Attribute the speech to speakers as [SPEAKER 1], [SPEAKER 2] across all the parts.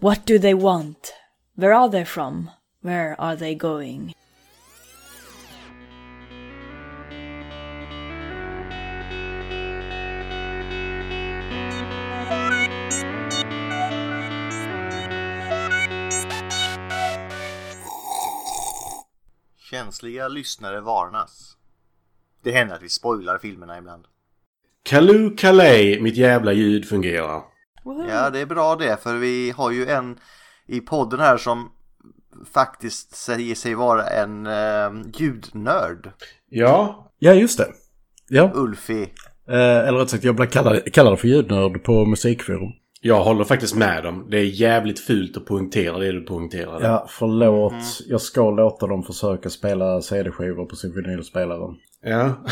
[SPEAKER 1] What do they want? Where are they from? Where are they going?
[SPEAKER 2] Känsliga lyssnare varnas. Det händer att vi spoilar filmerna ibland.
[SPEAKER 3] Kalu Kalej, mitt jävla ljud fungerar.
[SPEAKER 1] Woohoo.
[SPEAKER 2] Ja, det är bra det, för vi har ju en i podden här som faktiskt säger sig vara en eh, ljudnörd.
[SPEAKER 3] Ja.
[SPEAKER 4] Ja, just det. Ja.
[SPEAKER 2] Ulfi.
[SPEAKER 4] Eh, eller rätt sagt, jag blir kallad, kallad för ljudnörd på musikforum.
[SPEAKER 3] Jag håller faktiskt med dem. Det är jävligt fult att poängtera det du poängterade.
[SPEAKER 4] Ja, förlåt. Jag ska låta dem försöka spela CD-skivor på sin vinylspelare.
[SPEAKER 3] ja.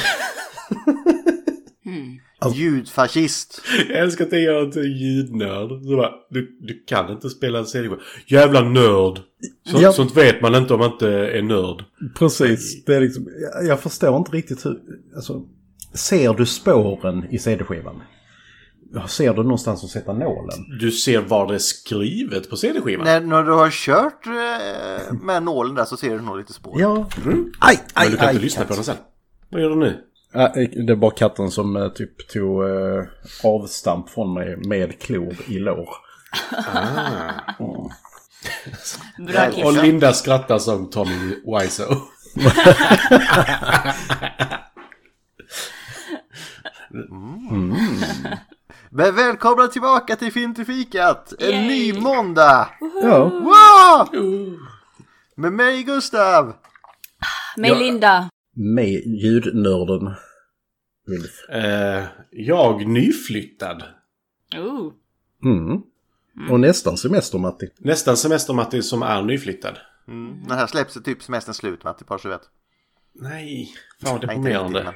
[SPEAKER 2] Ljudfascist.
[SPEAKER 3] Jag älskar att jag är en ljudnörd. Så bara, du, du kan inte spela en CD-skiva. Jävla nörd! Så,
[SPEAKER 4] Ja.
[SPEAKER 3] Sånt vet man inte om man inte är nörd.
[SPEAKER 4] Precis. Det är liksom, jag- jag förstår inte riktigt hur... Alltså, ser du spåren i CD-skivan? Ser du någonstans att sätta nålen?
[SPEAKER 3] Du ser var det är skrivet på CD-skivan.
[SPEAKER 2] När, när du har kört eh, med nålen där så ser du nog lite spår.
[SPEAKER 4] Ja.
[SPEAKER 3] Mm.
[SPEAKER 4] Aj, aj,
[SPEAKER 3] Men du kan
[SPEAKER 4] aj,
[SPEAKER 3] inte lyssna
[SPEAKER 4] katt.
[SPEAKER 3] på den sen. Vad gör du nu?
[SPEAKER 4] Ja, Det var katten som eh, typ tog eh, avstamp från mig med klor i lår.
[SPEAKER 1] Bra
[SPEAKER 3] Och
[SPEAKER 1] kille.
[SPEAKER 3] Linda skrattar som Tommy Wiseau.
[SPEAKER 2] Men välkomna tillbaka till Fintifikat! En
[SPEAKER 1] Yay.
[SPEAKER 2] ny måndag!
[SPEAKER 4] Ja.
[SPEAKER 2] Wow! Med mig Gustav!
[SPEAKER 1] Med Linda.
[SPEAKER 4] Med ljudnörden. Ulf.
[SPEAKER 3] Eh, jag nyflyttad.
[SPEAKER 1] Ooh.
[SPEAKER 4] Mm. Och nästan semester, Matti.
[SPEAKER 3] Nästan semester Matti som är nyflyttad.
[SPEAKER 2] Mm. Den här släpps typ semesterns slut Matti, bara så du vet.
[SPEAKER 3] Nej, fan
[SPEAKER 2] Nej, inte riktigt, men-
[SPEAKER 3] deprimerande.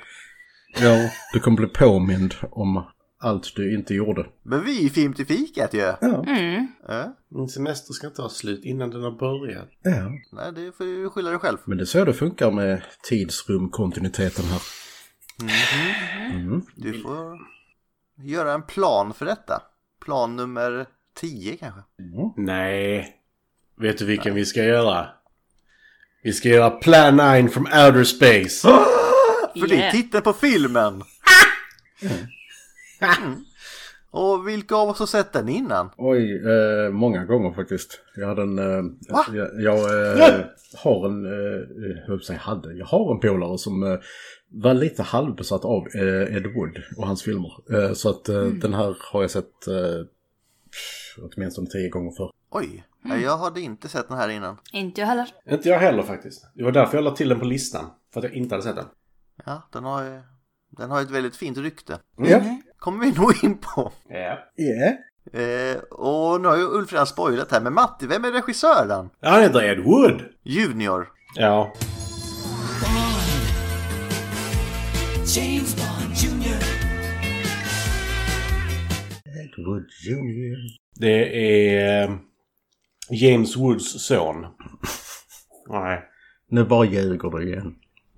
[SPEAKER 4] Ja. Du kommer bli påmind om allt du inte gjorde.
[SPEAKER 2] Men vi är ju Fintifikat ju!
[SPEAKER 1] Mm.
[SPEAKER 2] Ja.
[SPEAKER 3] Min semester ska inte ha slut innan den har börjat.
[SPEAKER 4] Ja.
[SPEAKER 2] Nej, det får du skylla dig själv.
[SPEAKER 4] Men det är så det funkar med tidsrumkontinuiteten här.
[SPEAKER 2] Du får göra en plan för detta. Plan nummer 10 kanske.
[SPEAKER 3] Nej. Vet du vilken vi ska göra? Vi ska göra Plan 9 from Outer Space.
[SPEAKER 2] För det är
[SPEAKER 1] Yeah.
[SPEAKER 2] titeln på filmen! Mm. Och vilka av oss har sett den innan?
[SPEAKER 4] Oj, eh, många gånger faktiskt. Jag hade en... Eh,
[SPEAKER 2] Va?
[SPEAKER 4] jag jag eh, har en... Eh, jag höll på att säga hade. Jag har en polare som eh, var lite halvbesatt av eh, Ed Wood och hans filmer. Eh, så att eh, den här har jag sett eh, åtminstone tio gånger förr.
[SPEAKER 2] Oj, nej, jag hade inte sett den här innan.
[SPEAKER 1] Inte jag heller.
[SPEAKER 3] Inte jag heller faktiskt. Det var därför jag la till den på listan. För att jag inte hade sett den.
[SPEAKER 2] Ja, den har, ju- den har ett väldigt fint rykte.
[SPEAKER 4] Ja.
[SPEAKER 2] kommer vi nog in på.
[SPEAKER 3] Ja.
[SPEAKER 4] Ja.
[SPEAKER 2] Eh, och nu har ju Ulf redan spoilat här, men Matti, vem är regissören?
[SPEAKER 3] Han heter Ed Wood.
[SPEAKER 2] Junior.
[SPEAKER 3] Ja.
[SPEAKER 5] James Bond Jr.
[SPEAKER 4] Ed Wood Jr.
[SPEAKER 3] Det är eh, James Woods son. Nej.
[SPEAKER 4] Nu bara ljuger du igen.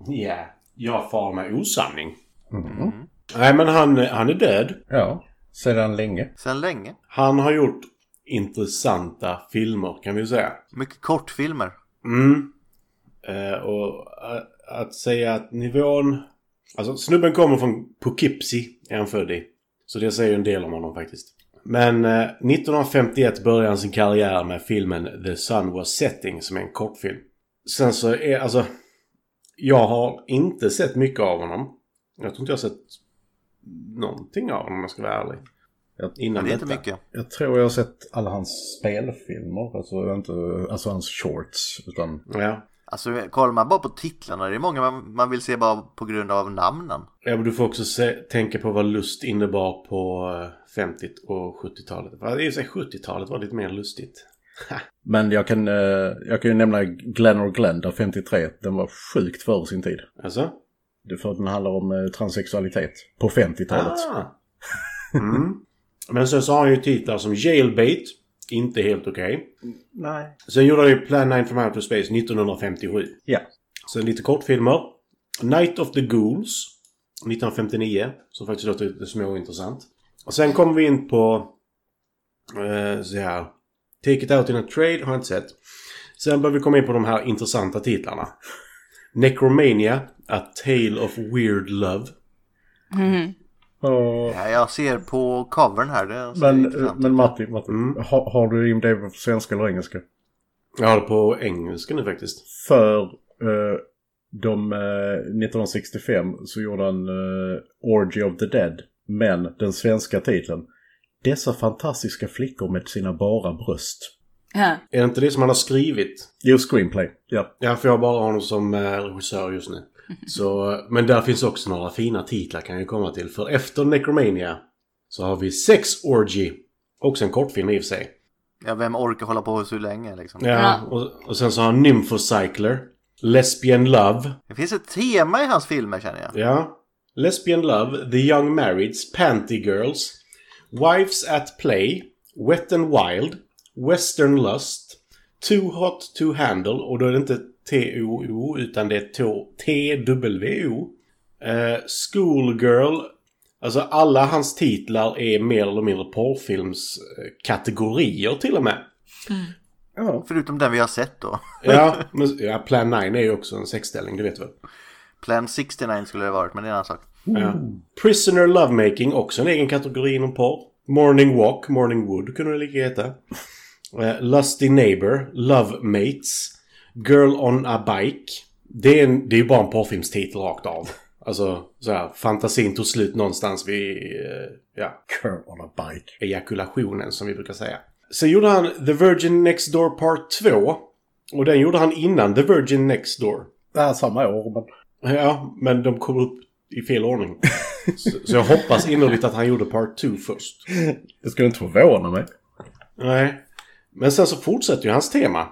[SPEAKER 3] Ja. Jag far med osanning. Mm. Nej, men han, han är död.
[SPEAKER 4] Ja, sedan länge.
[SPEAKER 2] Sen länge.
[SPEAKER 3] Han har gjort intressanta filmer kan vi säga.
[SPEAKER 2] Mycket kortfilmer.
[SPEAKER 3] Mm. Eh, och eh, att säga att nivån... Alltså snubben kommer från Poughkeepsie, är han född i. Så det säger ju en del om honom faktiskt. Men eh, 1951 började han sin karriär med filmen The Sun Was Setting som är en kortfilm. Sen så är, alltså... Jag har inte sett mycket av honom. Jag tror inte jag har sett någonting av honom om jag ska vara ärlig.
[SPEAKER 4] Jag-
[SPEAKER 2] Ja,
[SPEAKER 3] Innan
[SPEAKER 2] det är inte
[SPEAKER 3] detta.
[SPEAKER 2] mycket.
[SPEAKER 4] Jag tror jag har sett alla hans spelfilmer, alltså, inte, alltså hans shorts. Utan,
[SPEAKER 3] Ja.
[SPEAKER 2] Alltså, kollar man bara på titlarna, det är många man, man vill se bara på grund av namnen.
[SPEAKER 3] Ja, men du får också se, tänka på vad lust innebar på eh, 50 och 70-talet. Va, I och för sig 70-talet var lite mer lustigt.
[SPEAKER 4] men jag kan, eh, jag kan ju nämna Glenn or Glenn, där 53, den var sjukt före sin tid.
[SPEAKER 3] Alltså?
[SPEAKER 4] Det är för att den handlar om eh, transsexualitet på 50-talet.
[SPEAKER 3] Ah. Mm. Men sen så har han ju titlar som Jailbait, inte helt okej.
[SPEAKER 4] Nej.
[SPEAKER 3] Sen gjorde han ju Plan 9 from Outer Space 1957.
[SPEAKER 4] Ja.
[SPEAKER 3] Sen lite kortfilmer. Night of the Ghouls 1959, som faktiskt låter lite småintressant. Och sen kommer vi in på eh, så här, Take It Out In A Trade har jag inte sett. Sen börjar vi komma in på de här intressanta titlarna. Necromania, A Tale of Weird Love.
[SPEAKER 4] Ja,
[SPEAKER 2] Ja, jag ser på covern här. Det ser
[SPEAKER 4] men, eh,
[SPEAKER 2] intressant ut.
[SPEAKER 4] men Matti, Matti har, har du IMDB på svenska eller engelska?
[SPEAKER 3] Mm. Jag har det på engelska nu faktiskt.
[SPEAKER 4] För eh, de, eh, 1965 så gjorde han eh, Orgy of the Dead. Men den svenska titeln. Dessa fantastiska flickor med sina bara bröst.
[SPEAKER 1] Ja.
[SPEAKER 3] Är det inte det som han har skrivit?
[SPEAKER 4] Jo, screenplay. Ja.
[SPEAKER 3] Ja, för jag har bara honom som eh, regissör just nu. Så, eh, men där finns också några fina titlar kan jag komma till. För efter Necromania så har vi Sex Orgy. Också en kortfilm i och för sig.
[SPEAKER 2] Ja, vem orkar hålla på så länge liksom?
[SPEAKER 3] Ja, och, och sen så har han Nymphocycler. Lesbian Love.
[SPEAKER 2] Det finns ett tema i hans filmer känner jag.
[SPEAKER 3] Ja. Lesbian Love, The Young Marrieds, Panty Girls, Wives at Play, Wet and Wild, Western Lust, Too Hot to Handle, och då är det inte T-O-O utan det är T- T-W-O. Eh, Schoolgirl. Alltså alla hans titlar är mer eller mindre porrfilmskategorier till och med.
[SPEAKER 2] Förutom den vi har sett då.
[SPEAKER 3] Ja, men, ja, Plan 9 är ju också en sexställning, du vet väl?
[SPEAKER 2] Plan 69 skulle det varit, men det är en annan sak.
[SPEAKER 3] Ja. Prisoner Lovemaking, också en egen kategori inom porr. Morning Walk, Morning Wood kunde det lika heta. Eh, Lusty Neighbor, Love Mates, Girl on a Bike. Det är, en, det är ju bara en porrfilmstitel rakt av. Alltså, så här, fantasin tog slut någonstans vid, eh, ja,
[SPEAKER 4] Curl on a bike.
[SPEAKER 3] ejakulationen som vi brukar säga. Sen gjorde han The Virgin Next Door Part 2. Och den gjorde han innan The Virgin Next Door.
[SPEAKER 4] Ja, samma år. Men...
[SPEAKER 3] Ja, men de kom upp i fel ordning. så, så jag hoppas innerligt att han gjorde Part 2 först.
[SPEAKER 4] Det skulle inte förvåna mig.
[SPEAKER 3] Nej. Men sen så fortsätter ju hans tema.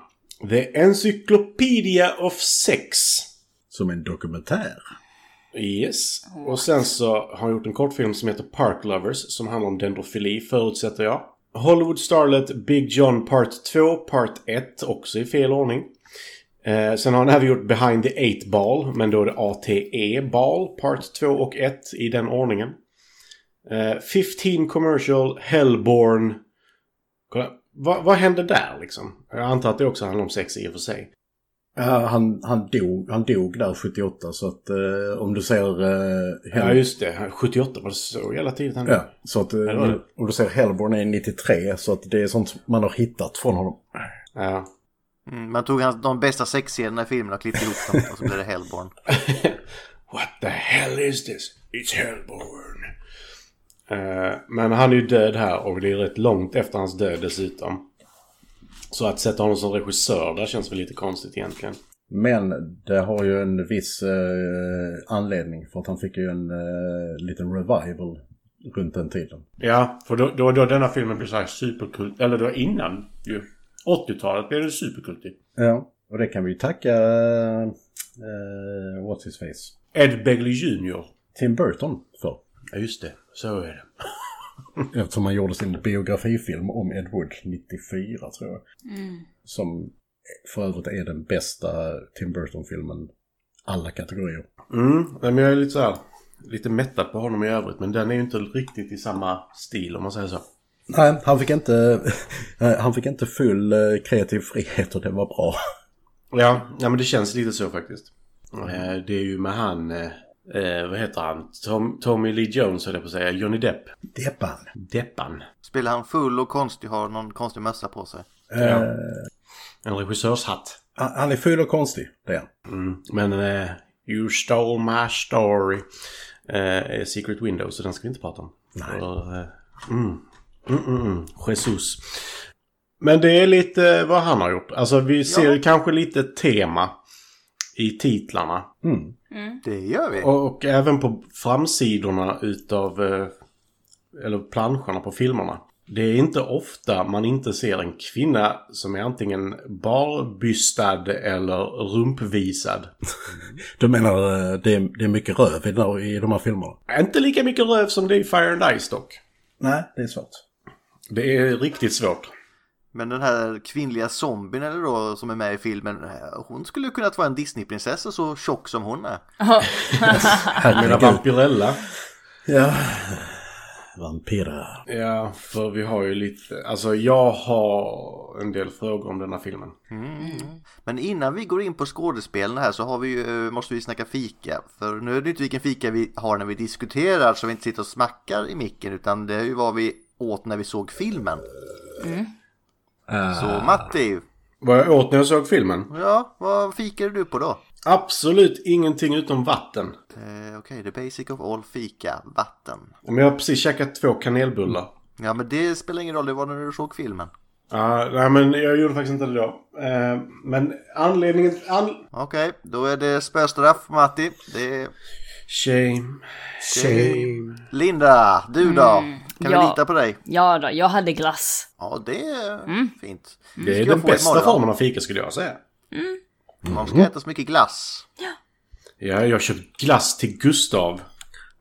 [SPEAKER 3] The Encyclopedia of Sex.
[SPEAKER 4] Som en dokumentär.
[SPEAKER 3] Yes. Och sen så har han gjort en kortfilm som heter Park Lovers som handlar om dendrofili, förutsätter jag. Hollywood Starlet Big John Part 2, Part 1, också i fel ordning. Eh, sen har han även gjort Behind the Eight Ball, men då är det ATE Ball, Part 2 och 1 i den ordningen. Eh, 15 Commercial, Hellborn. Kolla, vad, vad hände där liksom? Jag antar att det också handlar om sex i och för sig.
[SPEAKER 4] Ja, han, han, dog, han dog där 78 så att eh, om du ser... Eh, Hell-
[SPEAKER 3] Ja, just det. 78 var det så jävla tidigt han
[SPEAKER 4] Ja, så att eh,
[SPEAKER 3] det var det.
[SPEAKER 4] om du ser Hellborn är 93 så att det är sånt man har hittat från honom.
[SPEAKER 3] ja.
[SPEAKER 2] Mm, man tog hans, de bästa sexscenerna i filmen och klippte ihop dem och så blev det Hellborn.
[SPEAKER 3] What the hell is this? It's Hellborn. Eh, men han är ju död här och det är rätt långt efter hans död dessutom. Så att sätta honom som regissör där känns väl lite konstigt egentligen.
[SPEAKER 4] Men det har ju en viss eh, anledning för att han fick ju en eh, liten revival runt den tiden.
[SPEAKER 3] Ja, för då, då, då denna filmen blev så här superkult... Eller då innan ju. 80-talet blev det superkultigt.
[SPEAKER 4] Ja, och det kan vi ju tacka... Eh, eh, what's his face?
[SPEAKER 3] Ed Begley Jr.
[SPEAKER 4] Tim Burton för.
[SPEAKER 3] Ja, just det. Så är det.
[SPEAKER 4] Eftersom han gjorde sin biografifilm om Ed Wood 94 tror jag. Som för övrigt är den bästa Tim Burton-filmen alla kategorier.
[SPEAKER 3] Mm, nej, men jag är lite så här... Lite mättad på honom i övrigt, men den är ju inte riktigt i samma stil om man säger så.
[SPEAKER 4] Nej, han fick inte, han fick inte full eh, kreativ frihet och det var bra.
[SPEAKER 3] Ja, ja men det känns lite så faktiskt. Eh, Det är ju med han, eh, eh, vad heter han? Tom, Tommy Lee Jones höll jag på att säga, Johnny Depp.
[SPEAKER 4] Deppan.
[SPEAKER 3] Deppan.
[SPEAKER 2] Spelar han full och konstig, har någon konstig mössa på sig.
[SPEAKER 3] Ja. Eh, En regissörshatt.
[SPEAKER 4] Han han är full och konstig, det är han.
[SPEAKER 3] Mm. Men eh, You stole my story. Eh, är Secret Window, så den ska vi inte prata om. Nej. mm. Mm, mm, mm. Jesus. Men det är lite eh, vad han har gjort. Alltså vi ser kanske lite tema i titlarna.
[SPEAKER 2] Det gör vi.
[SPEAKER 3] Och, och även på framsidorna utav eh, eller planscherna på filmerna. Det är inte ofta man inte ser en kvinna som är antingen barbystad eller rumpvisad.
[SPEAKER 4] Du menar eh, det är, det är mycket röv i, den här- i de här filmerna?
[SPEAKER 3] inte lika mycket röv som det är i Fire and Ice dock.
[SPEAKER 4] Nej, det är svårt.
[SPEAKER 3] Det är riktigt svårt.
[SPEAKER 2] Men den här kvinnliga zombien eller då som är med i filmen, eh, hon skulle kunnat vara en Disneyprinsessa så tjock som hon är.
[SPEAKER 3] Mina Vampirella.
[SPEAKER 4] Ja. vampyrer.
[SPEAKER 3] Ja, för vi har ju lite... Alltså jag har en del frågor om denna filmen.
[SPEAKER 2] Men innan vi går in på skådespelen här så har vi, ju, eh, måste vi snacka fika. För nu är det inte vilken fika vi har när vi diskuterar så vi inte sitter och smackar i micken utan det är ju vad vi åt när vi såg filmen. Så Matti,
[SPEAKER 3] Vad jag åt när jag såg filmen?
[SPEAKER 2] ja, vad fikade du på då?
[SPEAKER 3] Absolut ingenting utom vatten.
[SPEAKER 2] Eh, Okej, the basic of all fika, vatten.
[SPEAKER 3] Men jag har precis käkat två kanelbullar.
[SPEAKER 2] Ja men det spelar ingen roll, det var när du såg filmen.
[SPEAKER 3] Ja, nej men jag gjorde faktiskt inte det då. Eh, men anledningen... An...
[SPEAKER 2] Okej, då är det spöstraff Matti. Det är...
[SPEAKER 3] Shame. Shame.
[SPEAKER 2] Linda, du då? Kan vi
[SPEAKER 1] ja.
[SPEAKER 2] lita på dig?
[SPEAKER 1] Ja då, jag hade glass.
[SPEAKER 2] Ja, det är fint.
[SPEAKER 3] Det är
[SPEAKER 2] Ska jag
[SPEAKER 3] den
[SPEAKER 2] få imorgon?
[SPEAKER 3] bästa formen av fika skulle jag säga.
[SPEAKER 2] Man ska äta så mycket glass.
[SPEAKER 3] Ja, jag köpt glass till Gustav.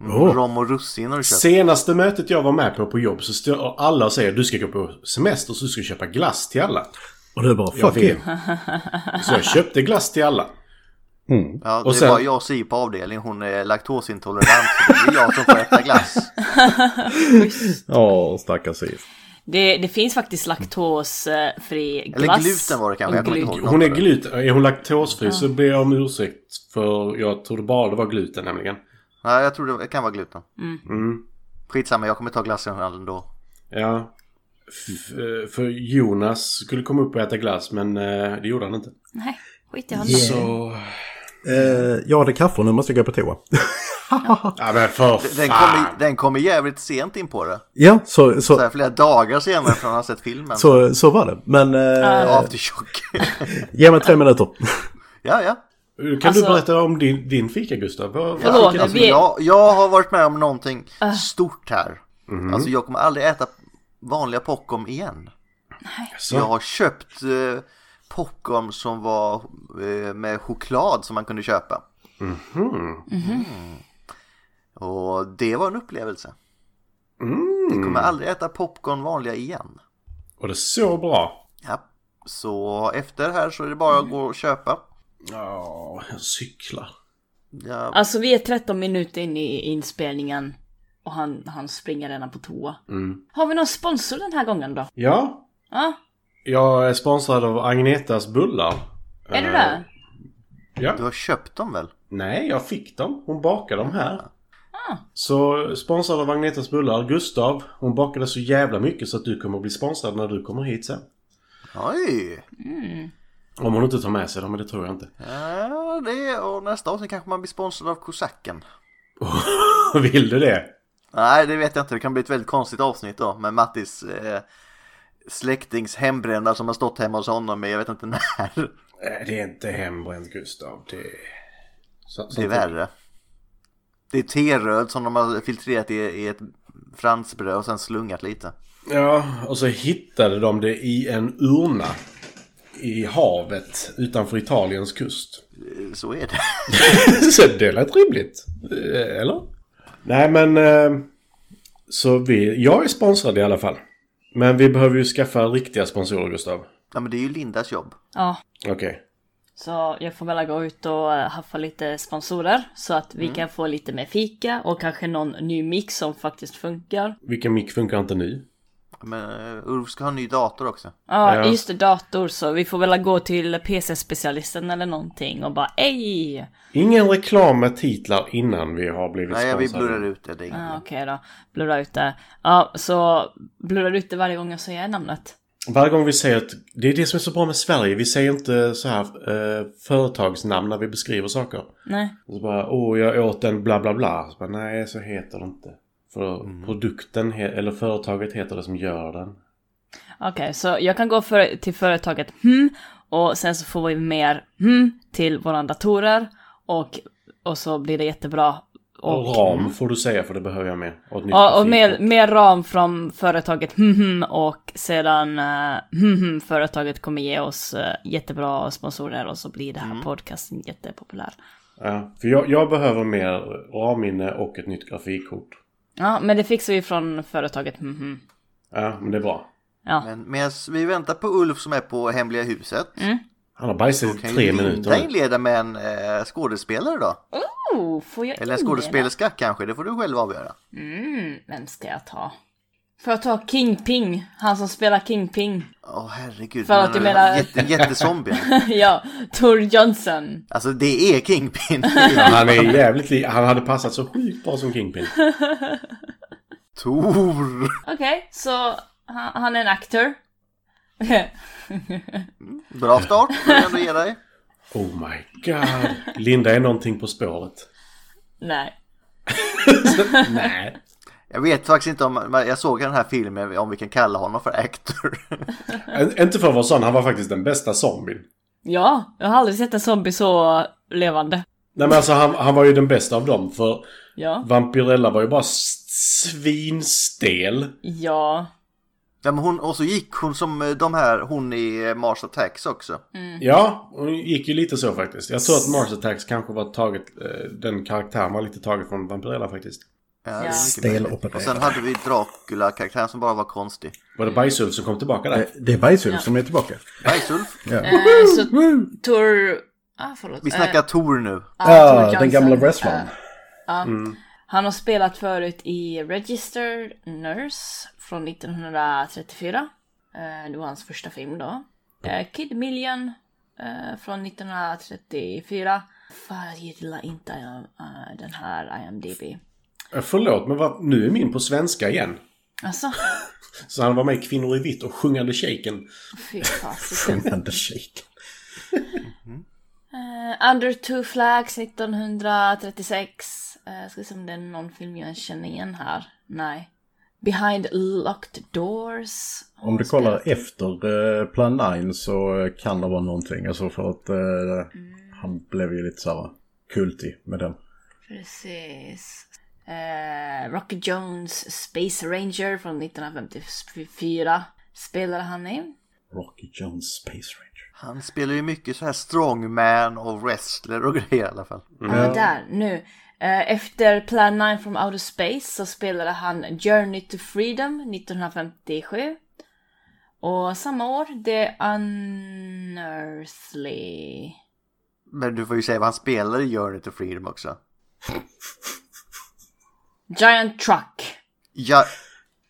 [SPEAKER 3] Mm. Oh.
[SPEAKER 2] Rom och russin har du köpt.
[SPEAKER 3] Senaste mötet jag var med på på jobb så står alla och säger du ska gå på semester så du ska köpa glass till alla.
[SPEAKER 4] Och du bara
[SPEAKER 3] Jag
[SPEAKER 4] fuck
[SPEAKER 3] vet.
[SPEAKER 4] you.
[SPEAKER 3] Så jag köpte glass till alla.
[SPEAKER 2] Ja, det
[SPEAKER 3] och
[SPEAKER 2] är
[SPEAKER 3] sen-
[SPEAKER 2] bara jag och Siw på avdelningen. Hon är laktosintolerant. så det är jag som får äta glass.
[SPEAKER 4] Ja, stackars Eve.
[SPEAKER 1] Det, det finns faktiskt laktosfri glass.
[SPEAKER 2] Eller gluten var det kanske,
[SPEAKER 1] och
[SPEAKER 2] jag kommer inte
[SPEAKER 1] gluten.
[SPEAKER 2] ihåg.
[SPEAKER 3] Hon är gluten, är hon laktosfri så ber jag om ursäkt för jag trodde bara det var gluten nämligen.
[SPEAKER 2] Nej, jag tror det kan vara gluten. Mm. Skitsamma, jag kommer ta glassen ändå.
[SPEAKER 3] Ja. F- eh, För Jonas skulle komma upp och äta glass men eh, det gjorde han inte.
[SPEAKER 1] Nej, skit i honom.
[SPEAKER 3] Så...
[SPEAKER 4] Eh, jag hade kaffe och nu måste jag gå på toa.
[SPEAKER 3] Ja men för
[SPEAKER 2] Den
[SPEAKER 3] fan!
[SPEAKER 2] kommer den kommer jävligt sent in på det.
[SPEAKER 4] Ja, så,
[SPEAKER 2] Så
[SPEAKER 4] så,
[SPEAKER 2] här, flera dagar senare från att ha sett filmen.
[SPEAKER 4] så, så var det. Men eh,
[SPEAKER 2] Aftershock.
[SPEAKER 4] ge mig tre minuter.
[SPEAKER 2] ja, ja.
[SPEAKER 3] Kan
[SPEAKER 1] Alltså-
[SPEAKER 3] du berätta om din, din fika Gustav? Vad-
[SPEAKER 1] Förlåt,
[SPEAKER 3] vad fick-
[SPEAKER 1] men
[SPEAKER 2] Alltså,
[SPEAKER 1] vi-
[SPEAKER 2] jag, jag har varit med om någonting stort här. Alltså jag kommer aldrig äta vanliga popcorn igen.
[SPEAKER 3] alltså?
[SPEAKER 2] Jag har köpt eh, popcorn som var eh, med choklad som man kunde köpa.
[SPEAKER 3] hmm.
[SPEAKER 2] Mm. Och det var en upplevelse. Jag kommer aldrig äta popcorn vanliga igen.
[SPEAKER 3] Var Mm. det så bra?
[SPEAKER 2] Ja. Så efter det här så är det bara att gå och köpa.
[SPEAKER 3] Ja, jag cyklar.
[SPEAKER 2] Ja,
[SPEAKER 1] Alltså vi är 13 minuter in i inspelningen och han, han springer redan på toa.
[SPEAKER 2] Mm.
[SPEAKER 1] Har vi någon sponsor den här gången då?
[SPEAKER 3] Ja,
[SPEAKER 1] Ja,
[SPEAKER 3] jag är sponsrad av Agnetas bullar.
[SPEAKER 1] är du
[SPEAKER 3] Eh,
[SPEAKER 1] det?
[SPEAKER 3] Ja.
[SPEAKER 2] du har köpt dem väl?
[SPEAKER 3] Nej, jag fick dem. Hon bakade dem här. Så sponsrad av Agnetas bullar, Gustav. Hon bakade så jävla mycket så att du kommer bli sponsrad när du kommer hit sen.
[SPEAKER 2] Oj!
[SPEAKER 3] Om hon inte tar med sig dem, men det tror jag inte.
[SPEAKER 2] Ja, det och nästa avsnitt kanske man blir sponsrad av kosacken.
[SPEAKER 3] Vill du det?
[SPEAKER 2] Nej, det vet jag inte. Det kan bli ett väldigt konstigt avsnitt då med Mattis eh, släktings hembrända som har stått hemma hos honom i jag vet inte när.
[SPEAKER 3] Nej, Det är inte hembränt, Gustav. Det är... Så,
[SPEAKER 2] Det är värre. Det är teröd som de har filtrerat i, i ett fransbröd och sen slungat lite.
[SPEAKER 3] Ja, och så hittade de det i en urna. I havet utanför Italiens kust.
[SPEAKER 2] Eh, Så är det.
[SPEAKER 3] Så det lät rimligt. Eh, Eller? Nej, men... eh, Så vi... Jag är sponsrad i alla fall. Men vi behöver ju skaffa riktiga sponsorer, Gustav.
[SPEAKER 2] Ja, men det är ju Lindas jobb.
[SPEAKER 1] Ja.
[SPEAKER 3] Okej.
[SPEAKER 1] Så jag får väl gå ut och eh, haffa lite sponsorer så att
[SPEAKER 3] Mm.
[SPEAKER 1] vi kan få lite mer fika och kanske någon ny mix som faktiskt funkar.
[SPEAKER 3] Vilken mick funkar inte nu?
[SPEAKER 2] Men eh, Ulf ska ha en ny dator också.
[SPEAKER 1] Ja,
[SPEAKER 3] Ja.
[SPEAKER 1] just det, dator så vi får väl gå till PC-specialisten eller någonting och bara ej!
[SPEAKER 3] Ingen reklam med titlar innan vi har blivit
[SPEAKER 2] Nej, vi
[SPEAKER 3] sponsrade.
[SPEAKER 2] blurrar ut det. det är ingen-
[SPEAKER 1] Ja, Okej då, blurra ut det. Ja, så blurrar du ut det varje gång jag säger namnet?
[SPEAKER 3] Varje gång vi säger att... Det är det som är så bra med Sverige. Vi säger inte så här eh, företagsnamn när vi beskriver saker.
[SPEAKER 1] Nej.
[SPEAKER 3] Och så bara, åh jag åt en bla bla bla. Så bara, Nej, så heter det inte. För produkten, he- eller företaget heter det som gör den.
[SPEAKER 1] Okej, så jag kan gå för, till företaget hmm och sen så får vi mer hmm till våra datorer och, och så blir det jättebra.
[SPEAKER 3] Och ram får du säga för det behöver jag med. Och, ett nytt
[SPEAKER 1] Ja, och
[SPEAKER 3] grafik.
[SPEAKER 1] mer, mer ram från företaget mhm och sedan eh, mhm företaget kommer ge oss eh, jättebra sponsorer och så blir det här podcasten jättepopulär.
[SPEAKER 3] Ja, för jag, jag behöver mer ramminne och ett nytt grafikkort.
[SPEAKER 1] Ja, men det fixar vi från företaget mhm.
[SPEAKER 3] Ja, men det är bra.
[SPEAKER 1] Ja, Mm.
[SPEAKER 2] Men medan vi väntar på Ulf som är på Hemliga huset.
[SPEAKER 3] Han har bajsat i
[SPEAKER 2] Kan
[SPEAKER 3] tre
[SPEAKER 2] ju Linda
[SPEAKER 3] minuter.
[SPEAKER 2] inleda med en eh, skådespelare då?
[SPEAKER 1] Oh, får jag
[SPEAKER 2] Eller en
[SPEAKER 1] inleda?
[SPEAKER 2] skådespelerska kanske, det får du själv avgöra.
[SPEAKER 1] Mm, vem ska jag ta? Får jag ta King Ping? Han som spelar King Ping.
[SPEAKER 2] Åh herregud,
[SPEAKER 1] För att
[SPEAKER 2] men,
[SPEAKER 1] du menar-
[SPEAKER 2] jätte, jättezombie.
[SPEAKER 1] ja, Tor Johnson.
[SPEAKER 2] Alltså det är Kingpin.
[SPEAKER 3] Ja, Han är jävligt li- Han hade passat så sjukt bra som Kingpin.
[SPEAKER 2] Tor!
[SPEAKER 1] Okej, så han, han är en aktor.
[SPEAKER 2] Bra start, får jag ändå ge dig.
[SPEAKER 3] Oh my god. Linda är någonting på spåret.
[SPEAKER 1] Nej.
[SPEAKER 3] Nej.
[SPEAKER 2] Jag vet faktiskt inte om, jag såg den här filmen om vi kan kalla honom för actor.
[SPEAKER 3] Ä- Inte för att vara sån, han var faktiskt den bästa zombien.
[SPEAKER 1] Ja, jag har aldrig sett en zombie så levande.
[SPEAKER 3] Nej men alltså han, han var ju den bästa av dem för
[SPEAKER 1] Ja.
[SPEAKER 3] Vampirella var ju bara s- svinstel.
[SPEAKER 1] Mm. Ja.
[SPEAKER 2] Ja, men hon, och så gick hon som eh, de här, hon i eh, Mars Attacks också.
[SPEAKER 3] Ja, hon gick ju lite så faktiskt. Jag tror att Mars Attacks kanske var taget, eh, den karaktären var lite taget från Vampirella faktiskt.
[SPEAKER 2] Ja, det är mycket
[SPEAKER 4] Stel
[SPEAKER 2] möjligt.
[SPEAKER 4] opererad.
[SPEAKER 2] Och sen hade vi Dracula-karaktären som bara var konstig.
[SPEAKER 3] Var det Bajsulf som kom tillbaka där?
[SPEAKER 4] Eh, Det är Bajsulf som är tillbaka.
[SPEAKER 2] Bajsulf,
[SPEAKER 4] Ja.
[SPEAKER 1] Eh, så
[SPEAKER 3] Mm.
[SPEAKER 1] Tor... Ah, förlåt.
[SPEAKER 2] vi snackar Tor nu.
[SPEAKER 1] Eh, ah, Tor
[SPEAKER 4] Ah,
[SPEAKER 1] Johnson.
[SPEAKER 4] den gamla wrestlern.
[SPEAKER 1] Eh, han har spelat förut i Registered Nurse från 1934. Eh, det var hans första film då. Eh, Kid Million eh, från 1934. Fan, jag gillar inte eh, den här IMDB.
[SPEAKER 3] Eh, Förlåt, men vad, nu är min på svenska igen.
[SPEAKER 1] Alltså,
[SPEAKER 3] Så han var med i Kvinnor i vitt och Sjungande shaken.
[SPEAKER 1] fy fasiken.
[SPEAKER 4] Sjungande shake.
[SPEAKER 1] Eh, Under Two Flags 1936. Uh, ska se om det är någon film jag känner igen här. Nej. Behind Locked Doors.
[SPEAKER 4] Om du kollar efter eh, Plan 9 så eh, kan det vara någonting. Alltså för att eh, han blev ju lite såhär kultig med den.
[SPEAKER 1] Precis. Eh, Rocky Jones Space Ranger från 1954 spelade han i.
[SPEAKER 4] Rocky Jones Space Ranger.
[SPEAKER 2] Han spelar ju mycket så här strongman och wrestler och grejer i alla fall.
[SPEAKER 1] Ja, där, nu. Eh, efter Plan 9 from Outer Space så spelade han Journey to Freedom 1957. Och samma år, The Unearthly.
[SPEAKER 2] Men du får ju säga vad han spelar i Journey to Freedom också.
[SPEAKER 1] Giant Truck.
[SPEAKER 2] Ja,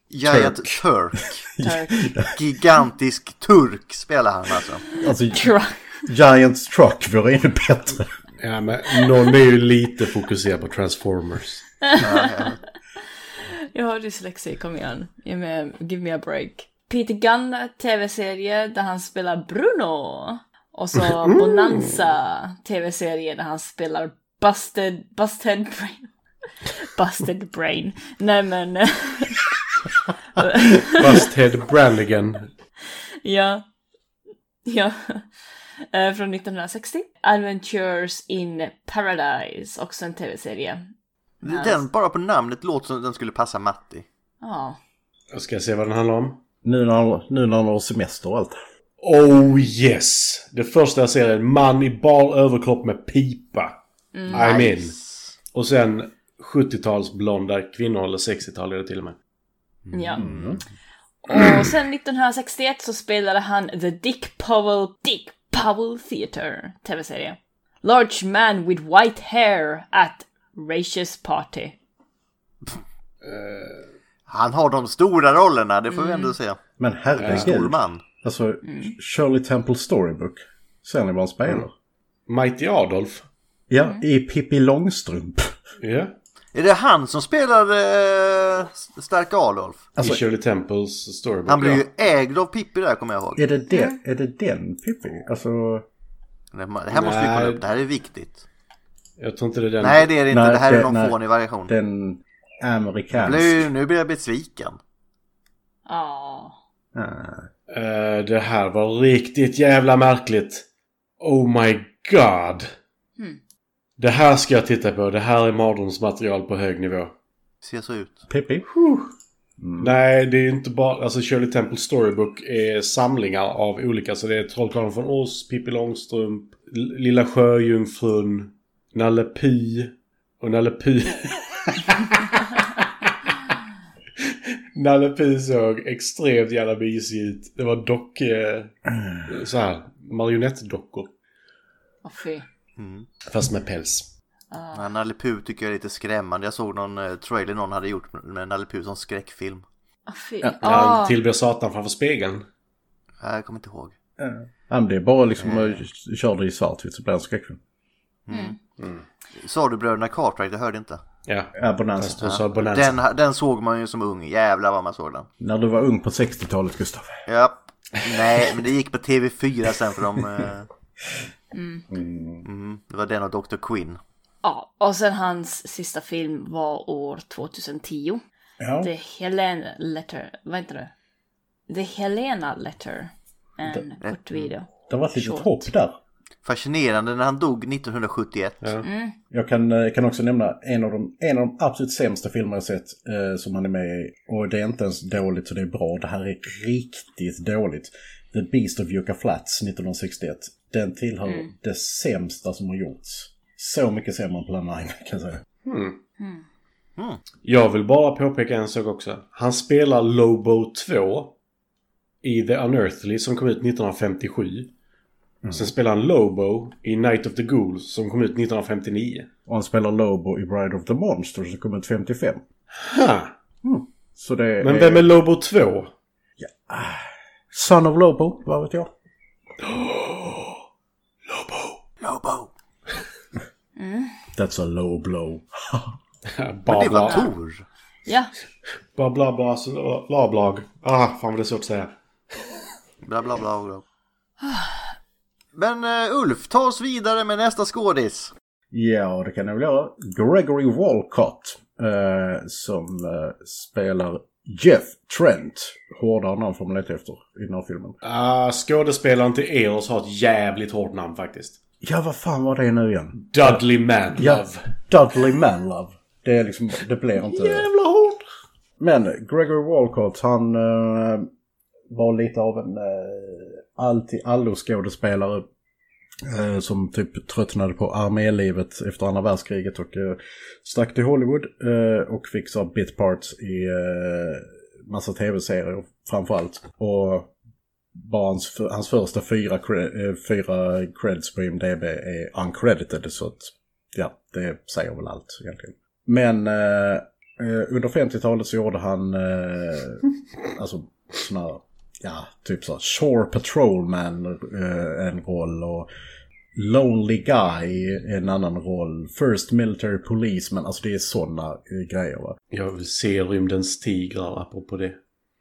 [SPEAKER 2] Giant Turk.
[SPEAKER 1] Turk.
[SPEAKER 2] Gigantisk turk spelar han alltså.
[SPEAKER 4] Alltså
[SPEAKER 1] Truck.
[SPEAKER 4] Giants Truck vore ännu bättre.
[SPEAKER 3] Ja, men någon är ju lite fokuserad på Transformers.
[SPEAKER 1] Jag har dyslexi, kom igen. Ge mig, give me a break. Peter Gunn, tv-serie där han spelar Bruno. Och så Bonanza, tv-serie där han spelar Busted, Busted Brain. Busted Brain. Nej men,
[SPEAKER 3] Fast Ted Brannigan.
[SPEAKER 1] ja. Ja. Eh, Från 1960. Adventures in Paradise, också en tv-serie.
[SPEAKER 2] Den bara på namnet låter som att den skulle passa Matti.
[SPEAKER 1] Ja.
[SPEAKER 3] Jag ska se vad den handlar om.
[SPEAKER 4] Nu när, han- nu när han har semester och allt.
[SPEAKER 3] Oh yes! Det första jag ser är en man i bar överkropp med pipa. I'm in. Och sen 70-talsblonda kvinnor, eller 60-tal är det till och med.
[SPEAKER 1] Ja.
[SPEAKER 4] Mm.
[SPEAKER 1] Och sen 1961 så spelade han The Dick Powell Dick Powell Theatre, tv-serie. Large man with white hair at Racist Party.
[SPEAKER 2] Han har de stora rollerna, det får vi ändå säga.
[SPEAKER 4] Men
[SPEAKER 2] Stor
[SPEAKER 4] herregud.
[SPEAKER 2] man.
[SPEAKER 4] Alltså Shirley Temple Storybook. Ser ni vad han spelar?
[SPEAKER 3] Mighty Adolf.
[SPEAKER 4] Ja, i Pippi Långstrump.
[SPEAKER 3] Ja.
[SPEAKER 2] Är det han som spelar eh, Stark Adolf?
[SPEAKER 3] I Shirley Temples storybook.
[SPEAKER 2] Alltså- Han blev
[SPEAKER 3] ja.
[SPEAKER 2] ju ägd av Pippi där kommer jag ihåg.
[SPEAKER 4] Är det, det, är det den Pippi? Alltså...
[SPEAKER 2] Det här måste vi kolla upp, det här är viktigt.
[SPEAKER 3] Jag tror inte det är den.
[SPEAKER 2] Nej det är det inte,
[SPEAKER 4] Nej,
[SPEAKER 2] det här är
[SPEAKER 4] det-
[SPEAKER 2] någon
[SPEAKER 4] nej.
[SPEAKER 2] fånig variation.
[SPEAKER 4] Den
[SPEAKER 2] Jag
[SPEAKER 4] amerikanska.
[SPEAKER 2] blev ju- Nu blir jag besviken.
[SPEAKER 1] Ja.
[SPEAKER 4] Ah.
[SPEAKER 3] Eh, det här var riktigt jävla märkligt. Oh my god. Det här ska jag titta på. Det här är mardrömsmaterial på hög nivå.
[SPEAKER 2] Ser så ut.
[SPEAKER 4] Pippi?
[SPEAKER 3] Nej, det är ju inte bara... Alltså Shirley Temple Storybook är samlingar av olika. Så det är Trollkarlen från Oz, Pippi Långstrump, L- Lilla Sjöjungfrun, Nalle Puh och Nalle Puh... Nalle Puh såg extremt jävla mysig ut. Det var dock... Eh, så här, marionettdockor.
[SPEAKER 1] Åh fy.
[SPEAKER 2] Mm.
[SPEAKER 3] Fast med päls.
[SPEAKER 2] Ja, Nalle Puh tycker jag är lite skrämmande. Jag såg någon eh, trailer någon hade gjort med Nalle Puh som skräckfilm.
[SPEAKER 1] Åh fy.
[SPEAKER 4] Ja,
[SPEAKER 3] När han
[SPEAKER 1] Ah.
[SPEAKER 3] tillber Satan framför spegeln.
[SPEAKER 2] Jag kommer inte ihåg.
[SPEAKER 4] Ja, men det är bara liksom, eh, kör det i svartvitt så blir det en skräckfilm.
[SPEAKER 2] Sa du Bröderna Cartwright? Jag hörde inte.
[SPEAKER 3] Ja.
[SPEAKER 4] Ja, Bonanza.
[SPEAKER 3] Fast hon sa bonanza.
[SPEAKER 2] Den, den såg man ju som ung. Jävlar vad man såg den.
[SPEAKER 4] När du var ung på 60-talet, Gustav.
[SPEAKER 2] Ja. Nej, men det gick på TV4 sen för de... eh, Mm, det var den och Dr. Quinn.
[SPEAKER 1] Ja, och sen hans sista film var år 2010.
[SPEAKER 4] Ja.
[SPEAKER 1] The Helena Letter, vad heter det? The Helena Letter. En kort
[SPEAKER 4] Mm.
[SPEAKER 1] video.
[SPEAKER 4] Det var ett litet
[SPEAKER 1] Short.
[SPEAKER 4] hopp där.
[SPEAKER 2] Fascinerande när han dog 1971.
[SPEAKER 4] Jag kan, eh, kan också nämna en av, de, en av de absolut sämsta filmer jag sett eh, som han är med i. Och det är inte ens dåligt så det är bra. Det här är riktigt dåligt. The Beast of Yucca Flats 1961. Den tillhör det sämsta som har gjorts. Så mycket sämre än Plan 9 kan jag säga.
[SPEAKER 3] Mm.
[SPEAKER 1] Hmm.
[SPEAKER 2] Mm.
[SPEAKER 3] Jag vill bara påpeka en sak också. Han spelar Lobo 2 i The Unearthly som kom ut 1957.
[SPEAKER 2] Mm.
[SPEAKER 3] Sen spelar han Lobo i Night of the Ghouls som kom ut 1959.
[SPEAKER 4] Och han spelar Lobo i Bride of the Monster som kom ut 55.
[SPEAKER 3] Ha!
[SPEAKER 4] Så det
[SPEAKER 3] Men
[SPEAKER 2] Eh.
[SPEAKER 4] är... Ah.
[SPEAKER 3] vem är Lobo 2?
[SPEAKER 4] Son of Lobo, vad vet jag?
[SPEAKER 2] Lobo!
[SPEAKER 4] That's a low blow.
[SPEAKER 2] Det
[SPEAKER 3] Babla.
[SPEAKER 2] var Tor.
[SPEAKER 1] Ja,
[SPEAKER 3] Babla, bla, bla, bla, bla. Ah, fan vad det är svårt att säga.
[SPEAKER 2] Bla bla bla. bla. Men eh, Ulf, ta oss vidare med nästa skådis.
[SPEAKER 4] Ja, det kan jag väl göra. Gregory Walcott eh, som eh, spelar Jeff Trent. Hårdare namn får man leta efter i den här filmen.
[SPEAKER 3] Ah, skådespelaren till Eos har ett jävligt hårt namn faktiskt.
[SPEAKER 4] Ja, vad fan var det nu igen?
[SPEAKER 3] Dudley Manlove.
[SPEAKER 4] Ja, Dudley Manlove. Det är liksom, det blir inte...
[SPEAKER 3] Jävla hårt!
[SPEAKER 4] Men Gregory Walcott, han eh, var lite av en eh, allt-i-allo-skådespelare eh, som typ tröttnade på armélivet efter andra världskriget och eh, stack till Hollywood eh, och fick så här bit parts i eh, massa tv-serier framförallt. Och bara hans, hans första fyra, cre- eh, fyra credits på IMDB är uncredited så att ja, det säger väl allt egentligen. Men eh, eh, under 50-talet så gjorde han eh, alltså såna här, ja, typ så här Shore Patrolman eh, en roll och Lonely Guy en annan roll, First Military Policeman, alltså det är sådana eh, grejer va.
[SPEAKER 3] Jag vill se Rymdens Tigrar apropå det.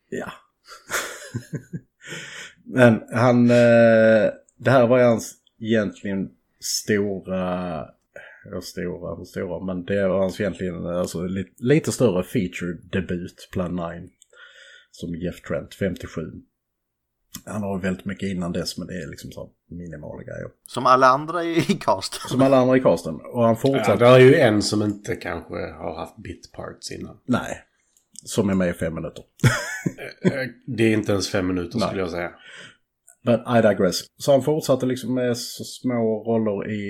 [SPEAKER 4] Ja. Men han... eh, Det här var ju hans egentligen stora... Ja, stora, hur stora, men det var hans egentligen alltså, lite, lite större feature-debut, Plan 9. Som Jeff Trent, 57. Han har väldigt mycket innan dess, men det är liksom så här minimala grejer.
[SPEAKER 2] Som alla andra i i cast.
[SPEAKER 4] Som alla andra i casten. Och han
[SPEAKER 3] Ja,
[SPEAKER 4] fortsatte...
[SPEAKER 3] där är ju en som inte kanske har haft bit parts innan.
[SPEAKER 4] Nej. Som är med i fem minuter.
[SPEAKER 3] Eh, Det är inte ens fem minuter skulle jag säga.
[SPEAKER 4] But I digress. Så han fortsatte liksom med så små roller i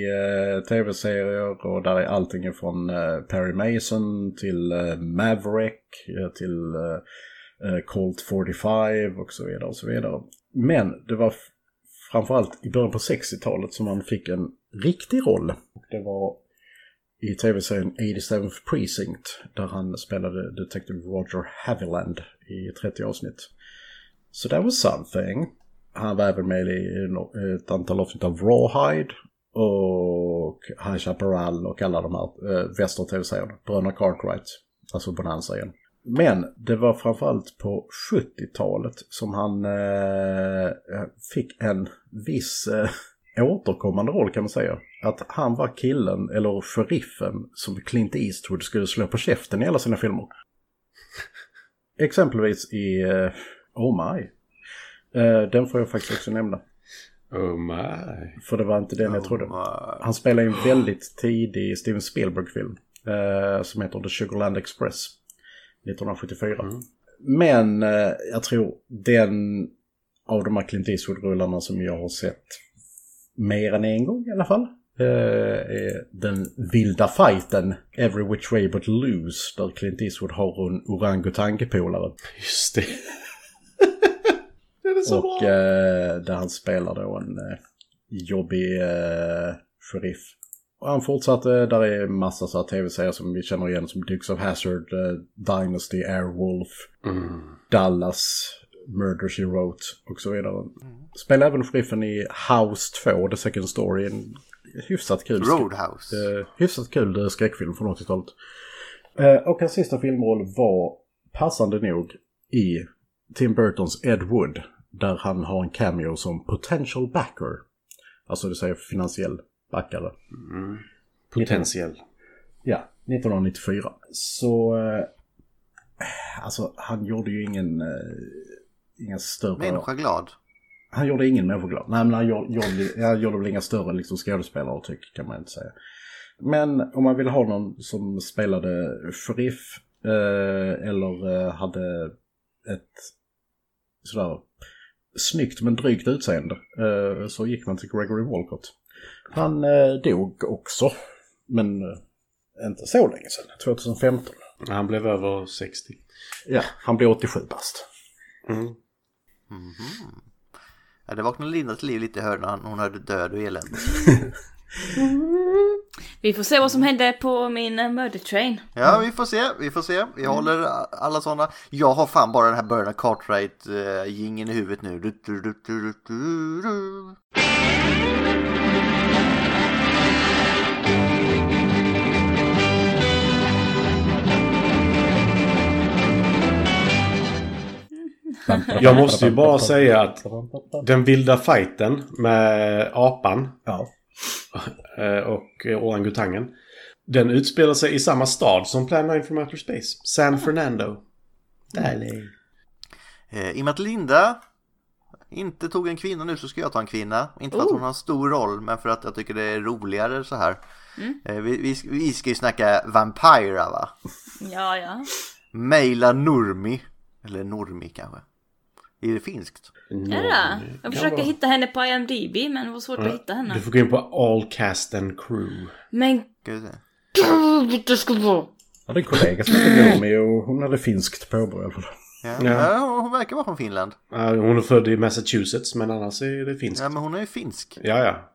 [SPEAKER 4] eh, tv-serier och där är allting från eh, Perry Mason till eh, Maverick eh, till eh, eh, Colt 45 och så vidare och så vidare. Men det var f- framförallt i början på 60-talet som han fick en riktig roll. Och det var i tv-serien 87 Precinct där han spelade detektiv Roger Haviland i 30 avsnitt. Så so that was something. Han var även med i no- ett antal avsnitt av Rawhide och High Chaparral och alla de här eh, väster tv-serierna. Bröderna Cartwright, alltså Bonanza igen. Men det var framförallt på 70-talet som han eh, fick en viss eh, återkommande roll kan man säga. Att han var killen, eller sheriffen, som Clint Eastwood skulle slå på käften i alla sina filmer. Exempelvis i eh, Oh My. Eh, den får jag faktiskt också nämna.
[SPEAKER 3] Oh my.
[SPEAKER 4] För det var inte den jag trodde.
[SPEAKER 2] Och,
[SPEAKER 4] Han spelade i en väldigt tidig Steven Spielberg-film. Eh, som heter The Sugarland Express. 1974. Men eh, jag tror den av de här Clint Eastwood-rullarna som jag har sett mer än en gång i alla fall. eh, är den vilda fighten Every Which Way But Loose. Där Clint Eastwood har en orangutang-polare.
[SPEAKER 3] Just det. det är det är så
[SPEAKER 4] och
[SPEAKER 3] bra!
[SPEAKER 4] eh, där han spelar då en eh, jobbig eh, sheriff. Och han fortsatte, där är massa så här tv-serier som vi känner igen som Dukes of Hazard, eh, Dynasty, Airwolf,
[SPEAKER 3] Mm.
[SPEAKER 4] Dallas, Murder She Wrote och så vidare.
[SPEAKER 3] Mm.
[SPEAKER 4] Spelar även sheriffen i House 2, The Second Story, en hyfsat kul skri-
[SPEAKER 2] Roadhouse.
[SPEAKER 4] Eh, hyfsat kul eh, skräckfilm från 80-talet. Eh, och hans sista filmroll var passande nog i Tim Burtons Ed Wood. Där han har en cameo som potential backer. Alltså det säger finansiell backare.
[SPEAKER 3] Potentiell.
[SPEAKER 4] Ja, 1994. Så... Eh, alltså han gjorde ju ingen... Eh, ingen större...
[SPEAKER 2] Människa glad.
[SPEAKER 4] Han gjorde ingen människa glad. Nej, men han gjorde, gjorde, han gjorde väl inga större liksom, skådespelare tycker kan man inte säga. Men om man vill ha någon som spelade sheriff eh, eller eh, hade ett sådär snyggt men drygt utseende eh, så gick man till Gregory Walcott. Han eh, dog också, men eh, inte så länge sedan, 2015.
[SPEAKER 3] Han blev över 60.
[SPEAKER 4] Ja, han blev 87 bast.
[SPEAKER 3] Mm.
[SPEAKER 2] Ja, det vaknade Lindas liv lite i hörnan. när han- Hon hörde död och elände.
[SPEAKER 4] Mm.
[SPEAKER 1] Vi får se vad
[SPEAKER 4] Mm.
[SPEAKER 1] som hände på min eh, murder train.
[SPEAKER 2] Ja, vi får se. Vi får se.
[SPEAKER 4] Mm.
[SPEAKER 2] Vi håller alla sådana. Jag har fan bara den här Bernard cartwright eh, gingen i huvudet nu. Du, du, du, du, du, du, du.
[SPEAKER 3] Jag måste ju bara säga att den vilda fighten med apan
[SPEAKER 4] Ja.
[SPEAKER 3] eh, och eh, orangutangen. Den utspelar sig i samma stad som Plan 9 from Outer Space. San Fernando. Därlig.
[SPEAKER 2] Eh, I och med att Linda inte tog en kvinna nu så ska jag ta en kvinna. Inte för att
[SPEAKER 1] Oh.
[SPEAKER 2] hon har en stor roll men för att jag tycker det är roligare så här.
[SPEAKER 4] Mm.
[SPEAKER 2] Eh, vi, vi, vi ska ju snacka Vampira va?
[SPEAKER 1] Ja, ja.
[SPEAKER 2] Meila Nurmi. Eller Normi kanske. Är det finskt?
[SPEAKER 1] Är det? Jag försöker hitta henne på IMDB men det var svårt att hitta
[SPEAKER 3] Du
[SPEAKER 1] henne.
[SPEAKER 3] får gå in på All Cast and Crew.
[SPEAKER 1] Men
[SPEAKER 2] Ska vi se.
[SPEAKER 1] gud, det ska vara...
[SPEAKER 4] Jag hade en kollega som hette Romy och hon hade finskt påbrå. i alla fall.
[SPEAKER 2] Ja.
[SPEAKER 3] Ja.
[SPEAKER 2] Ja, hon verkar vara från Finland.
[SPEAKER 3] Eh, Hon är född i Massachusetts men annars är det finskt.
[SPEAKER 2] Ja, men hon är ju finsk.
[SPEAKER 3] Ja, ja.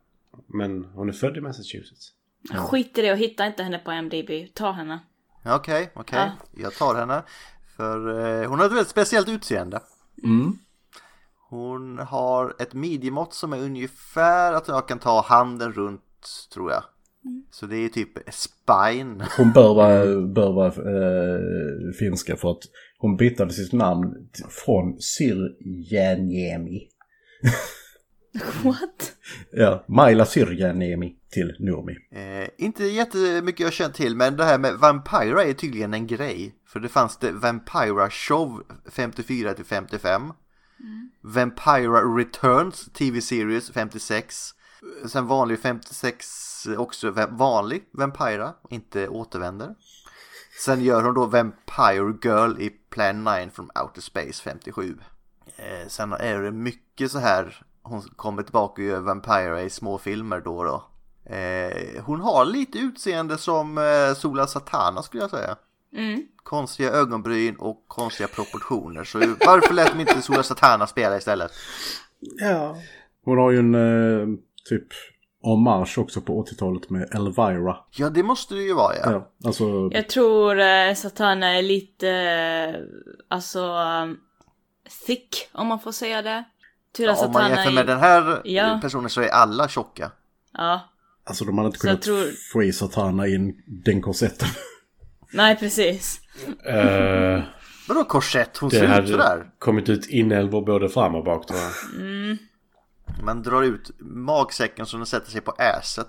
[SPEAKER 3] Men hon är född i Massachusetts.
[SPEAKER 1] Skit i det och hitta inte henne på IMDB. Ta henne.
[SPEAKER 2] Ja, Okej, okej. Jag tar henne. För eh, hon har ett väldigt speciellt utseende. Hon har ett midjemått som är ungefär att jag kan ta handen runt, tror jag. Så det är typ spine.
[SPEAKER 4] Hon bör vara, bör vara eh, finska för att hon bytte sitt namn t- från Syrjaniemi.
[SPEAKER 1] What?
[SPEAKER 4] Ja, Maila Syrjaniemi till Nurmi.
[SPEAKER 2] Eh, inte jättemycket jag känt till, men det här med Vampira är tydligen en grej. För det fanns det Vampira Show 54 till 55. Vampira Returns TV-series 56. Sen vanlig 56 också va- vanlig Vampira, inte återvänder. Sen gör hon då Vampire Girl i Plan 9 from Outer Space 57. Eh, sen är det mycket så här, hon kommer tillbaka och gör Vampira i småfilmer då och då. Eh, hon har lite utseende som eh, Sola Satana skulle jag säga.
[SPEAKER 1] Mm.
[SPEAKER 2] Konstiga ögonbryn och konstiga proportioner. Så varför lät de inte Sola Satana spela istället?
[SPEAKER 3] Ja.
[SPEAKER 4] Hon har ju en eh, typ hommage också på 80-talet med Elvira.
[SPEAKER 2] Ja, det måste det ju vara ja.
[SPEAKER 4] Ja, alltså,
[SPEAKER 1] Jag tror eh, Satana är lite... Eh, alltså... Um, thick, om man får säga det. Tyra
[SPEAKER 2] Om man
[SPEAKER 1] Satana
[SPEAKER 2] jämför
[SPEAKER 1] är...
[SPEAKER 2] med den här
[SPEAKER 1] Ja.
[SPEAKER 2] personen så är alla tjocka.
[SPEAKER 1] Ja.
[SPEAKER 4] alltså de hade inte
[SPEAKER 1] Så jag
[SPEAKER 4] kunnat
[SPEAKER 1] tror-
[SPEAKER 4] få i Satana in den korsetten.
[SPEAKER 1] Nej, precis.
[SPEAKER 2] Vadå korsett? Hon
[SPEAKER 3] Eh, det
[SPEAKER 2] ser ut
[SPEAKER 3] hade
[SPEAKER 2] Mm. sådär.
[SPEAKER 3] kommit ut inälvor både fram och bak tror jag.
[SPEAKER 2] Man drar ut magsäcken så den sätter sig på äset.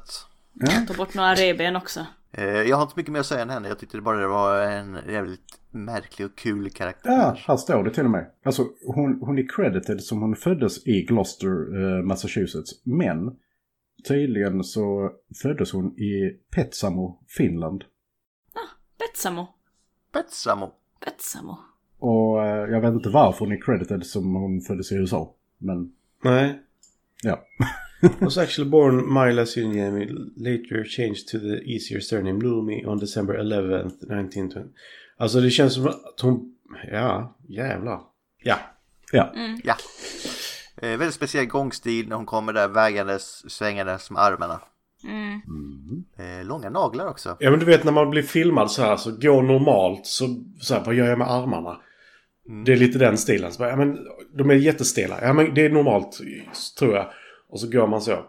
[SPEAKER 1] Ta bort några revben också.
[SPEAKER 2] Eh, jag har inte så mycket mer att säga än henne. Jag tyckte det bara det var en jävligt märklig och kul karaktär.
[SPEAKER 4] Ja, här står det till och med. Alltså hon, hon är credited som hon föddes i Gloucester, eh, Massachusetts. Men tydligen så föddes hon i Petsamo, Finland.
[SPEAKER 1] Betsamo.
[SPEAKER 2] Betsamo.
[SPEAKER 1] Betsamo.
[SPEAKER 4] Och eh, jag vet inte varför hon är credited som hon föddes i USA. Men
[SPEAKER 3] Nej.
[SPEAKER 4] ja.
[SPEAKER 3] was actually born Myla Sunyami, later changed to the easier surname Lumi on December 11th, 1920. Alltså det känns som att hon... Ja, jävlar. Ja.
[SPEAKER 4] ja.
[SPEAKER 2] Ja. Eh, väldigt speciell gångstil när hon kommer där vägandes, svängandes med armarna.
[SPEAKER 1] Mm.
[SPEAKER 2] Eh, långa naglar också.
[SPEAKER 3] Ja men du vet när man blir filmad så här så går normalt så, så här, vad gör jag med armarna? Det är lite den stilen. Så bara, ja, men, de är jättestela. Ja men det är normalt tror jag. Och så går man så.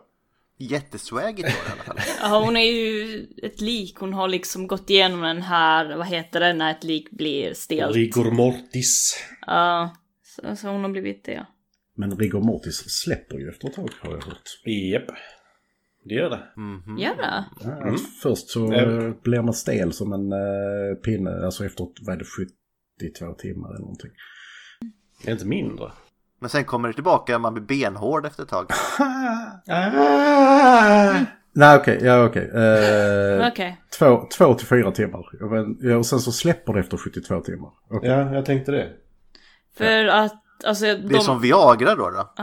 [SPEAKER 2] Jätteswaggigt var det i alla fall.
[SPEAKER 1] Ja, hon är ju ett lik. Hon har liksom gått igenom den här, vad heter det, när ett lik blir stelt.
[SPEAKER 3] Rigor mortis.
[SPEAKER 1] Ja, så, så hon har blivit det.
[SPEAKER 4] Men rigor mortis släpper ju efter ett tag har jag hört.
[SPEAKER 3] Japp. Det gör det.
[SPEAKER 2] Mhm.
[SPEAKER 1] Gör det?
[SPEAKER 4] Ja, att Först så
[SPEAKER 3] Mm.
[SPEAKER 4] eh, blir man stel som en eh, pinne, alltså efter vad är det, 72 timmar eller någonting.
[SPEAKER 3] Det är inte mindre.
[SPEAKER 2] Men sen kommer det tillbaka, man blir benhård efter ett tag.
[SPEAKER 4] Nej okej, ja okej. Eh,
[SPEAKER 1] Okej.
[SPEAKER 4] två, två till fyra timmar. Ja, men- ja, Och sen så släpper det efter 72 timmar. Okej.
[SPEAKER 3] Ja, jag tänkte det.
[SPEAKER 1] För att, alltså de...
[SPEAKER 2] Det är som Viagra då. då.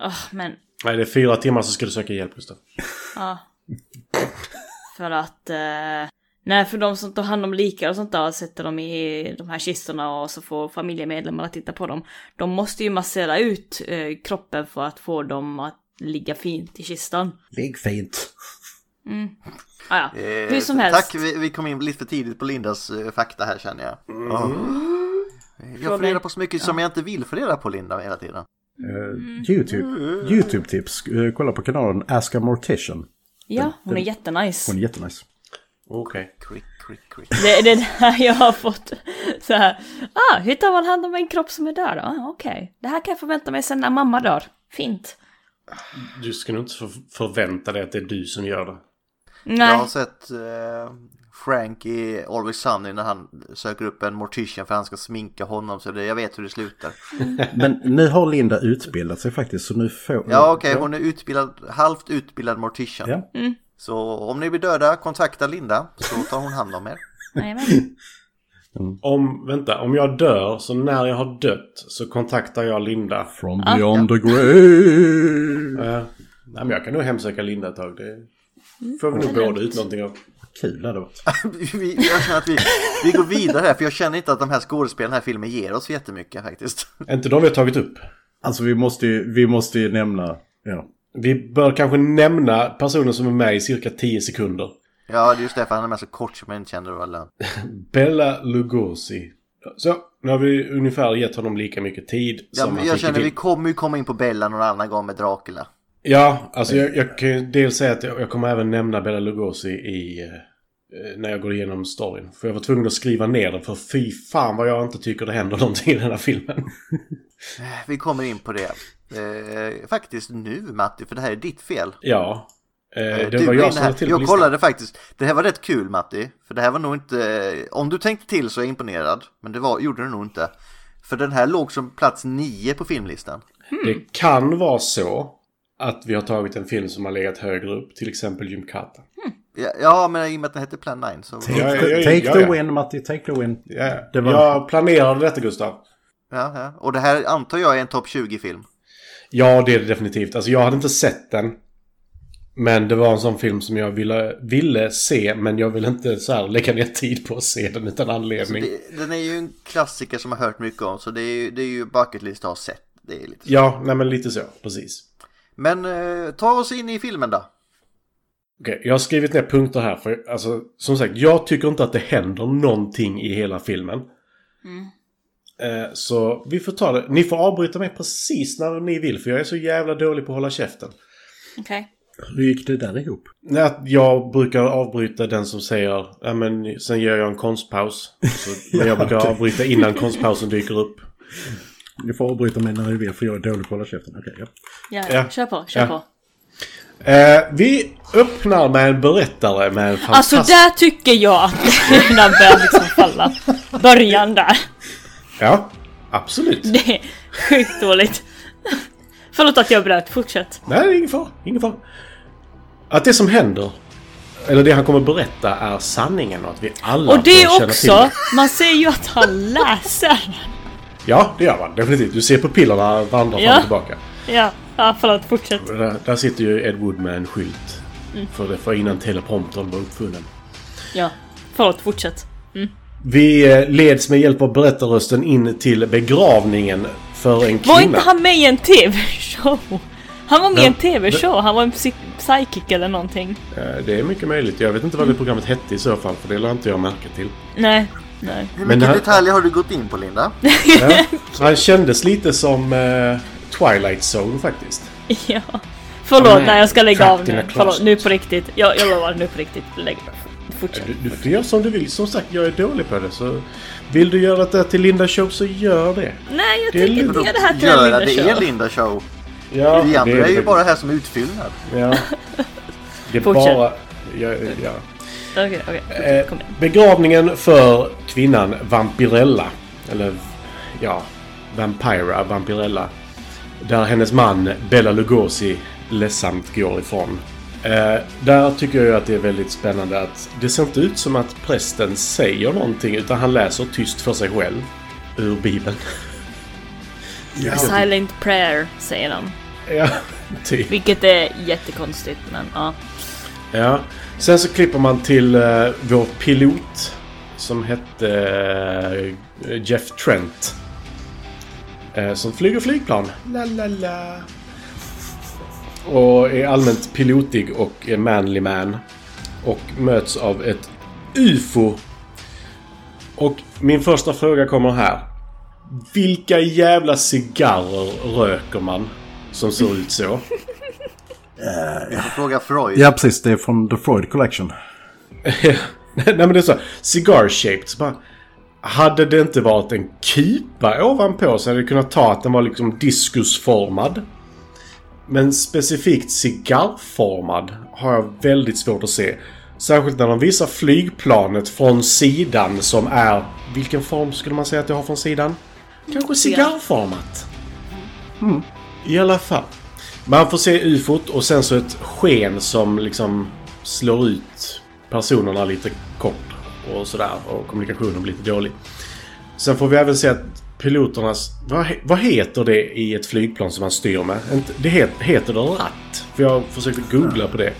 [SPEAKER 1] Ah, men,
[SPEAKER 3] Nej, det är fyra timmar så ska du söka hjälp Gustav.
[SPEAKER 1] ja. för att... Eh... Nej, för de som tar hand om likar och sånt där sätter dem i de här kistorna och så får familjemedlemmarna titta på dem. De måste ju massera ut eh, kroppen för att få dem att ligga fint i kistan.
[SPEAKER 4] Ligg fint.
[SPEAKER 1] Ah, ja.
[SPEAKER 2] Eh,
[SPEAKER 1] Hur som helst.
[SPEAKER 2] Tack, vi, vi kom in lite för tidigt på Lindas eh, fakta här känner jag. Ja.
[SPEAKER 1] Mm.
[SPEAKER 2] Jag får
[SPEAKER 1] mig.
[SPEAKER 2] reda på så mycket som jag inte vill få reda på Linda hela tiden.
[SPEAKER 4] Eh, Youtube. Youtube-tips. Eh, kolla på kanalen Ask a Mortician.
[SPEAKER 2] eh,
[SPEAKER 1] Ja, hon är jättenice.
[SPEAKER 4] Hon är jättenice.
[SPEAKER 3] Okej.
[SPEAKER 2] Krick, krick, krick.
[SPEAKER 1] Det, det är det här jag har fått så här. Ah, hur tar man hand om en kropp som är död? Ah, Okej, det här kan jag förvänta mig sen när mamma dör. Fint.
[SPEAKER 3] Du ska nog inte för- förvänta dig att det är du som gör det.
[SPEAKER 1] Nej,
[SPEAKER 2] Jag har sett eh, Frank i Always Sunny när han söker upp en mortician för han ska sminka honom så det, jag vet hur det slutar.
[SPEAKER 4] Men nu har Linda utbildat sig faktiskt så nu får
[SPEAKER 2] Mm. Ja okej, hon är utbildad, halvt utbildad mortician.
[SPEAKER 4] Ja.
[SPEAKER 2] Så om ni blir döda, kontakta Linda så tar hon hand om er.
[SPEAKER 1] nej men.
[SPEAKER 3] Om, vänta, om jag dör, så när jag har dött så kontaktar jag Linda.
[SPEAKER 4] From beyond the grave.
[SPEAKER 3] Eh, nej, men jag kan nog hemsöka Linda ett tag. Det får vi nog båda ut någonting av.
[SPEAKER 4] Kul hade det varit.
[SPEAKER 2] Vi, jag känner att vi, vi går vidare här för jag känner inte att de här skådespelarna i den här filmen ger oss jättemycket faktiskt.
[SPEAKER 3] Inte de vi har tagit upp.
[SPEAKER 4] Alltså vi måste ju, vi måste ju nämna, ja.
[SPEAKER 3] Vi bör kanske nämna personen som är med i cirka 10 sekunder.
[SPEAKER 2] Ja, det är just därför han är med så kort som jag inte kände det var lönt.
[SPEAKER 3] Bella Lugosi. Så, nu har vi ungefär gett honom lika mycket tid
[SPEAKER 2] Ja,
[SPEAKER 3] som
[SPEAKER 2] men
[SPEAKER 3] han
[SPEAKER 2] jag
[SPEAKER 3] fick i
[SPEAKER 2] känner vi
[SPEAKER 3] film.
[SPEAKER 2] kommer ju komma in på Bella någon annan gång med Dracula.
[SPEAKER 3] Ja, alltså jag, jag kan ju dels säga att jag, jag kommer även nämna Bella Lugosi i... eh, När jag går igenom storyn. För jag var tvungen att skriva ner den för fy fan vad jag inte tycker det händer någonting i den här filmen.
[SPEAKER 2] Vi kommer in på det. Eh, faktiskt nu Matti, för det här är ditt fel.
[SPEAKER 3] Ja. Eh,
[SPEAKER 2] Eh,
[SPEAKER 3] det
[SPEAKER 2] du
[SPEAKER 3] var
[SPEAKER 2] var
[SPEAKER 3] jag
[SPEAKER 2] inne
[SPEAKER 3] som
[SPEAKER 2] här.
[SPEAKER 3] lade till på
[SPEAKER 2] jag
[SPEAKER 3] listan.
[SPEAKER 2] kollade faktiskt. Det här var rätt kul Matti. För det här var nog inte... Om du tänkte till så är jag imponerad. Men det var, gjorde du nog inte. För den här låg som plats nio på filmlistan.
[SPEAKER 3] Det kan vara så att vi har tagit en film som har legat högre upp. Till exempel Gymkata.
[SPEAKER 2] Ja, ja men i och med att den hette Plan 9 så...
[SPEAKER 4] Take,
[SPEAKER 3] Ja, ja,
[SPEAKER 4] the,
[SPEAKER 3] ja,
[SPEAKER 4] take
[SPEAKER 3] ja,
[SPEAKER 4] the
[SPEAKER 3] ja.
[SPEAKER 4] win Matti, take the win.
[SPEAKER 3] Ja,
[SPEAKER 4] Det var-
[SPEAKER 3] Jag planerade detta Gustav.
[SPEAKER 2] Ja, ja. Och det här antar jag är en topp 20-film.
[SPEAKER 3] Ja, det är det definitivt. Alltså jag hade inte sett den. Men det var en sån film som jag ville, ville se, men jag ville inte så här lägga ner tid på att se den utan anledning.
[SPEAKER 2] Den är ju en klassiker som jag har hört mycket om. Så det är ju, det är ju bucket list att ha sett. Det är lite... så.
[SPEAKER 3] Ja, nej men lite så, precis.
[SPEAKER 2] Men eh, ta oss in i filmen då.
[SPEAKER 3] Okej, jag har skrivit ner punkter här för alltså, som sagt, jag tycker inte att det händer någonting i hela filmen.
[SPEAKER 1] Mm.
[SPEAKER 3] Eh, så vi får ta det. Ni får avbryta mig precis när ni vill för jag är så jävla dålig på att hålla käften.
[SPEAKER 1] Okej.
[SPEAKER 4] Hur gick det där ihop?
[SPEAKER 3] Nej, att jag brukar avbryta den som säger ja men sen gör jag en konstpaus. Så, men jag brukar avbryta innan konstpausen dyker upp.
[SPEAKER 4] Ni får avbryta mig när ni vill för jag är dålig på att hålla käften. Okej, ja.
[SPEAKER 1] Ja,
[SPEAKER 3] Ja.
[SPEAKER 1] kör på, kör
[SPEAKER 3] Ja.
[SPEAKER 1] på.
[SPEAKER 3] Eh, vi öppnar med en berättare med en fantastisk...
[SPEAKER 1] Alltså där tycker jag att den börjar liksom falla. Början där.
[SPEAKER 3] Ja, absolut.
[SPEAKER 1] Det är sjukt dåligt. Förlåt att jag bröt, fortsätt.
[SPEAKER 3] Nej, det är ingen fara. Ingen fara. Att det som händer, eller det han kommer berätta, är sanningen och att vi alla
[SPEAKER 1] Och det
[SPEAKER 3] bör känna till
[SPEAKER 1] också, man ser ju att han läser.
[SPEAKER 3] Ja, det gör man definitivt. Du ser pupillerna vandra fram
[SPEAKER 1] Ja.
[SPEAKER 3] och tillbaka.
[SPEAKER 1] Ja, ja förlåt, fortsätt.
[SPEAKER 3] Och Där, där sitter ju Ed Wood med en skylt.
[SPEAKER 1] Mm.
[SPEAKER 3] För det var innan telepromptern var uppfunnen.
[SPEAKER 1] Ja, förlåt, fortsätt.
[SPEAKER 3] Vi eh, leds med hjälp av berättarrösten in till begravningen för en kvinna.
[SPEAKER 1] Var inte han med i en TV-show? Han var med i en
[SPEAKER 3] Ja.
[SPEAKER 1] TV-show, han var en psy- psychic eller någonting.
[SPEAKER 3] Eh, Det är mycket möjligt. Jag vet inte vad det programmet hette i så fall, för det lade inte jag märke till.
[SPEAKER 1] Nej, nej.
[SPEAKER 2] Hur
[SPEAKER 3] Men
[SPEAKER 2] mycket
[SPEAKER 3] han-
[SPEAKER 2] detaljer har du gått in på Linda?
[SPEAKER 3] Ja. Han kändes lite som eh, Twilight Zone faktiskt.
[SPEAKER 1] Ja. Förlåt,
[SPEAKER 3] nej.
[SPEAKER 1] nej jag ska lägga
[SPEAKER 3] Trapped
[SPEAKER 1] av
[SPEAKER 3] in a
[SPEAKER 1] nu.
[SPEAKER 3] closet.
[SPEAKER 1] Förlåt, nu på riktigt. Jag, jag lovar, nu på riktigt. Lägg Fortsätt.
[SPEAKER 3] Du, du får göra som du vill. Som sagt, jag är dålig på det. Så vill du göra det till Linda Show så gör det.
[SPEAKER 1] Nej, jag
[SPEAKER 3] Det är
[SPEAKER 1] tänker
[SPEAKER 3] lugnt.
[SPEAKER 1] inte göra det här till
[SPEAKER 2] Göra
[SPEAKER 1] en
[SPEAKER 2] det
[SPEAKER 1] lilla
[SPEAKER 2] är
[SPEAKER 1] show.
[SPEAKER 2] Linda show.
[SPEAKER 3] Ja,
[SPEAKER 2] Vi andra är ju
[SPEAKER 3] det.
[SPEAKER 2] bara här som utfyllnad.
[SPEAKER 3] Ja. Det är
[SPEAKER 1] Fortsätt.
[SPEAKER 3] bara... Ja, ja.
[SPEAKER 1] Okej, okej.
[SPEAKER 3] Eh,
[SPEAKER 1] Kom igen.
[SPEAKER 3] begravningen för kvinnan Vampirella. Eller ja, Vampira, Vampirella. Där hennes man Bella Lugosi ledsamt går ifrån. Eh, där tycker jag att det är väldigt spännande att det ser inte ut som att prästen säger någonting utan han läser tyst för sig själv. Ur Bibeln.
[SPEAKER 1] A silent prayer, säger han.
[SPEAKER 3] ja, typ.
[SPEAKER 1] Vilket är jättekonstigt, men ja.
[SPEAKER 3] Ja. Sen så klipper man till eh, vår pilot som hette eh, Jeff Trent. Eh, som flyger flygplan. La, la, la. Och är allmänt pilotig och är manly man. Och möts av ett UFO. Och min första fråga kommer här. Vilka jävla cigarrer röker man som ser ut så?
[SPEAKER 2] Vi får fråga Freud.
[SPEAKER 4] Ja, precis. Det är från The Freud Collection.
[SPEAKER 3] Nej men det är så här, cigar shaped. Så bara, hade det inte varit en kupa ovanpå så hade jag kunnat ta att den var liksom diskusformad. Men specifikt cigarrformad har jag väldigt svårt att se. Särskilt när de visar flygplanet från sidan som är... Vilken form skulle man säga att det har från sidan? Kanske cigarrformat. Mm, I alla fall. Man får se ufot och sen så ett sken som liksom slår ut personerna lite kort och sådär. Och kommunikationen blir lite dålig. Sen får vi även se att piloternas... Vad, he- vad heter det i ett flygplan som man styr med? Inte- Det heter, heter det ratt? För jag försökte googla på det.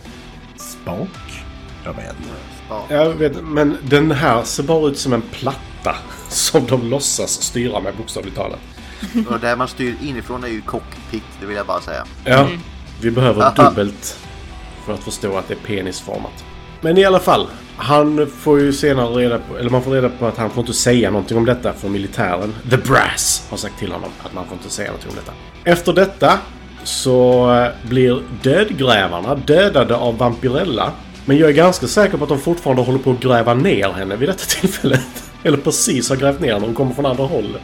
[SPEAKER 4] Spak? Jag vet inte.
[SPEAKER 3] Jag vet, men den här ser bara ut som en platta. Som de låtsas styra med bokstavligt talat.
[SPEAKER 2] Och där man styr inifrån är ju cockpit, det vill jag bara säga.
[SPEAKER 3] Ja, vi behöver
[SPEAKER 2] Aha.
[SPEAKER 3] dubbelt för att förstå att det är penisformat. Men i alla fall, han får ju senare reda på, eller man får reda på att han får inte säga någonting om detta från militären. The Brass har sagt till honom att man får inte säga någonting om detta. Efter detta så eh, blir dödgrävarna dödade av Vampirella. Men jag är ganska säker på att de fortfarande håller på att gräva ner henne vid detta tillfället. Eller precis har grävt ner henne, hon kommer från andra hållet.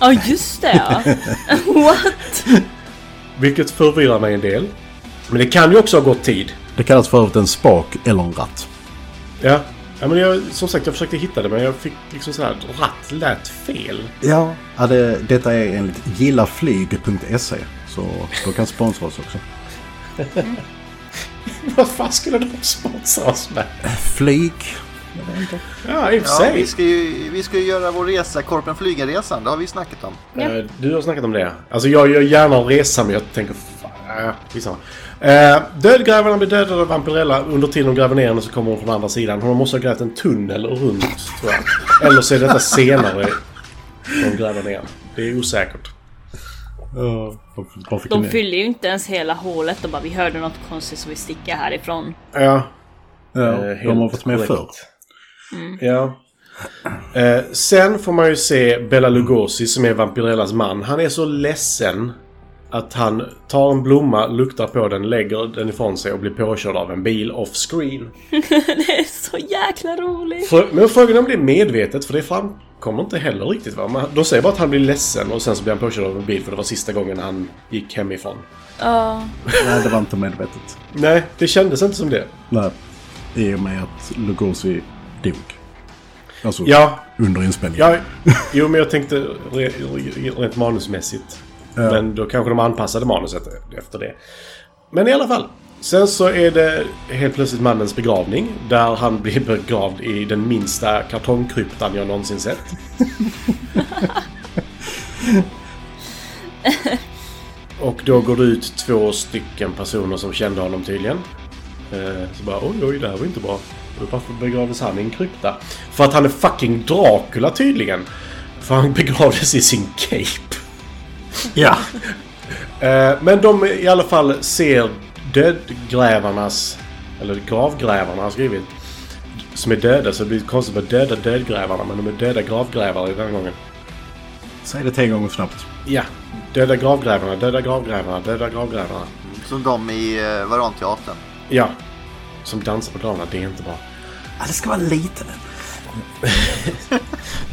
[SPEAKER 1] Ja, just det ja. What?
[SPEAKER 3] Vilket förvirrar mig en del. Men det kan ju också ha gått tid.
[SPEAKER 4] Det kallas för övrigt en spak eller en ratt.
[SPEAKER 3] Ja. ja men jag, som sagt, jag försökte hitta det men jag fick liksom så här ratt lät fel.
[SPEAKER 4] Ja. ja det, detta är enligt gillaflyg.se. Så då kan sponsra oss också.
[SPEAKER 3] Vad fan skulle de sponsra oss med?
[SPEAKER 4] Flyg.
[SPEAKER 3] Ja, i och för
[SPEAKER 2] Ja,
[SPEAKER 3] sig.
[SPEAKER 2] vi ska ju, vi ska ju göra vår resa, Korpen Flygaresan, det har vi snackat om.
[SPEAKER 3] Eh, Du har snackat om det. Alltså jag gör gärna en resa men jag tänker... Fan, äh, skitsamma. eh, dödgrävarna blir dödade av Vampirella. Under tiden de gräver ner henne så kommer hon från andra sidan. Hon måste ha grävt en tunnel runt tror jag. Eller så är detta senare de gräver ner henne. Det är osäkert.
[SPEAKER 4] Varför
[SPEAKER 1] De fyller ju inte ens hela hålet och bara vi hörde något konstigt så vi sticker härifrån.
[SPEAKER 3] Ja,
[SPEAKER 4] ja,
[SPEAKER 3] Eh,
[SPEAKER 4] de har
[SPEAKER 3] helt
[SPEAKER 4] varit med
[SPEAKER 3] korrekt.
[SPEAKER 4] förr.
[SPEAKER 3] Ja. Eh, sen får man ju se Bela Lugosi som är Vampirellas man. Han är så ledsen att han tar en blomma, luktar på den, lägger den ifrån sig och blir påkörd av en bil off screen.
[SPEAKER 1] Det är så jäkla roligt.
[SPEAKER 3] Frå- Men frågan är om det är medvetet för det framkommer inte heller riktigt va? Man- De säger bara att han blir ledsen och sen så blir han påkörd av en bil för det var sista gången han gick hemifrån.
[SPEAKER 1] Ja.
[SPEAKER 4] Nej, det var inte medvetet.
[SPEAKER 3] Nej, det kändes inte som det.
[SPEAKER 4] Nej. I och med att Lugosi dog. Alltså
[SPEAKER 3] Ja,
[SPEAKER 4] under inspelningen.
[SPEAKER 3] Ja, jo men jag tänkte re, re, rent manusmässigt. Men då kanske de anpassade manuset efter det. Men i alla fall. Sen så är det helt plötsligt mannens begravning. Där han blir begravd i den minsta kartongkryptan jag någonsin sett. Och då går det ut två stycken personer som kände honom tydligen. Eh, Så bara oj, oj, det här var inte bra. Och Varför begravdes han i en krypta? För att han är fucking Dracula tydligen. För han begravdes i sin cape.
[SPEAKER 4] Ja.
[SPEAKER 3] Eh, Men de i alla fall ser dödgrävarnas, eller gravgrävarna har jag skrivit, som är döda. Så det blir konstigt med döda dödgrävarna, men de är döda gravgrävare i den här gången.
[SPEAKER 4] Säg det tre gånger snabbt.
[SPEAKER 3] Ja, döda gravgrävarna, döda gravgrävarna, döda gravgrävarna.
[SPEAKER 2] Som de i eh, Varanteatern.
[SPEAKER 3] Ja, som dansar på gravarna. Det är inte bra.
[SPEAKER 4] Ja, det ska vara liten.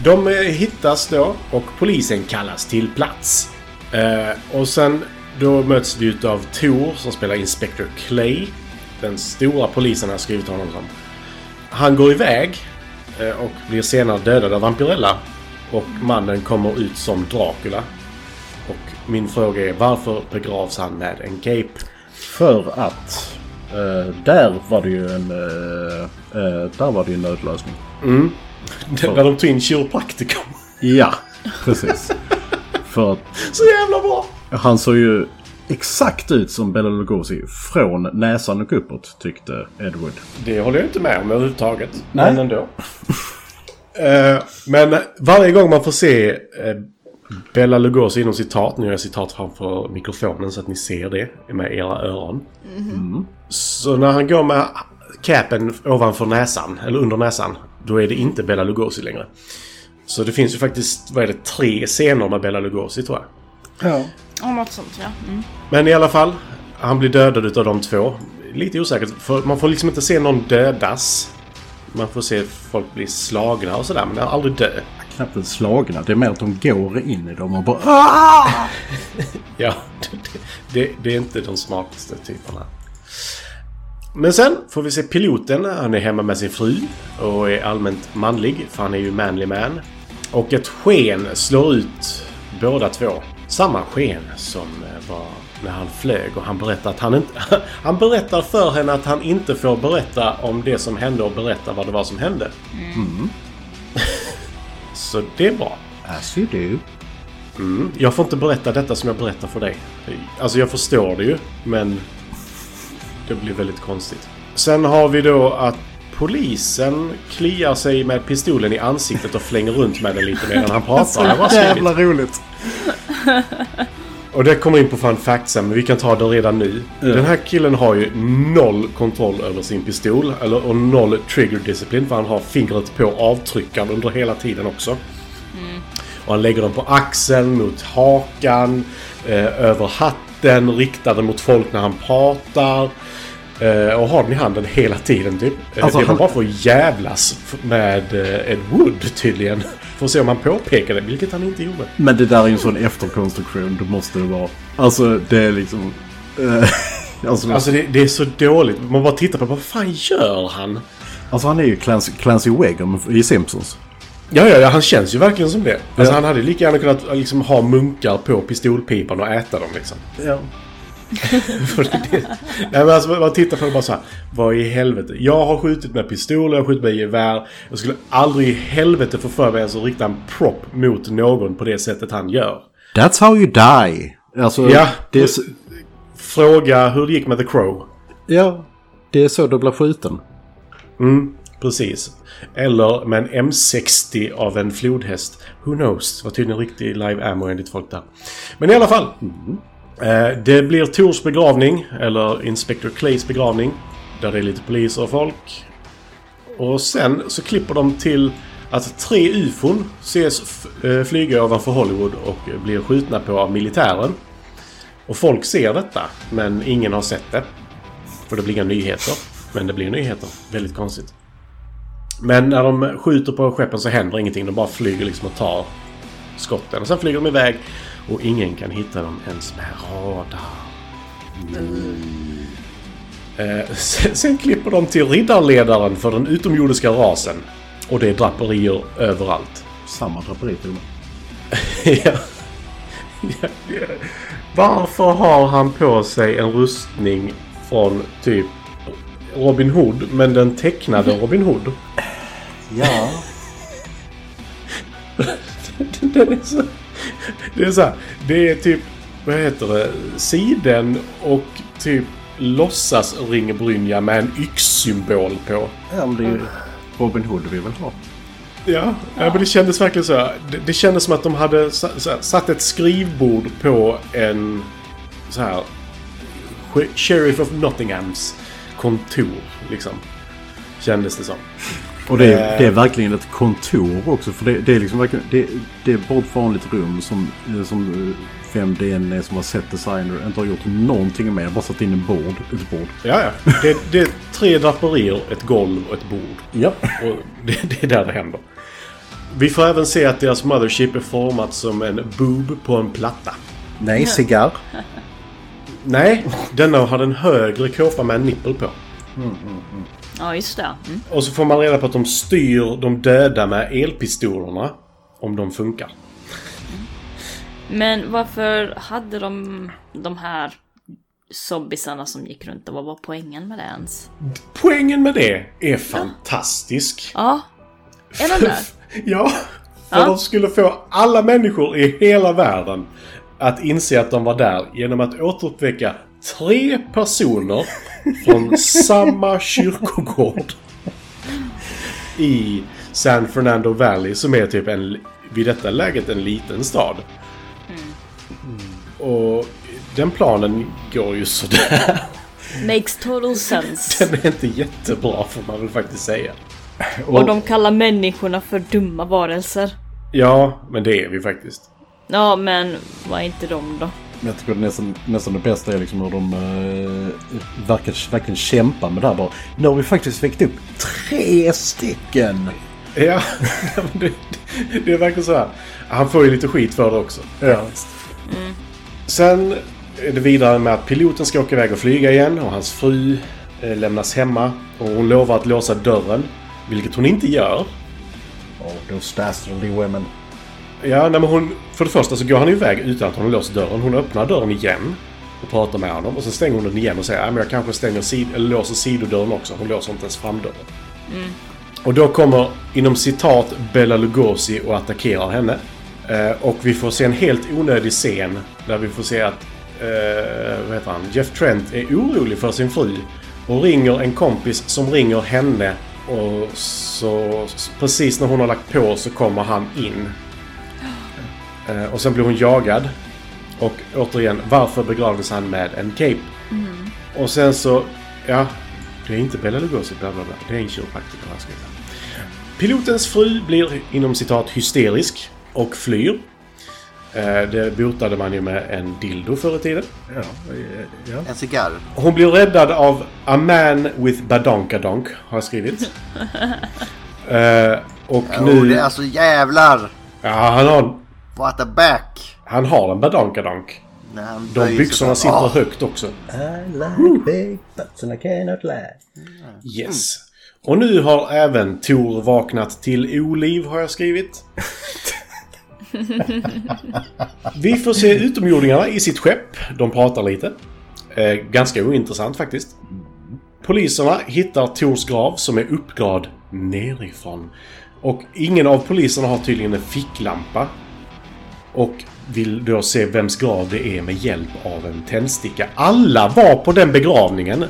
[SPEAKER 3] De eh, hittas då och polisen kallas till plats. Eh, och sen då möts du utav Tor som spelar Inspector Clay. Den stora polisen har skrivit honom som. Han går iväg eh, och blir senare dödad av Vampirella. Och mannen kommer ut som Dracula. Och min fråga är varför begravs han med en cape?
[SPEAKER 4] För att eh, där var det ju en... eh, eh, där var det ju en nödlösning.
[SPEAKER 3] När de tog in kiropraktikern.
[SPEAKER 4] Ja, precis. För att
[SPEAKER 3] Så jävla bra!
[SPEAKER 4] Han såg ju exakt ut som Bela Lugosi från näsan och uppåt tyckte Edward.
[SPEAKER 3] Det håller jag inte med om överhuvudtaget.
[SPEAKER 4] Nej.
[SPEAKER 3] Men ändå. Eh, men varje gång man får se eh, Bella Lugosi inom citat, nu gör jag citat framför mikrofonen så att ni ser det med era öron. Så när han går med capen ovanför näsan, eller under näsan, då är det inte Bella Lugosi längre. Så det finns ju faktiskt, vad är det, tre scener med Bella Lugosi tror jag.
[SPEAKER 1] Ja, något sånt ja. Mm.
[SPEAKER 3] Men i alla fall, han blir dödad utav de två. Lite osäkert, för man får liksom inte se någon dödas. Man får se folk bli slagna och sådär, men aldrig dö.
[SPEAKER 4] Knappt ens slagna. Det är mer att de går in i dem och bara
[SPEAKER 3] Ja, det, det, det är inte de smartaste typerna. Men sen får vi se piloten. Han är hemma med sin fru och är allmänt manlig, för han är ju manly man. Och ett sken slår ut båda två. Samma sken som eh, var när han flög och han berättar att han inte... Han berättar för henne att han inte får berätta om det som hände och berätta vad det var som hände. Mm. Så det är bra.
[SPEAKER 4] As you do.
[SPEAKER 3] Jag får inte berätta detta som jag berättar för dig. Alltså jag förstår det ju, men det blir väldigt konstigt. Sen har vi då att polisen kliar sig med pistolen i ansiktet och flänger runt med den lite medan han pratar. Det var skrivet.
[SPEAKER 4] roligt.
[SPEAKER 3] Och det kommer in på fun facts sen, men vi kan ta det redan nu.
[SPEAKER 4] Mm.
[SPEAKER 3] Den här killen har ju noll kontroll över sin pistol. Eller, och noll trigger disciplin, för han har fingret på avtryckaren under hela tiden också.
[SPEAKER 4] Mm.
[SPEAKER 3] Och han lägger dem på axeln, mot hakan, eh, över hatten, riktar den mot folk när han pratar. Eh, och har den i handen hela tiden typ. Eh,
[SPEAKER 4] Alltså,
[SPEAKER 3] det var
[SPEAKER 4] han-
[SPEAKER 3] bara för att jävlas f- med eh, Ed Wood tydligen. För att se om han påpekade, vilket han inte gjorde.
[SPEAKER 4] Men det där är ju en sån efterkonstruktion. Då måste det vara. Alltså det är liksom... eh, alltså,
[SPEAKER 3] Alltså det, det är så dåligt. Man bara tittar på vad fan gör han?
[SPEAKER 4] alltså han är ju Clancy, Clancy Wagon i Simpsons.
[SPEAKER 3] Ja, ja, ja, han känns ju verkligen som det. Alltså, han hade ju lika gärna kunnat liksom, ha munkar på pistolpipan och äta dem liksom.
[SPEAKER 4] Ja.
[SPEAKER 3] För det, det, nej, men alltså, man tittar på det bara så här. Vad i helvete? Jag har skjutit med pistol, jag har skjutit med gevär. Jag skulle aldrig i helvete få för mig ens att rikta en prop mot någon på det sättet han gör.
[SPEAKER 4] That's how you die. Alltså,
[SPEAKER 3] Ja.
[SPEAKER 4] det är, så-
[SPEAKER 3] Fråga hur det gick med The Crow.
[SPEAKER 4] ja, det är så du blir skjuten.
[SPEAKER 3] Precis. Eller med en M60 av en flodhäst. Who knows? Det var tydligen riktig live ammo enligt folk där. Men i alla fall. Eh, det blir Tors begravning. Eller Inspector Clays begravning. Där det är lite poliser och folk. Och sen så klipper de till att tre ufon ses f- eh, flyga ovanför Hollywood och blir skjutna på av militären. Och folk ser detta, men ingen har sett det. För det blir inga nyheter. Men det blir nyheter. Väldigt konstigt. Men när de skjuter på skeppen så händer ingenting. De bara flyger liksom och tar skotten. Och sen flyger de iväg och ingen kan hitta dem ens med radar. Mm. Eh, sen, sen klipper de till riddarledaren för den utomjordiska rasen. Och det är draperier överallt.
[SPEAKER 4] Samma draperi till och med.
[SPEAKER 3] Ja. Ja, ja. Varför har han på sig en rustning från typ Robin Hood, men den tecknade Robin Hood?
[SPEAKER 4] Ja.
[SPEAKER 3] Den är så... Det är så här, det är typ, vad heter det, siden och typ låtsas ringbrynja med en yxsymbol på.
[SPEAKER 4] Ja, men det är ju Robin Hood vi vill ha.
[SPEAKER 3] Ja, ja. men det kändes verkligen så. här. Det, det kändes som att de hade sa- så här, satt ett skrivbord på en så här sh- Sheriff of Nottinghams kontor, liksom. Kändes det som.
[SPEAKER 4] Och det är, det är verkligen ett kontor också. För det, det är liksom verkligen, det, det är bara ett vanligt rum som, eh, som eh, vem det än är som har sett designer inte har gjort någonting med. Bara satt in en bord, ett bord.
[SPEAKER 3] Ja, ja. Det, det är tre draperier, ett golv och ett bord.
[SPEAKER 4] Ja.
[SPEAKER 3] Och det, det är där det händer. Vi får även se att deras mothership är format som en boob på en platta.
[SPEAKER 4] Nej, cigarr.
[SPEAKER 3] Nej, denna hade en högre kåpa med en nippel på.
[SPEAKER 1] Ja, just det. Mm.
[SPEAKER 3] Och så får man reda på att de styr de döda med elpistolerna. Om de funkar.
[SPEAKER 1] Men varför hade de de här zombisarna som gick runt och vad var poängen med det ens?
[SPEAKER 3] Poängen med det är fantastisk.
[SPEAKER 1] Ja, är den där?
[SPEAKER 3] Ja, för
[SPEAKER 1] Ja.
[SPEAKER 3] de skulle få alla människor i hela världen att inse att de var där genom att återuppväcka tre personer från samma kyrkogård i San Fernando Valley som är typ en, vid detta läget en liten stad.
[SPEAKER 1] Mm.
[SPEAKER 3] Och den planen går ju sådär.
[SPEAKER 1] Makes total sense.
[SPEAKER 3] Den är inte jättebra får man väl faktiskt säga.
[SPEAKER 1] Och de kallar människorna för dumma varelser.
[SPEAKER 3] Ja, men det är vi faktiskt.
[SPEAKER 1] Ja, men vad är inte de då?
[SPEAKER 4] Men jag tycker nästan, nästan det bästa är liksom hur de eh, verkar verkligen kämpa med det här bara. Nu har vi faktiskt väckt upp tre stycken.
[SPEAKER 3] Ja, men det, det är verkligen så här. Han får ju lite skit för det också.
[SPEAKER 4] Ja.
[SPEAKER 3] Sen är det vidare med att piloten ska åka iväg och flyga igen och hans fru eh, lämnas hemma. Och hon lovar att låsa dörren, vilket hon inte gör.
[SPEAKER 4] Oh, those dastardly women.
[SPEAKER 3] Ja, nej, men hon, för det första så går han ju iväg utan att hon har låst dörren. Hon öppnar dörren igen och pratar med honom. Och sen stänger hon den igen och säger att jag kanske stänger sid eller låser sidodörren också. Hon låser inte ens framdörren. Och då kommer, inom citat, Bella Lugosi och attackerar henne. Eh, och vi får se en helt onödig scen där vi får se att eh, vad heter han? Jeff Trent är orolig för sin fru och ringer en kompis som ringer henne. Och så s- precis när hon har lagt på så kommer han in. Eh, och sen blir hon jagad. Och återigen, varför begravdes han med en cape? Och sen så, ja, det är inte Bela Lugosi, bla bla bla. Det är en kiropraktiker han ska heta. Pilotens fru blir inom citat hysterisk och flyr. Eh, Det botade man ju med en dildo förr i tiden.
[SPEAKER 4] Ja, ja.
[SPEAKER 2] En cigarr.
[SPEAKER 3] Hon blir räddad av A Man With Badonkadonk, har jag skrivit. Eh, och
[SPEAKER 2] Oh,
[SPEAKER 3] nu...
[SPEAKER 2] det är alltså jävlar!
[SPEAKER 3] Ja, han har,
[SPEAKER 2] What the back!
[SPEAKER 3] han har en Badonkadonk.
[SPEAKER 2] När han
[SPEAKER 3] De
[SPEAKER 2] böjer sig
[SPEAKER 3] byxorna
[SPEAKER 2] fram.
[SPEAKER 3] sitter
[SPEAKER 2] Ah,
[SPEAKER 3] högt också.
[SPEAKER 4] I like big butts and I cannot lie.
[SPEAKER 3] Yes. Och nu har även Tor vaknat till oliv har jag skrivit. Vi får se utomjordingarna i sitt skepp. De pratar lite. Eh, ganska ointressant faktiskt. Poliserna hittar Tors grav som är uppgravd nerifrån. Och ingen av poliserna har tydligen en ficklampa. Och vill då se vems grav det är med hjälp av en tändsticka. Alla var på den begravningen.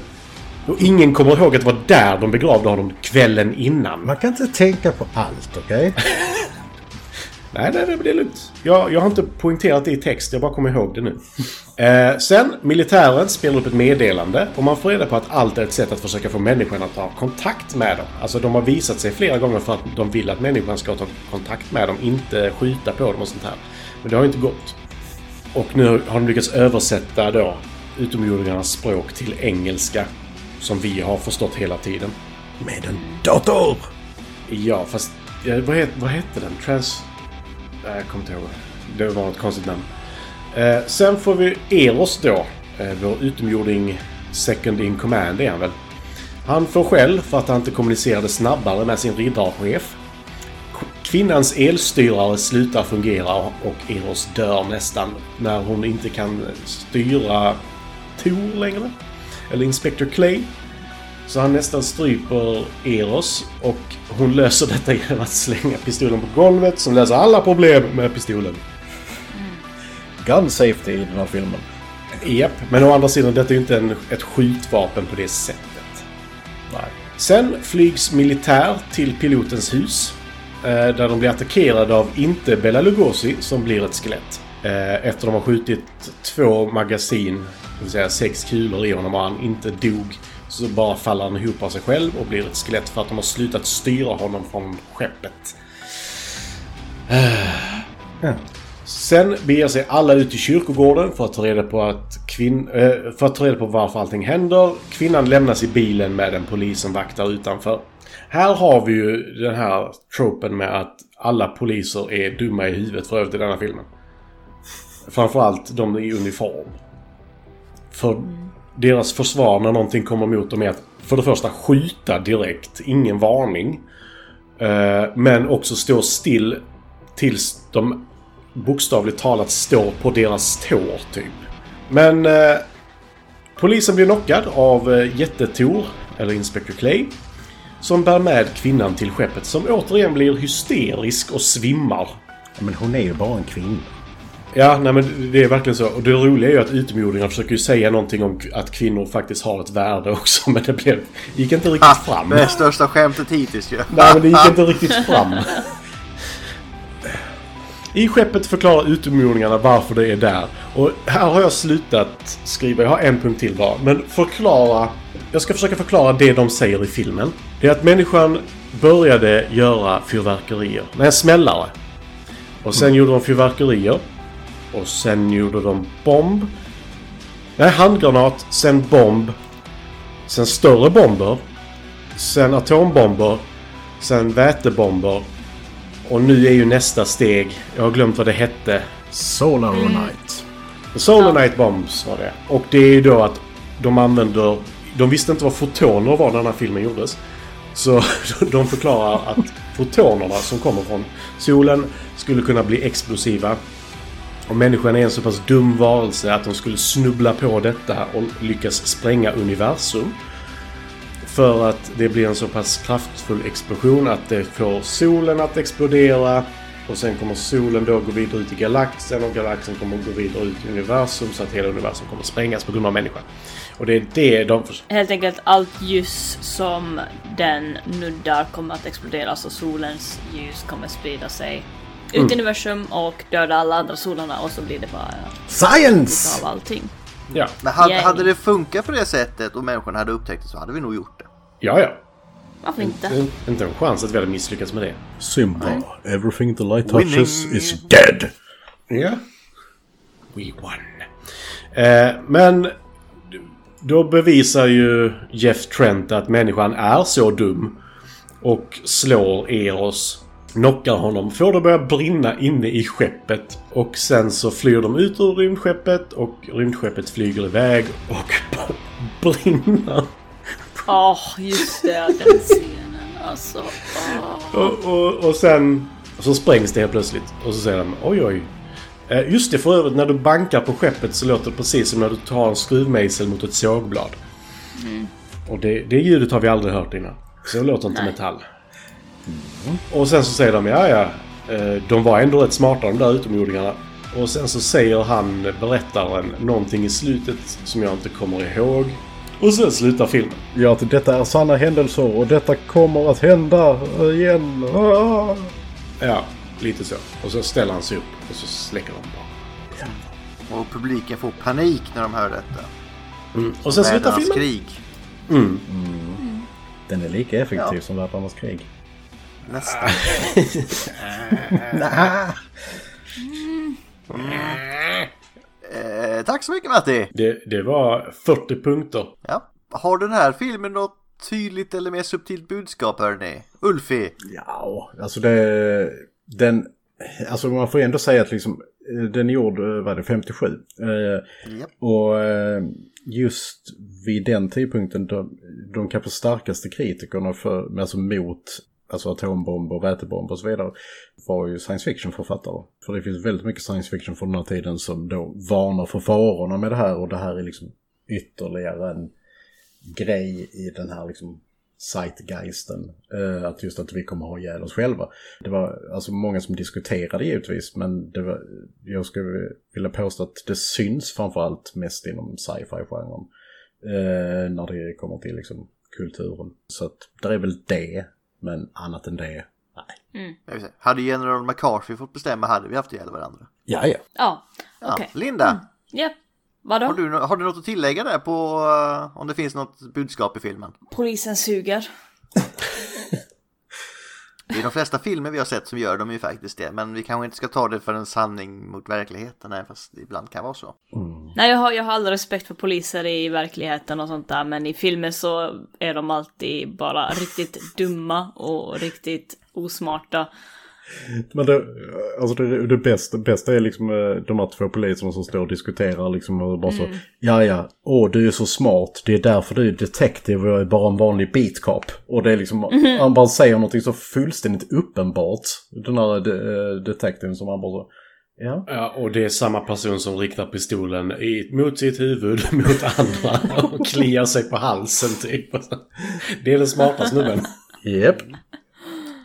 [SPEAKER 3] Och ingen kommer ihåg att det var där de begravde honom kvällen innan.
[SPEAKER 4] Man kan inte tänka på allt, okej?
[SPEAKER 3] Nej, nej, nej, men det är lugnt. Jag, jag har inte poängterat det i text, jag bara kommer ihåg det nu. Eh, sen, militären spelar upp ett meddelande och man får reda på att allt är ett sätt att försöka få människan att ta kontakt med dem. Alltså, de har visat sig flera gånger för att de vill att människan ska ta kontakt med dem, inte skjuta på dem och sånt här. Men det har inte gått. Och nu har de lyckats översätta då utomjordingarnas språk till engelska. Som vi har förstått hela tiden.
[SPEAKER 4] Med en dator!
[SPEAKER 3] Ja, fast... Ja, vad, het, vad hette den? Trans... Nej, Eh, jag kommer inte ihåg. Det var ett konstigt namn. Eh, sen får vi Eros då. Eh, vår utomjording second in command är han väl. Han får skäll för att han inte kommunicerade snabbare med sin riddarchef. K- Kvinnans elstyrare slutar fungera och Eros dör nästan när hon inte kan styra Tor längre. Eller Inspector Clay. Så han nästan stryper Eros och hon löser detta genom att slänga pistolen på golvet som löser alla problem med pistolen.
[SPEAKER 4] Gun safety i den här filmen.
[SPEAKER 3] Japp, men å andra sidan detta är ju inte en, ett skjutvapen på det sättet. Sen flygs militär till pilotens hus. Eh, där de blir attackerade av inte Bela Lugosi som blir ett skelett. Eh, efter de har skjutit två magasin, det vill säga sex kulor i honom och han inte dog så bara faller han ihop av sig själv och blir ett skelett för att de har slutat styra honom från skeppet. Sen beger sig alla ut till kyrkogården för att ta reda på, att kvin- eh, för att ta reda på varför allting händer. Kvinnan lämnas i bilen med en polis som vaktar utanför. Här har vi ju den här tropen med att alla poliser är dumma i huvudet för övrigt i denna filmen. Framförallt de i uniform. För deras försvar när någonting kommer mot dem är att för det första skjuta direkt, ingen varning. Eh, Men också stå still tills de bokstavligt talat står på deras tår, typ. Men eh, polisen blir knockad av eh, jättetor, eller Inspector Clay, som bär med kvinnan till skeppet som återigen blir hysterisk och svimmar.
[SPEAKER 4] Ja, Men hon är ju bara en kvinna.
[SPEAKER 3] Ja, nej men det är verkligen så. Och det roliga är ju att utomjordingar försöker ju säga någonting om k- att kvinnor faktiskt har ett värde också, men det blev, gick inte riktigt fram.
[SPEAKER 2] Det är största skämtet hittills ju.
[SPEAKER 3] Nej, men det gick inte riktigt fram. I skeppet förklarar utomjordingarna varför det är där. Och här har jag slutat skriva, jag har en punkt till bara. Men förklara... Jag ska försöka förklara det de säger i filmen. Det är att människan började göra fyrverkerier. Nej, smällare. Och sen gjorde de fyrverkerier. Och sen gjorde de bomb. Nej, handgranat. Sen bomb. Sen större bomber. Sen atombomber. Sen vätebomber. Och nu är ju nästa steg, jag har glömt vad det hette.
[SPEAKER 4] Solar Night.
[SPEAKER 3] Solonite Bombs var det. Och det är ju då att de använder... De visste inte vad fotoner var när den här filmen gjordes. Så de förklarar att fotonerna som kommer från solen skulle kunna bli explosiva. Och människan är en så pass dum varelse att de skulle snubbla på detta och lyckas spränga universum. För att det blir en så pass kraftfull explosion att det får solen att explodera. Och sen kommer solen då gå vidare ut i galaxen och galaxen kommer gå vidare ut i universum så att hela universum kommer sprängas på grund av människan. Och det är det de... förs-
[SPEAKER 1] Helt enkelt allt ljus som den nuddar kommer att explodera så solens ljus kommer sprida sig ut i universum och döda alla andra solarna och så blir det bara
[SPEAKER 4] Science!
[SPEAKER 1] av allting.
[SPEAKER 3] Ja,
[SPEAKER 2] Men hade,
[SPEAKER 1] Yay.
[SPEAKER 2] hade det funkat på det sättet och människan hade upptäckt det så hade vi nog gjort det.
[SPEAKER 3] ja, ja.
[SPEAKER 1] Varför inte?
[SPEAKER 3] Inte- Inte en chans att vi hade misslyckats med det.
[SPEAKER 4] Simba. Everything the light touches
[SPEAKER 2] Winning.
[SPEAKER 4] is dead.
[SPEAKER 3] Ja. We won. Eh, men då bevisar ju Jeff Trent att människan är så dum och slår Eros, knockar honom, får det börja brinna inne i skeppet och sen så flyr de ut ur rymdskeppet och rymdskeppet flyger iväg och brinner.
[SPEAKER 1] Åh, Ah, just det, den scenen alltså. åh.
[SPEAKER 3] Och, och, och sen så sprängs det helt plötsligt. Och så säger de oj oj. Eh, Just det för övrigt, när du bankar på skeppet så låter det precis som när du tar en skruvmejsel mot ett sågblad. Och det, det ljudet har vi aldrig hört innan. Så låter inte metall. Och sen så säger de ja ja. eh, De var ändå rätt smarta de där utomjordingarna. Och sen så säger han, berättaren, någonting i slutet som jag inte kommer ihåg. Och sen slutar filmen.
[SPEAKER 4] Ja, att detta är sanna händelser och detta kommer att hända igen. Ah.
[SPEAKER 3] Ja, lite så. Och så ställer han sig upp och så släcker de bara.
[SPEAKER 2] Och publiken får panik när de hör detta.
[SPEAKER 3] Och sen slutar
[SPEAKER 2] Vädrarnas
[SPEAKER 3] filmen.
[SPEAKER 2] krig.
[SPEAKER 4] Den är lika effektiv som Världarnas krig.
[SPEAKER 2] Nästan. Mm. Eh, tack så mycket Matti!
[SPEAKER 3] Det, det var 40 punkter.
[SPEAKER 2] Ja. Har den här filmen något tydligt eller mer subtilt budskap hörni? Ulfi?
[SPEAKER 4] Ja, alltså det... Den... Alltså man får ändå säga att liksom... eh, Den är gjord, eh, vad är det, 57? Eh,
[SPEAKER 2] Japp.
[SPEAKER 4] Och eh, just vid den tidpunkten, de, de kanske starkaste kritikerna för, men alltså mot alltså atombomber, vätebomber och så vidare, var ju science fiction-författare. För det finns väldigt mycket science fiction från den här tiden som då varnar för farorna med det här och det här är liksom ytterligare en grej i den här liksom zeitgeisten. eh, Att just att vi kommer ha ihjäl oss själva. Det var alltså många som diskuterade givetvis men det var, jag skulle vilja påstå att det syns framförallt mest inom sci-fi-genren. eh, När det kommer till liksom kulturen. Så att det är väl det, men annat än det
[SPEAKER 2] Jag vill säga, hade General McCarthy fått bestämma hade vi haft ihjäl varandra.
[SPEAKER 4] Ja, ja.
[SPEAKER 1] Ja,
[SPEAKER 2] Ja,
[SPEAKER 1] okej.
[SPEAKER 2] Linda,
[SPEAKER 1] Japp. Vadå?
[SPEAKER 2] har, du, nå- har du något att tillägga där på eh, om det finns något budskap i filmen?
[SPEAKER 1] Polisen suger.
[SPEAKER 2] I de flesta filmer vi har sett som gör de ju faktiskt det, men vi kanske inte ska ta det för en sanning mot verkligheten, även fast det ibland kan vara så.
[SPEAKER 1] Nej, jag har, jag har all respekt för poliser i verkligheten och sånt där, men i filmer så är de alltid bara riktigt dumma och riktigt osmarta.
[SPEAKER 4] Men det, alltså det, det, bästa, det bästa är liksom eh, de här två poliserna som står och diskuterar liksom och bara så. Ja, ja, åh du är så smart. Det är därför du är detektiv och jag är bara en vanlig beatcop. Och det är liksom, han bara säger någonting så fullständigt uppenbart. Den här de, eh, detektiven som han bara så. Ja.
[SPEAKER 3] Ja, och det är samma person som riktar pistolen i, mot sitt huvud, mot andra och kliar sig på halsen typ. Det är den smarta snubben.
[SPEAKER 4] Japp.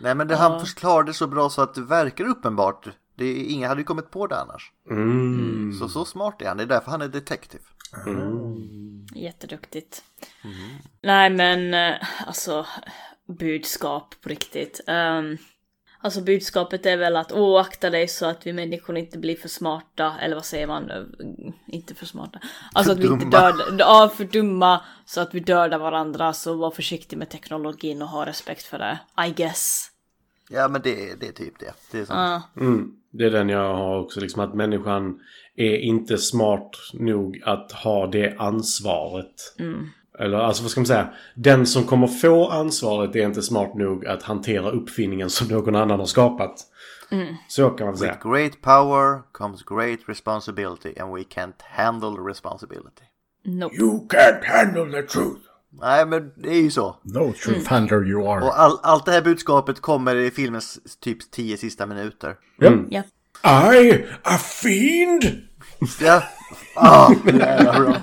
[SPEAKER 2] Nej, men det, han förklarade så bra så att det verkar uppenbart. Det, är- ingen hade ju kommit på det annars.
[SPEAKER 3] Mm.
[SPEAKER 2] Så, så smart är han, det är därför han är detektiv.
[SPEAKER 1] Jätteduktigt. Nej men eh, alltså budskap på riktigt. Ehm, alltså budskapet är väl att åh akta dig så att vi människor inte blir för smarta. Eller vad säger man? Mm, Inte för smarta. Alltså att vi inte
[SPEAKER 2] dumma.
[SPEAKER 1] dödar, ja för dumma. Så att vi dödar varandra. Så var försiktig med teknologin och ha respekt för det. I guess.
[SPEAKER 2] Ja, men det, det är typ det. Det är sant.
[SPEAKER 1] Ja.
[SPEAKER 3] Mm. Det är den jag har också, liksom att människan är inte smart nog att ha det ansvaret. Eller alltså vad ska man säga? Den som kommer få ansvaret är inte smart nog att hantera uppfinningen som någon annan har skapat. Så kan man säga.
[SPEAKER 2] With great power comes great responsibility and we can't handle responsibility.
[SPEAKER 1] Nope.
[SPEAKER 3] You can't handle the truth!
[SPEAKER 2] Nej, men det är ju så.
[SPEAKER 4] No true founder you are.
[SPEAKER 2] Och all, allt det här budskapet kommer i filmens typ tio sista minuter.
[SPEAKER 1] Ja.
[SPEAKER 3] I a fiend!
[SPEAKER 2] Ja. Ah, det är bra.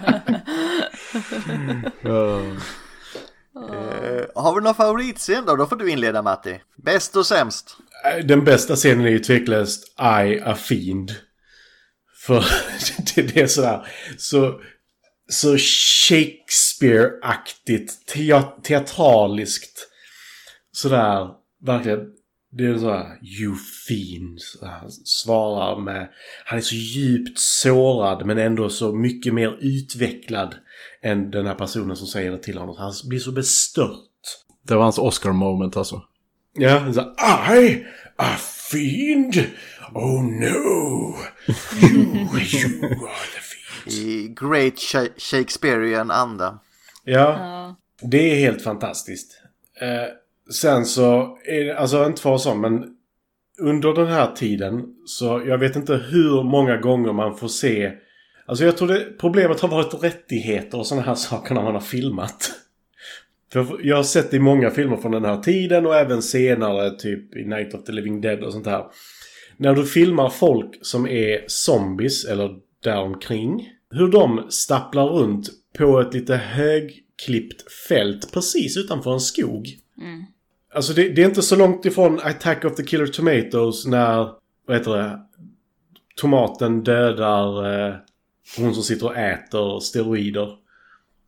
[SPEAKER 2] Eh, har vi någon favoritscen då? Då får du inleda Matti. Bäst och sämst.
[SPEAKER 3] Äh, Den bästa scenen är ju tveklöst I a fiend. För det är sådär så, så Shakespeare-aktigt, tea- teatraliskt. Sådär, verkligen. Det är sådär, you fiend. Så Han svarar med, han är så djupt sårad men ändå så mycket mer utvecklad än den här personen som säger det till honom. Han blir så bestört.
[SPEAKER 4] Det var hans Oscar-moment alltså.
[SPEAKER 3] Ja, han sa I a fiend? Oh no! You, you are the fiend.
[SPEAKER 2] I great Sha- Shakespearean anda.
[SPEAKER 3] Ja, det är helt fantastiskt. Eh, sen så, är det, alltså inte för att vara sån, men under den här tiden så jag vet inte hur många gånger man får se Alltså jag tror det, problemet har varit rättigheter och sådana här saker när man har filmat. För jag har sett i många filmer från den här tiden och även senare, typ i Night of the Living Dead och sånt här. När du filmar folk som är zombies eller däromkring. Hur de stapplar runt på ett lite högklippt fält precis utanför en skog. Alltså det, det är inte så långt ifrån Attack of the Killer Tomatoes när, vad heter det, tomaten dödar eh, hon som sitter och äter steroider.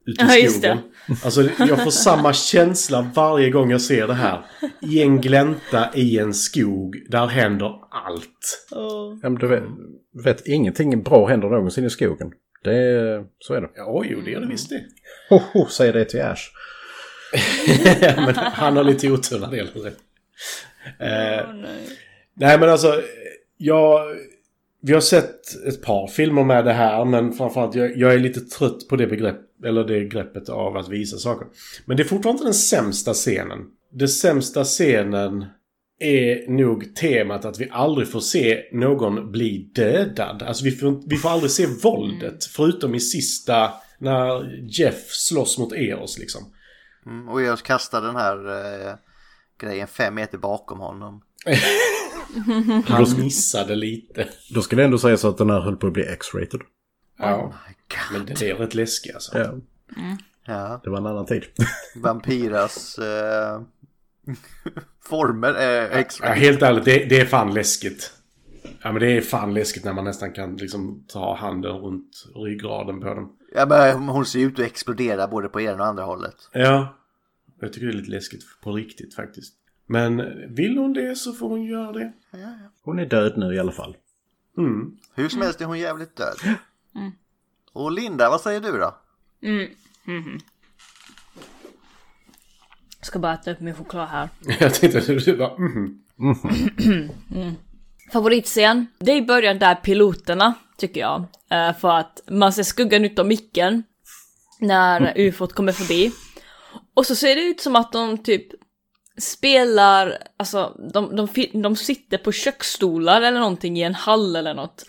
[SPEAKER 3] Ute
[SPEAKER 1] Ja,
[SPEAKER 3] i skogen.
[SPEAKER 1] just det.
[SPEAKER 3] Alltså jag får samma känsla varje gång jag ser det här. I en glänta i en skog, där händer allt.
[SPEAKER 1] Åh.
[SPEAKER 4] Ja, men du vet, vet, ingenting bra händer någonsin i skogen. Det är, så är det.
[SPEAKER 3] Ja, Oj, jo, det är det visst det.
[SPEAKER 4] Ho, ho, säg det till Ash.
[SPEAKER 3] Men han har lite otur när det gäller det. Eh, nej men alltså, jag... Vi har sett ett par filmer med det här, men framförallt jag, jag är lite trött på det begrepp, eller det greppet av att visa saker. Men det är fortfarande inte den sämsta scenen. Den sämsta scenen är nog temat att vi aldrig får se någon bli dödad. Alltså vi får, vi får aldrig se våldet, förutom i sista, när Jeff slåss mot Eros liksom.
[SPEAKER 2] Mm, och jag kastar den här eh, grejen fem meter bakom honom.
[SPEAKER 3] Han missade lite.
[SPEAKER 4] Då skulle jag ändå säga så att den här höll på att bli X-rated.
[SPEAKER 3] Ja.
[SPEAKER 2] God.
[SPEAKER 3] Men det är rätt läskig alltså.
[SPEAKER 4] Ja,
[SPEAKER 2] Ja,
[SPEAKER 4] det var en annan tid.
[SPEAKER 2] vampyras eh, former eh, är
[SPEAKER 3] Ja,
[SPEAKER 2] extra.
[SPEAKER 3] helt ärligt, det, det är fan läskigt. Ja men det är fan läskigt när man nästan kan liksom ta handen runt ryggraden på den.
[SPEAKER 2] Ja, men hon ser ut att explodera både på ena och andra hållet.
[SPEAKER 3] Ja. Jag tycker det är lite läskigt på riktigt faktiskt. Men vill hon det så får hon göra det.
[SPEAKER 4] Hon är död nu i alla fall.
[SPEAKER 3] Mm.
[SPEAKER 2] Hur som helst är hon jävligt död. Och Linda, vad säger du då?
[SPEAKER 1] Jag ska bara äta upp min choklad här.
[SPEAKER 3] Jag tänkte att du bara mhm.
[SPEAKER 1] Favoritscen, det är i början där piloterna, tycker jag. Eh, För att man ser skuggan utav micken när ufot kommer förbi. Och så ser det ut som att de typ spelar, alltså de, de, fi- de sitter på köksstolar eller någonting i en hall eller något.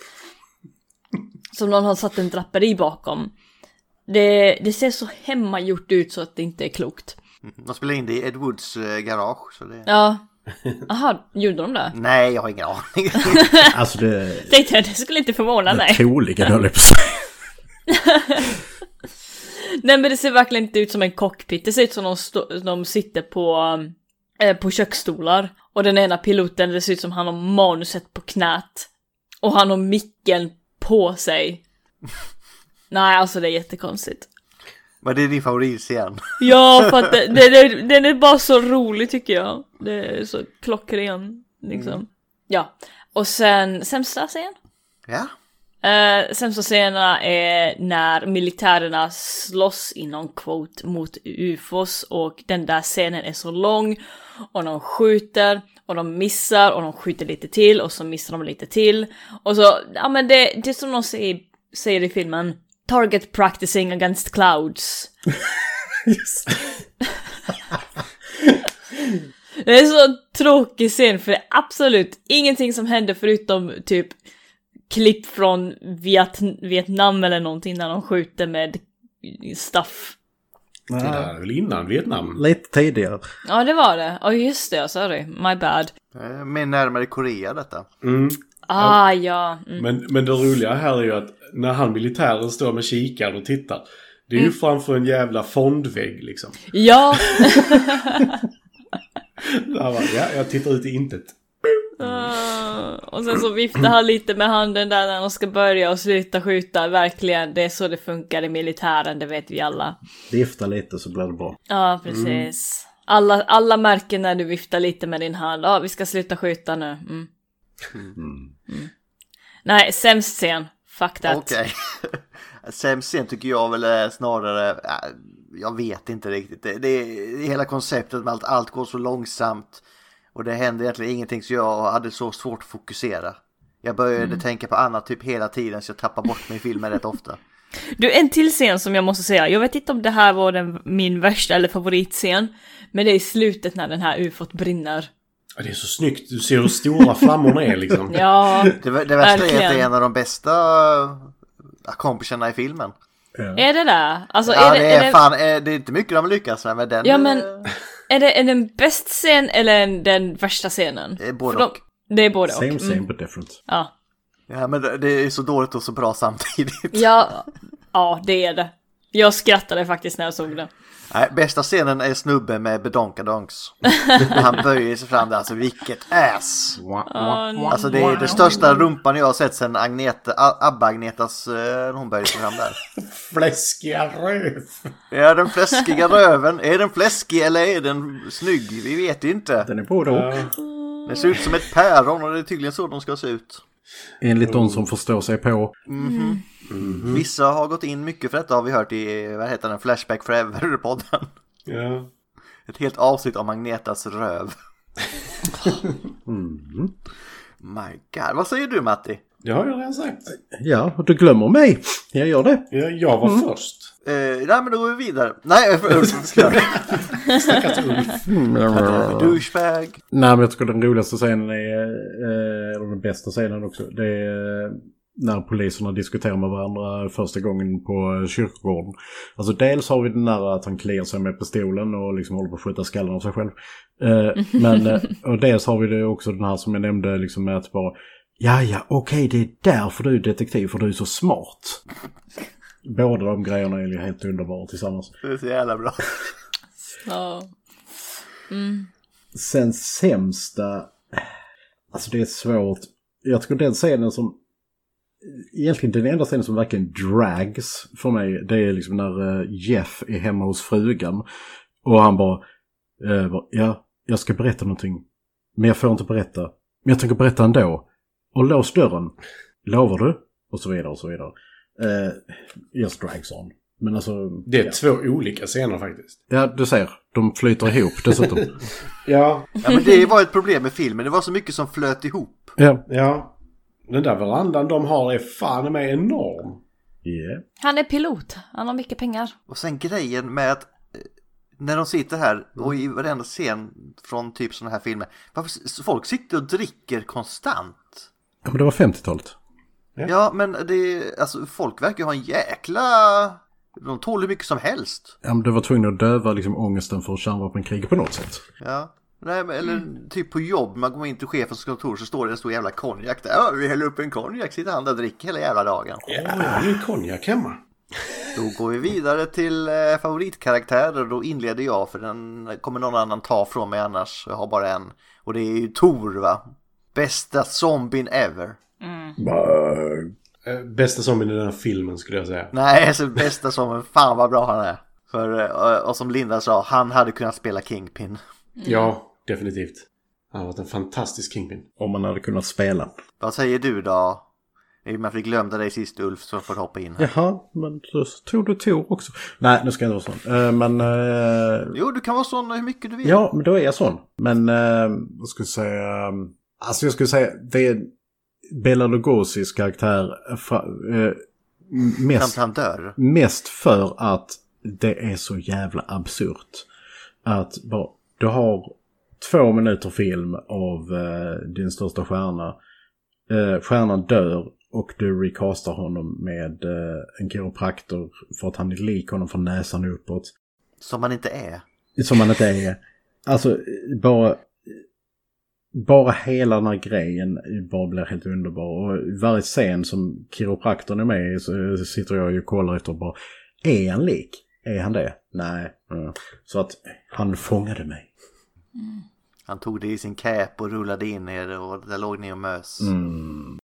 [SPEAKER 1] Som någon har satt en draperi bakom. Det, det ser så hemmagjort ut så att det inte är klokt.
[SPEAKER 2] De spelar in det i Ed Woods eh, garage. Så det...
[SPEAKER 1] Ja. Aha, gjorde de det?
[SPEAKER 2] Nej, jag har ingen aning.
[SPEAKER 4] Alltså det är
[SPEAKER 1] Tänkte jag, det skulle inte förvåna mig.
[SPEAKER 4] troligen höll jag på att säga.
[SPEAKER 1] Nej men det ser verkligen inte ut som en cockpit, det ser ut som de, stå- de sitter på, eh, på köksstolar. Och den ena piloten, det ser ut som han har manuset på knät. Och han har micken på sig. Nej alltså det är jättekonstigt.
[SPEAKER 2] Men det är din favoritscen.
[SPEAKER 1] Ja för att det, det, det, den är bara så rolig tycker jag. Det är så klockren liksom. Ja. Och sen sämsta scen?
[SPEAKER 2] Ja,
[SPEAKER 1] Eh, sämsta scenerna är när militärerna slåss inom quote mot ufos och den där scenen är så lång och de skjuter och de missar och de skjuter lite till och så missar de lite till. Och så, ja men det, det är som de säger, säger i filmen, target practicing against clouds. Det är en så tråkig scen för det är absolut ingenting som händer förutom typ klipp från Viet Vietnam eller någonting när de skjuter med stuff.
[SPEAKER 3] Det där är väl innan Vietnam?
[SPEAKER 4] Lite tidigare.
[SPEAKER 1] Ja, det var det. Ja, just det. Sorry. My bad.
[SPEAKER 2] eh, mer närmare Korea detta.
[SPEAKER 3] Mm.
[SPEAKER 1] Ah, ja. Mm.
[SPEAKER 3] Men, men det roliga här är ju att när han militären står med kikaren och tittar. Det är ju framför en jävla fondvägg liksom.
[SPEAKER 1] Ja.
[SPEAKER 3] Där var, ja, jag tittar ut i intet.
[SPEAKER 1] Ah, och sen så viftar han lite med handen där när de ska börja och sluta skjuta. Verkligen, det är så det funkar i militären, det vet vi alla.
[SPEAKER 4] Vifta lite så blir det bra.
[SPEAKER 1] Ja, precis. Alla, alla märker när du viftar lite med din hand. Ja, vi ska sluta skjuta nu. Mm. Mm. Nej, sämst scen. Fuck that.
[SPEAKER 2] Okej. Sämst scen tycker jag väl är snarare, äh, jag vet inte riktigt. Det, det är hela konceptet med att allt går så långsamt och det händer egentligen ingenting så jag hade så svårt att fokusera. Jag började tänka på annat typ hela tiden så jag tappar bort mig i filmen rätt ofta.
[SPEAKER 1] Du, en till scen som jag måste säga. Jag vet inte om det här var den, min värsta eller favoritscen. Men det är i slutet när den här ufot brinner.
[SPEAKER 3] Ja, det är så snyggt. Du ser hur stora flammorna är liksom.
[SPEAKER 1] Ja,
[SPEAKER 2] Det, vä- det värsta är att det
[SPEAKER 1] Verkligen.
[SPEAKER 2] är en av de bästa äh, kompisarna i filmen.
[SPEAKER 1] är det det? Alltså,
[SPEAKER 2] Ja,
[SPEAKER 1] är
[SPEAKER 2] det,
[SPEAKER 1] det,
[SPEAKER 2] är
[SPEAKER 1] är det,
[SPEAKER 2] fan, eh, det är inte mycket de lyckas med, men den
[SPEAKER 1] Ja, men-
[SPEAKER 2] eh,
[SPEAKER 1] är det, är det en bäst scen eller en, den värsta scenen?
[SPEAKER 2] är både
[SPEAKER 1] För de-
[SPEAKER 2] och.
[SPEAKER 1] Det är både
[SPEAKER 4] Same
[SPEAKER 1] och. Mm,
[SPEAKER 4] same but different.
[SPEAKER 1] Ja.
[SPEAKER 2] Ja, men det- det är så dåligt och så bra samtidigt.
[SPEAKER 1] Ja, ja, det är det. Jag skrattade faktiskt när jag såg den.
[SPEAKER 2] Nej, bästa scenen är snubben med bedonkadonks. Han böjer sig fram där, alltså vilket ass! Alltså det är den största rumpan jag har sett sedan Agneta, A- Abba-Agnetas, eh, när hon böjer sig fram där.
[SPEAKER 3] Fläskiga röv.
[SPEAKER 2] Är den fläskiga röven, är den fläskig eller är den snygg? Vi vet inte.
[SPEAKER 4] Den är både och.
[SPEAKER 2] Den ser ut som ett päron och det är tydligen så de ska se ut.
[SPEAKER 4] Enligt de som förstår sig på.
[SPEAKER 2] Vissa har gått in mycket för detta har vi hört i, vad heter den, Flashback Forever-podden.
[SPEAKER 3] Ja.
[SPEAKER 2] Ett helt avsnitt om Agnetas röv. My god, vad säger du Matti?
[SPEAKER 3] Det har jag redan sagt.
[SPEAKER 4] Ja, och du glömmer mig. Jag gör det.
[SPEAKER 3] Ja, jag var först.
[SPEAKER 2] Eh, nej men då går vi vidare. Nej, för, för, för douchebag.
[SPEAKER 4] Nej, men jag tycker den roligaste scenen är, eh, eller den bästa scenen också, det är eh, när poliserna diskuterar med varandra första gången på eh, kyrkogården. Alltså dels har vi den där att han kliar sig med pistolen och liksom håller på att skjuta skallen av sig själv. Eh, men, eh, och dels har vi det också den här som jag nämnde liksom med att bara Ja, ja, okej, det är därför du är detektiv, för du är så smart. Båda de grejerna är ju helt underbara tillsammans.
[SPEAKER 2] Det är så jävla bra.
[SPEAKER 1] Ja.
[SPEAKER 4] Sen sämsta... Alltså det är svårt. Jag tycker den scenen som... Egentligen den enda scenen som verkligen drags för mig, det är liksom när eh, Jeff är hemma hos frugan. Och han bara... eh, bara, Ja, jag ska berätta någonting, men jag får inte berätta. Men jag tänker berätta ändå. Och lås dörren. Lovar du? Och så vidare och så vidare. Eh, just drags on. Men alltså...
[SPEAKER 3] Det är
[SPEAKER 4] ja.
[SPEAKER 3] två olika scener faktiskt.
[SPEAKER 4] ja, du ser. De flyter ihop dessutom.
[SPEAKER 3] Ja,
[SPEAKER 2] Ja, men det var ett problem med filmen. Det var så mycket som flöt ihop.
[SPEAKER 4] ja.
[SPEAKER 3] ja. Den där verandan de har är fan med enorm.
[SPEAKER 4] Yeah.
[SPEAKER 1] Han är pilot. Han har mycket pengar.
[SPEAKER 2] Och sen grejen med att eh, när de sitter här och i varenda scen från typ sådana här filmer. Varför s- folk sitter och dricker konstant?
[SPEAKER 4] Ja, men det var 50-talet.
[SPEAKER 3] Ja.
[SPEAKER 2] Ja, men det, alltså folk verkar ju ha en jäkla... De tål hur mycket som helst.
[SPEAKER 4] Ja, men det var tvungen att döva liksom ångesten för kärnvapenkrig på något sätt.
[SPEAKER 2] Ja. Nej, men, eller typ på jobb, man går in till chefens kontor så står det en stor jävla konjak där. Ja, vi häller upp en konjak, sitter han där och dricker hela jävla dagen.
[SPEAKER 3] Åh, jag har ju konjak hemma.
[SPEAKER 2] Då går vi vidare till eh, favoritkaraktärer. Då inleder jag för den kommer någon annan ta från mig annars. Jag har bara en. Och det är ju Tor va? Bästa zombien ever.
[SPEAKER 3] Eh, Bästa zombien i den här filmen skulle jag säga.
[SPEAKER 2] Nej, alltså bästa zombien. Fan vad bra han är. För, eh, och som Linda sa, han hade kunnat spela Kingpin.
[SPEAKER 3] Ja, definitivt. Han har varit en fantastisk Kingpin.
[SPEAKER 4] Om man hade kunnat spela.
[SPEAKER 2] Vad säger du då? I och med att vi glömde dig sist Ulf så får du hoppa in här.
[SPEAKER 4] Jaha, men då tog du Tor också. Nej, nu ska jag inte vara sån. Eh, men... eh,
[SPEAKER 2] Jo, du kan vara sån hur mycket du vill.
[SPEAKER 4] Ja, men då är jag sån. Men eh, vad ska jag säga? Alltså jag skulle säga det är Bela Lugosis karaktär eh, fra- eh, m-
[SPEAKER 2] Samt
[SPEAKER 4] mest,
[SPEAKER 2] han dör.
[SPEAKER 4] mest för att det är så jävla absurt. Att bara, du har två minuter film av eh, din största stjärna. Eh, stjärnan dör och du recastar honom med eh, en kiropraktor för att han är lik honom från näsan uppåt.
[SPEAKER 2] Som han inte är.
[SPEAKER 4] Som man inte är. Alltså bara... Bara hela den här grejen bara blir helt underbar. Och varje scen som kiropraktorn är med i så sitter jag ju och kollar efter och bara... Är han lik? Är han det? Nej. Mm. Så att han fångade mig.
[SPEAKER 2] Han tog det i sin cap och rullade in er och där låg ni och mös.
[SPEAKER 4] Mm.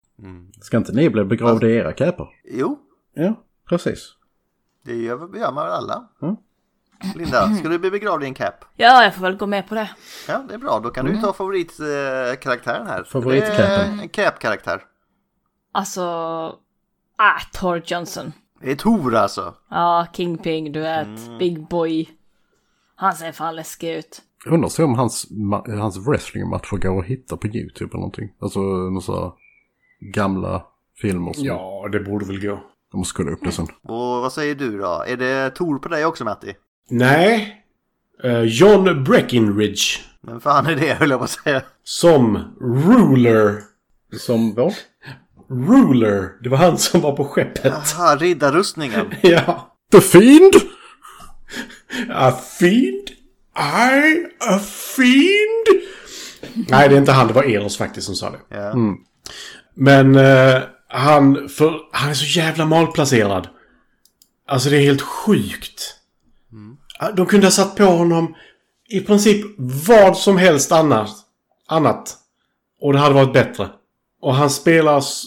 [SPEAKER 4] Ska inte ni bli begravda i era käpor?
[SPEAKER 2] Jo,
[SPEAKER 4] Ja, precis.
[SPEAKER 2] det gör, gör man väl alla.
[SPEAKER 4] Mm.
[SPEAKER 2] Linda, ska du bli begravd i en cap?
[SPEAKER 1] Ja, jag får väl gå med på det.
[SPEAKER 2] Ja, det är bra. Då kan du ta favoritkaraktären här.
[SPEAKER 4] Favoritcapen.
[SPEAKER 2] Det är En cap-karaktär.
[SPEAKER 1] Alltså... Ah, Tor Johnson.
[SPEAKER 2] Det är Tor alltså.
[SPEAKER 1] Ja, King Ping, du är ett big boy. Han ser fan läskig ut.
[SPEAKER 4] Jag undrar så om hans, ma- hans wrestlingmatcher går att hitta på YouTube eller någonting. Alltså några så här gamla filmer som
[SPEAKER 3] Ja, det borde väl gå.
[SPEAKER 4] de måste kolla upp det sen.
[SPEAKER 2] Och vad säger du då? Är det Tor på dig också Matti?
[SPEAKER 3] Nej. Eh, John Breckinridge.
[SPEAKER 2] Men fan är det höll jag på att säga.
[SPEAKER 3] Som ruler.
[SPEAKER 4] Som vår?
[SPEAKER 3] Ruler. Det var han som var på skeppet.
[SPEAKER 2] Aha, riddarrustningen.
[SPEAKER 3] Ja.
[SPEAKER 4] The Fiend!
[SPEAKER 3] A fiend? I a fiend? Nej, det är inte han. Det var Eros faktiskt som sa det.
[SPEAKER 2] Ja.
[SPEAKER 3] Men eh, han, för, han är så jävla malplacerad. Alltså det är helt sjukt. De kunde ha satt på honom i princip vad som helst annars, annat. Och det hade varit bättre. Och han spelar... s-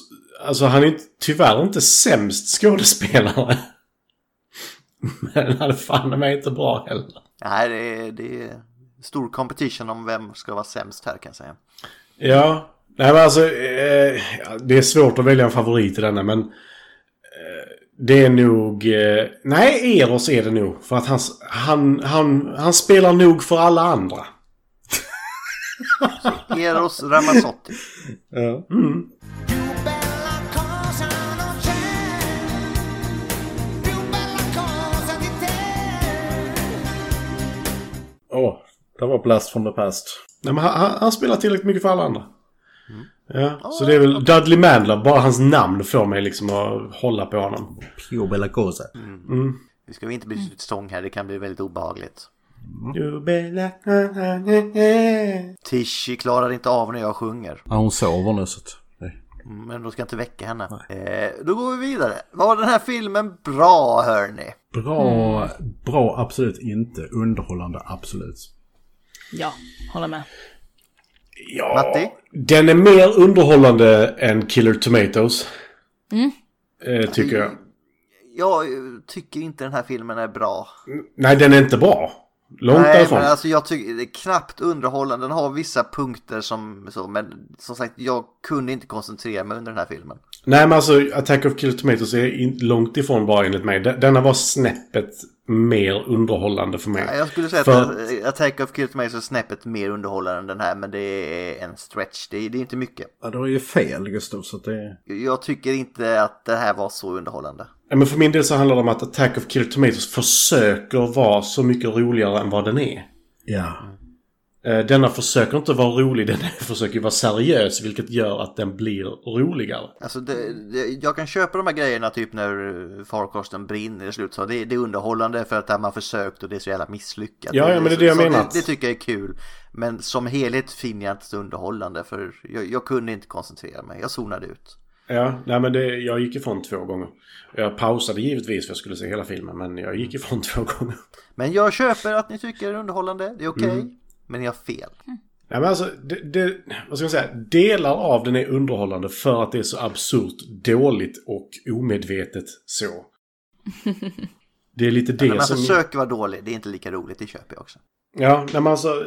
[SPEAKER 3] Alltså han är inte, tyvärr inte sämst skådespelare. Men han är fan mig inte bra heller.
[SPEAKER 2] Nej, det är, det är stor competition om vem ska vara sämst här kan jag säga.
[SPEAKER 3] Ja, nej men alltså eh, ja, det är svårt att välja en favorit i denna men eh, det är nog... Eh, nej, Eros är det nog. För att han, s- han, han, han spelar nog för alla andra.
[SPEAKER 2] Eros Ramazzotti.
[SPEAKER 4] Åh, det var Blast from the Past.
[SPEAKER 3] Nej, men han, han- han spelar tillräckligt mycket för alla andra. Ja, så det är väl Dudley Mandler. Bara hans namn får mig liksom att hålla på honom.
[SPEAKER 4] Pio Bella Cosa.
[SPEAKER 2] Nu ska vi inte
[SPEAKER 3] Mm.
[SPEAKER 2] bli till sång här, det kan bli väldigt obehagligt. Tishy klarar inte av när jag sjunger.
[SPEAKER 4] Ja, hon sover nu så att... Nej.
[SPEAKER 2] Men då ska jag inte väcka henne. Eh, då går vi vidare. Var den här filmen bra hörni?
[SPEAKER 4] Bra, bra absolut inte. Underhållande absolut.
[SPEAKER 1] Ja, håller med.
[SPEAKER 3] Ja,
[SPEAKER 2] Matti?
[SPEAKER 3] den är mer underhållande än Killer Tomatoes. Eh, tycker jag.
[SPEAKER 2] Jag eh, tycker inte den här filmen är bra.
[SPEAKER 3] Nej, den är inte bra. Långt
[SPEAKER 2] Nej,
[SPEAKER 3] därifrån.
[SPEAKER 2] men alltså jag tycker det är knappt underhållande. Den har vissa punkter som så, men som sagt, jag kunde inte koncentrera mig under den här filmen.
[SPEAKER 3] Nej, men alltså Attack of Killer Tomatoes är in, långt ifrån bra enligt mig. De- Denna var snäppet mer underhållande för mig.
[SPEAKER 2] Nej, Jag skulle säga
[SPEAKER 3] För-
[SPEAKER 2] att eh, Attack of Killed mig är snäppet mer underhållande än den här, men det är en stretch. Det är, det är inte mycket.
[SPEAKER 4] Ja, det var ju fel Gustav, så att det...
[SPEAKER 2] Jag tycker inte att det här var så underhållande.
[SPEAKER 3] Ja, Men för min del så handlar det om att Attack of Killer Tomatoes försöker vara så mycket roligare än vad den är.
[SPEAKER 4] Ja.
[SPEAKER 3] Eh, Denna försöker inte vara rolig, den försöker vara seriös, vilket gör att den blir roligare.
[SPEAKER 2] Alltså det, det, jag kan köpa de här grejerna typ när farkosten brinner i slut så det, det är underhållande för att man har försökt och det är så jävla misslyckat.
[SPEAKER 3] Ja, ja, men det är det jag
[SPEAKER 2] så,
[SPEAKER 3] menar.
[SPEAKER 2] Det, det tycker jag är kul. Men som helhet finner jag inte så underhållande för jag, jag kunde inte koncentrera mig. Jag zonade ut.
[SPEAKER 3] Ja, nej men det, jag gick ifrån två gånger. Jag pausade givetvis för jag skulle se hela filmen, men jag gick ifrån två gånger.
[SPEAKER 2] Men jag köper att ni tycker det är underhållande. Det är okej.
[SPEAKER 3] Mm.
[SPEAKER 2] Men jag har fel.
[SPEAKER 3] Nej men alltså, det, det, vad ska man säga? Delar av den är underhållande för att det är så absurt dåligt och omedvetet så. Det är lite det
[SPEAKER 2] Men man
[SPEAKER 3] som...
[SPEAKER 2] försöker vara dålig. Det är inte lika roligt. Det köper jag också.
[SPEAKER 3] Ja, nej men alltså...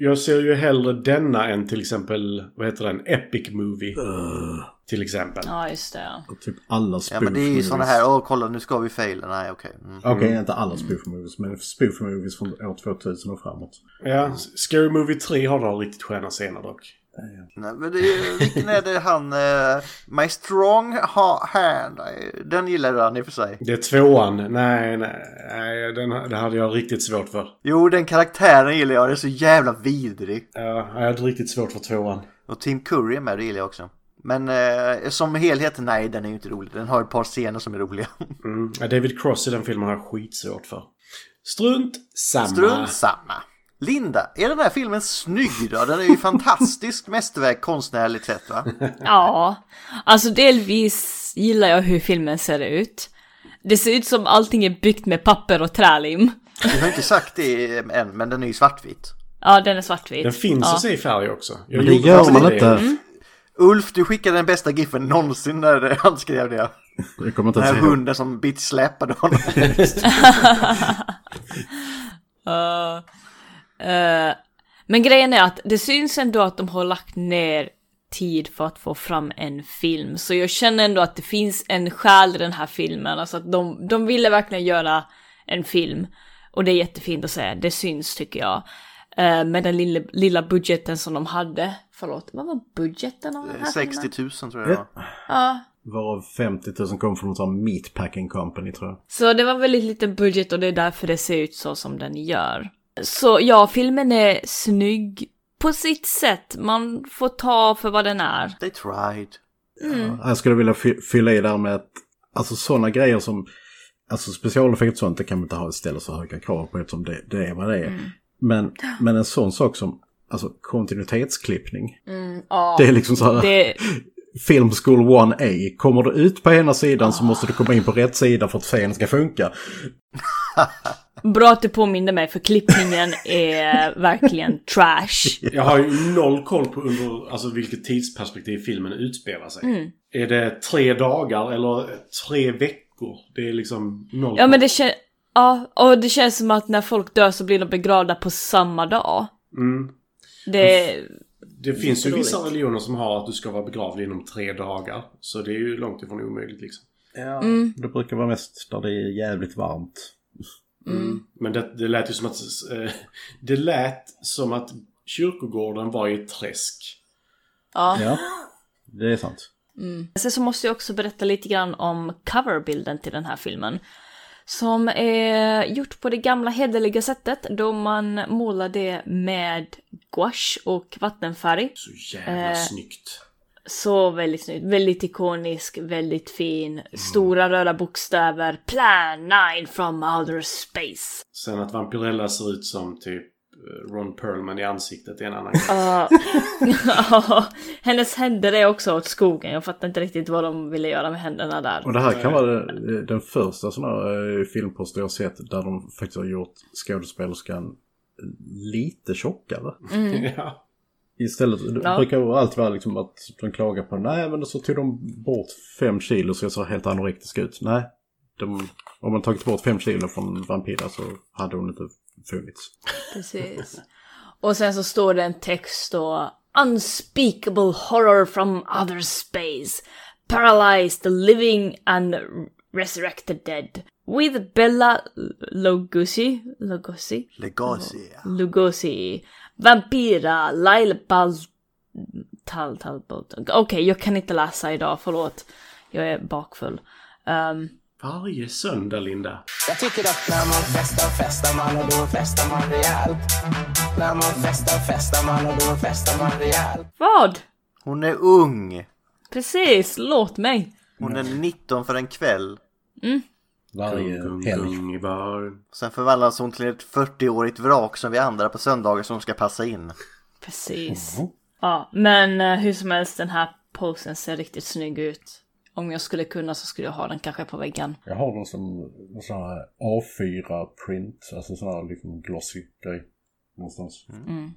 [SPEAKER 3] Jag ser ju hellre denna än till exempel, vad heter den? Epic Movie. Till exempel.
[SPEAKER 1] Ja, just det. ja.
[SPEAKER 4] Eh, Typ alla spoof
[SPEAKER 2] Ja, men det är ju sådana här. Åh, kolla nu ska vi faila. Nej, okej. Mm.
[SPEAKER 4] Okej, inte alla spoof movies, men spoof movies från år 2000 och framåt.
[SPEAKER 3] Ja, Scary Movie 3 har några riktigt sköna scener dock.
[SPEAKER 2] Nej, men det är, ju- vilken är det han... eh, my strong ha- hand. eh, Den gillade han i och för sig.
[SPEAKER 3] Det är tvåan. Nej, nej, nej den, det hade jag riktigt svårt för.
[SPEAKER 2] Jo, den karaktären gillar jag. Den är så jävla vidrig.
[SPEAKER 3] Ja, jag hade riktigt svårt för tvåan.
[SPEAKER 2] Och Tim Curry är med, det gillar jag också. Men eh, som helhet, nej, den är ju inte rolig. Den har ett par scener som är roliga.
[SPEAKER 3] Mm. ja, David Cross i den filmen har jag skitsvårt för. Strunt samma.
[SPEAKER 2] Strunt samma. Linda, är den här filmen snygg då? Den är ju fantastiskt mästerverk konstnärligt sett va?
[SPEAKER 1] Ja, alltså delvis gillar jag hur filmen ser ut. Det ser ut som allting är byggt med papper och trälim.
[SPEAKER 2] Vi har inte sagt det än, men den är ju svartvit.
[SPEAKER 1] Ja, den är svartvit.
[SPEAKER 3] Den finns
[SPEAKER 1] ja.
[SPEAKER 3] att se i färg också. Jag
[SPEAKER 4] Men det
[SPEAKER 3] gjorde
[SPEAKER 4] gör
[SPEAKER 3] faktiskt
[SPEAKER 4] man
[SPEAKER 3] det.
[SPEAKER 4] inte.
[SPEAKER 2] Ulf, du skickade den bästa giffen någonsin när han skrev det.
[SPEAKER 4] Jag kommer inte
[SPEAKER 2] Den
[SPEAKER 4] ens
[SPEAKER 2] här
[SPEAKER 4] ihåg.
[SPEAKER 2] hunden som bitch-släpade honom.
[SPEAKER 1] Ja. Eh, men grejen är att det syns ändå att de har lagt ner tid för att få fram en film. Så jag känner ändå att det finns en själ i den här filmen. Alltså att de, de ville verkligen göra en film. Och det är jättefint att säga, det syns tycker jag. Eh, med den lilla, lilla budgeten som de hade. Förlåt, vad var budgeten av den här
[SPEAKER 2] 60
[SPEAKER 1] filmen?
[SPEAKER 2] 000 tror jag det var.
[SPEAKER 1] Ja.
[SPEAKER 4] Varav 50 000 kom från någon sån här meatpacking company tror jag.
[SPEAKER 1] Så det var väldigt liten budget och det är därför det ser ut så som den gör. Så ja, filmen är snygg på sitt sätt. Man får ta för vad den är.
[SPEAKER 2] They tried.
[SPEAKER 4] Jag skulle vilja fy- fylla i där med att alltså sådana grejer som alltså specialeffekter och sånt det kan man inte ha ställa så höga krav på eftersom det, det är vad det är. Men, men en sån sak som alltså kontinuitetsklippning.
[SPEAKER 1] ja.
[SPEAKER 4] Det är liksom så här
[SPEAKER 1] Det,
[SPEAKER 4] Film School 1A. Kommer du ut på ena sidan så måste du komma in på rätt sida för att scenen ska funka.
[SPEAKER 1] bra att du påminner mig för klippningen är verkligen trash.
[SPEAKER 3] Jag har ju noll koll på under, alltså vilket tidsperspektiv filmen utspelar sig.
[SPEAKER 1] Mm.
[SPEAKER 3] Är det tre dagar eller tre veckor? Det är liksom noll
[SPEAKER 1] Ja
[SPEAKER 3] koll.
[SPEAKER 1] men det känns... Ja, och det känns som att när folk dör så blir de begravda på samma dag.
[SPEAKER 3] Mm.
[SPEAKER 1] Det...
[SPEAKER 3] Det finns ju
[SPEAKER 1] Jätteroligt.
[SPEAKER 3] vissa religioner som har att du ska vara begravd inom tre dagar. Så det är ju långt ifrån omöjligt liksom.
[SPEAKER 4] Ja, det brukar vara mest där det är jävligt varmt.
[SPEAKER 3] Men det, det lät ju som att... Eh, det lät som att kyrkogården var i ett träsk.
[SPEAKER 1] Ja.
[SPEAKER 4] Ja, det är sant.
[SPEAKER 1] Sen så måste jag också berätta lite grann om coverbilden till den här filmen. Som är gjort på det gamla hederliga sättet då man målar det med gouache och vattenfärg.
[SPEAKER 3] Så jävla
[SPEAKER 1] Eh.
[SPEAKER 3] snyggt.
[SPEAKER 1] Så väldigt snyggt, väldigt ikonisk, väldigt fin. Stora röda bokstäver. Plan 9 from outer space.
[SPEAKER 3] Sen att Vampirella ser ut som typ eh, Ron Perlman i ansiktet är en annan grej.
[SPEAKER 1] Ja. Hennes händer är också åt skogen. Jag fattar inte riktigt vad de ville göra med händerna där.
[SPEAKER 4] Och det här kan vara eh, den första sån här eh, filmposter jag har sett där de faktiskt har gjort skådespelerskan eh, lite tjockare.
[SPEAKER 3] ja.
[SPEAKER 4] Istället, det
[SPEAKER 1] Ja.
[SPEAKER 4] brukar ju alltid vara liksom att de klagar på nej men så tog de bort fem kilo så jag ser helt anorektisk ut. Nej, de, om man tagit bort fem kilo från Vampira så hade hon inte funnits.
[SPEAKER 1] Precis. Och sen så står det en text då. Unspeakable horror from other space. Paralyzed the living and resurrected dead. With Bella Lugosi, Lugosi,
[SPEAKER 2] Legacy. ja.
[SPEAKER 1] Lugosi, Vampira, Laila Bal... Tal, tal, Bal- Okej, jag kan inte läsa idag, förlåt. Jag är bakfull. Ehm,
[SPEAKER 3] Varje söndag, Linda.
[SPEAKER 6] Jag tycker att när man festar, festar man och då festar man rejält. När man festar, festar man och då festar man rejält.
[SPEAKER 1] vad?
[SPEAKER 2] Hon är ung.
[SPEAKER 1] Precis, låt mig.
[SPEAKER 2] Hon är 19 för en kväll.
[SPEAKER 4] Varje
[SPEAKER 3] Gung,
[SPEAKER 4] helg.
[SPEAKER 3] gung i baren.
[SPEAKER 2] Sen förvandlas hon till ett 40-årigt vrak som vi andra på söndagar som ska passa in.
[SPEAKER 1] Precis. Ja, men eh, hur som helst, den här posen ser riktigt snygg ut. Om jag skulle kunna så skulle jag ha den kanske på väggen.
[SPEAKER 4] Jag har den som en sån här A4-print, alltså sån här liksom glossy grej. Någonstans.
[SPEAKER 3] Mm.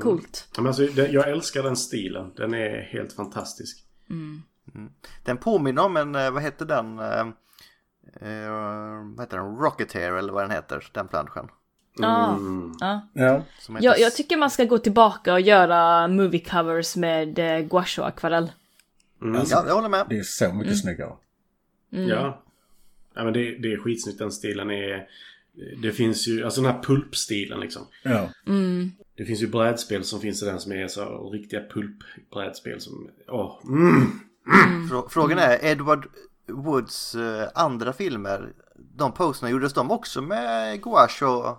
[SPEAKER 1] Coolt.
[SPEAKER 3] Ja, Men alltså, den, jag älskar den stilen. Den är helt fantastisk.
[SPEAKER 2] Den påminner om en, eh, vad heter den? eh, eh, vad heter den? Rocketeer eller vad den heter, den planschen.
[SPEAKER 1] Ja. ja.
[SPEAKER 4] Ja.
[SPEAKER 2] Som
[SPEAKER 1] Jag, jag tycker man ska gå tillbaka och göra movie covers med eh, gouache och akvarell.
[SPEAKER 2] ja, jag håller med.
[SPEAKER 4] Det är så mycket snyggare.
[SPEAKER 3] Ja. ja men det, det är skitsnyggt. Den stilen är... Det finns ju... Alltså den här pulpstilen liksom.
[SPEAKER 4] Ja.
[SPEAKER 3] Det finns ju brädspel som finns i den som är så här riktiga pulpbrädspel som... Åh! mm.
[SPEAKER 2] Frå- Frågan är, Edward Woods eh, andra filmer, de posterna, gjordes de också med gouache och...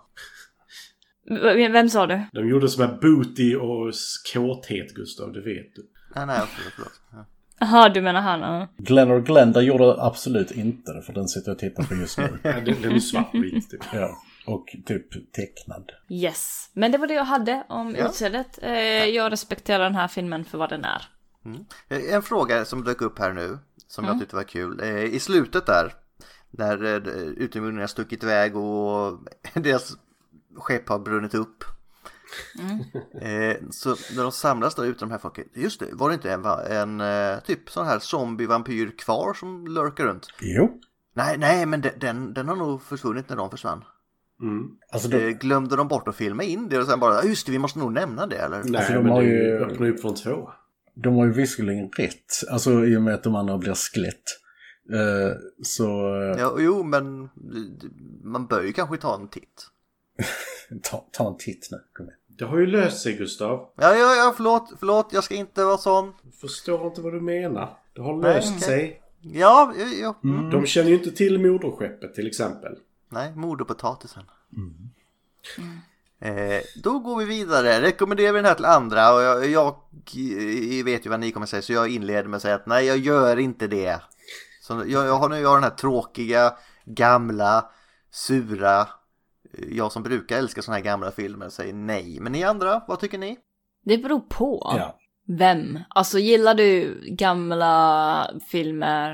[SPEAKER 1] V- Vem sa du?
[SPEAKER 3] De gjorde som här booty och s- kåthet, Gustav. Det vet du.
[SPEAKER 2] Nej, nej, förlåt. förlåt. Ja.
[SPEAKER 1] Jaha, du menar han? ja.
[SPEAKER 4] Glenor Glenda gjorde absolut inte det, för den sitter jag och tittar på just nu.
[SPEAKER 3] Ja, Den, den är svartvit typ.
[SPEAKER 4] ja. Och typ tecknad.
[SPEAKER 1] Yes. Men det var det jag hade om
[SPEAKER 2] Ja.
[SPEAKER 1] utseendet. Eh, jag respekterar den här filmen för vad den är.
[SPEAKER 2] Eh, En fråga som dök upp här nu, som jag tyckte var kul. Eh, I slutet där, när eh, utomjordingarna har stuckit iväg och deras skepp har brunnit upp. Eh, så när de samlas där ute, de här folket, just det, var det inte en, va- en eh, typ sån här zombie-vampyr kvar som lurkar runt?
[SPEAKER 4] Jo.
[SPEAKER 2] Nej, nej, men de- den, den har nog försvunnit när de försvann.
[SPEAKER 3] Mm.
[SPEAKER 4] Alltså,
[SPEAKER 2] Eh,
[SPEAKER 4] de,
[SPEAKER 2] glömde de bort att filma in det och sen bara, just det, vi måste nog nämna det eller?
[SPEAKER 3] Nej,
[SPEAKER 4] Alltså, de
[SPEAKER 3] men
[SPEAKER 4] har
[SPEAKER 3] det
[SPEAKER 4] ju-
[SPEAKER 3] öppnar upp från två.
[SPEAKER 4] de har ju visserligen rätt, alltså i och med att de andra blir skelett. Eh, så eh,
[SPEAKER 2] Ja, jo, men eh, man bör ju kanske ta en titt.
[SPEAKER 4] ta, ta en titt nu. Kom igen.
[SPEAKER 3] Det har ju löst sig, Gustav.
[SPEAKER 2] Ja, ja, ja, förlåt, förlåt, jag ska inte vara sån.
[SPEAKER 3] Jag förstår inte vad du menar. Det har löst
[SPEAKER 2] okej.
[SPEAKER 3] sig.
[SPEAKER 2] Ja, ja, ja. Mm.
[SPEAKER 3] De känner ju inte till moderskeppet till exempel.
[SPEAKER 2] Nej, mord och potatisen. Eh, då går vi vidare. Rekommenderar vi den här till andra och jag, jag eh, vet ju vad ni kommer säga så jag inleder med att säga att nej, jag gör inte det. Så jag, jag har nu jag har den här tråkiga, gamla, sura. eh, Jag som brukar älska såna här gamla filmer säger nej. Men ni andra, vad tycker ni?
[SPEAKER 1] Det beror på.
[SPEAKER 4] Ja.
[SPEAKER 1] Vem? Alltså gillar du gamla filmer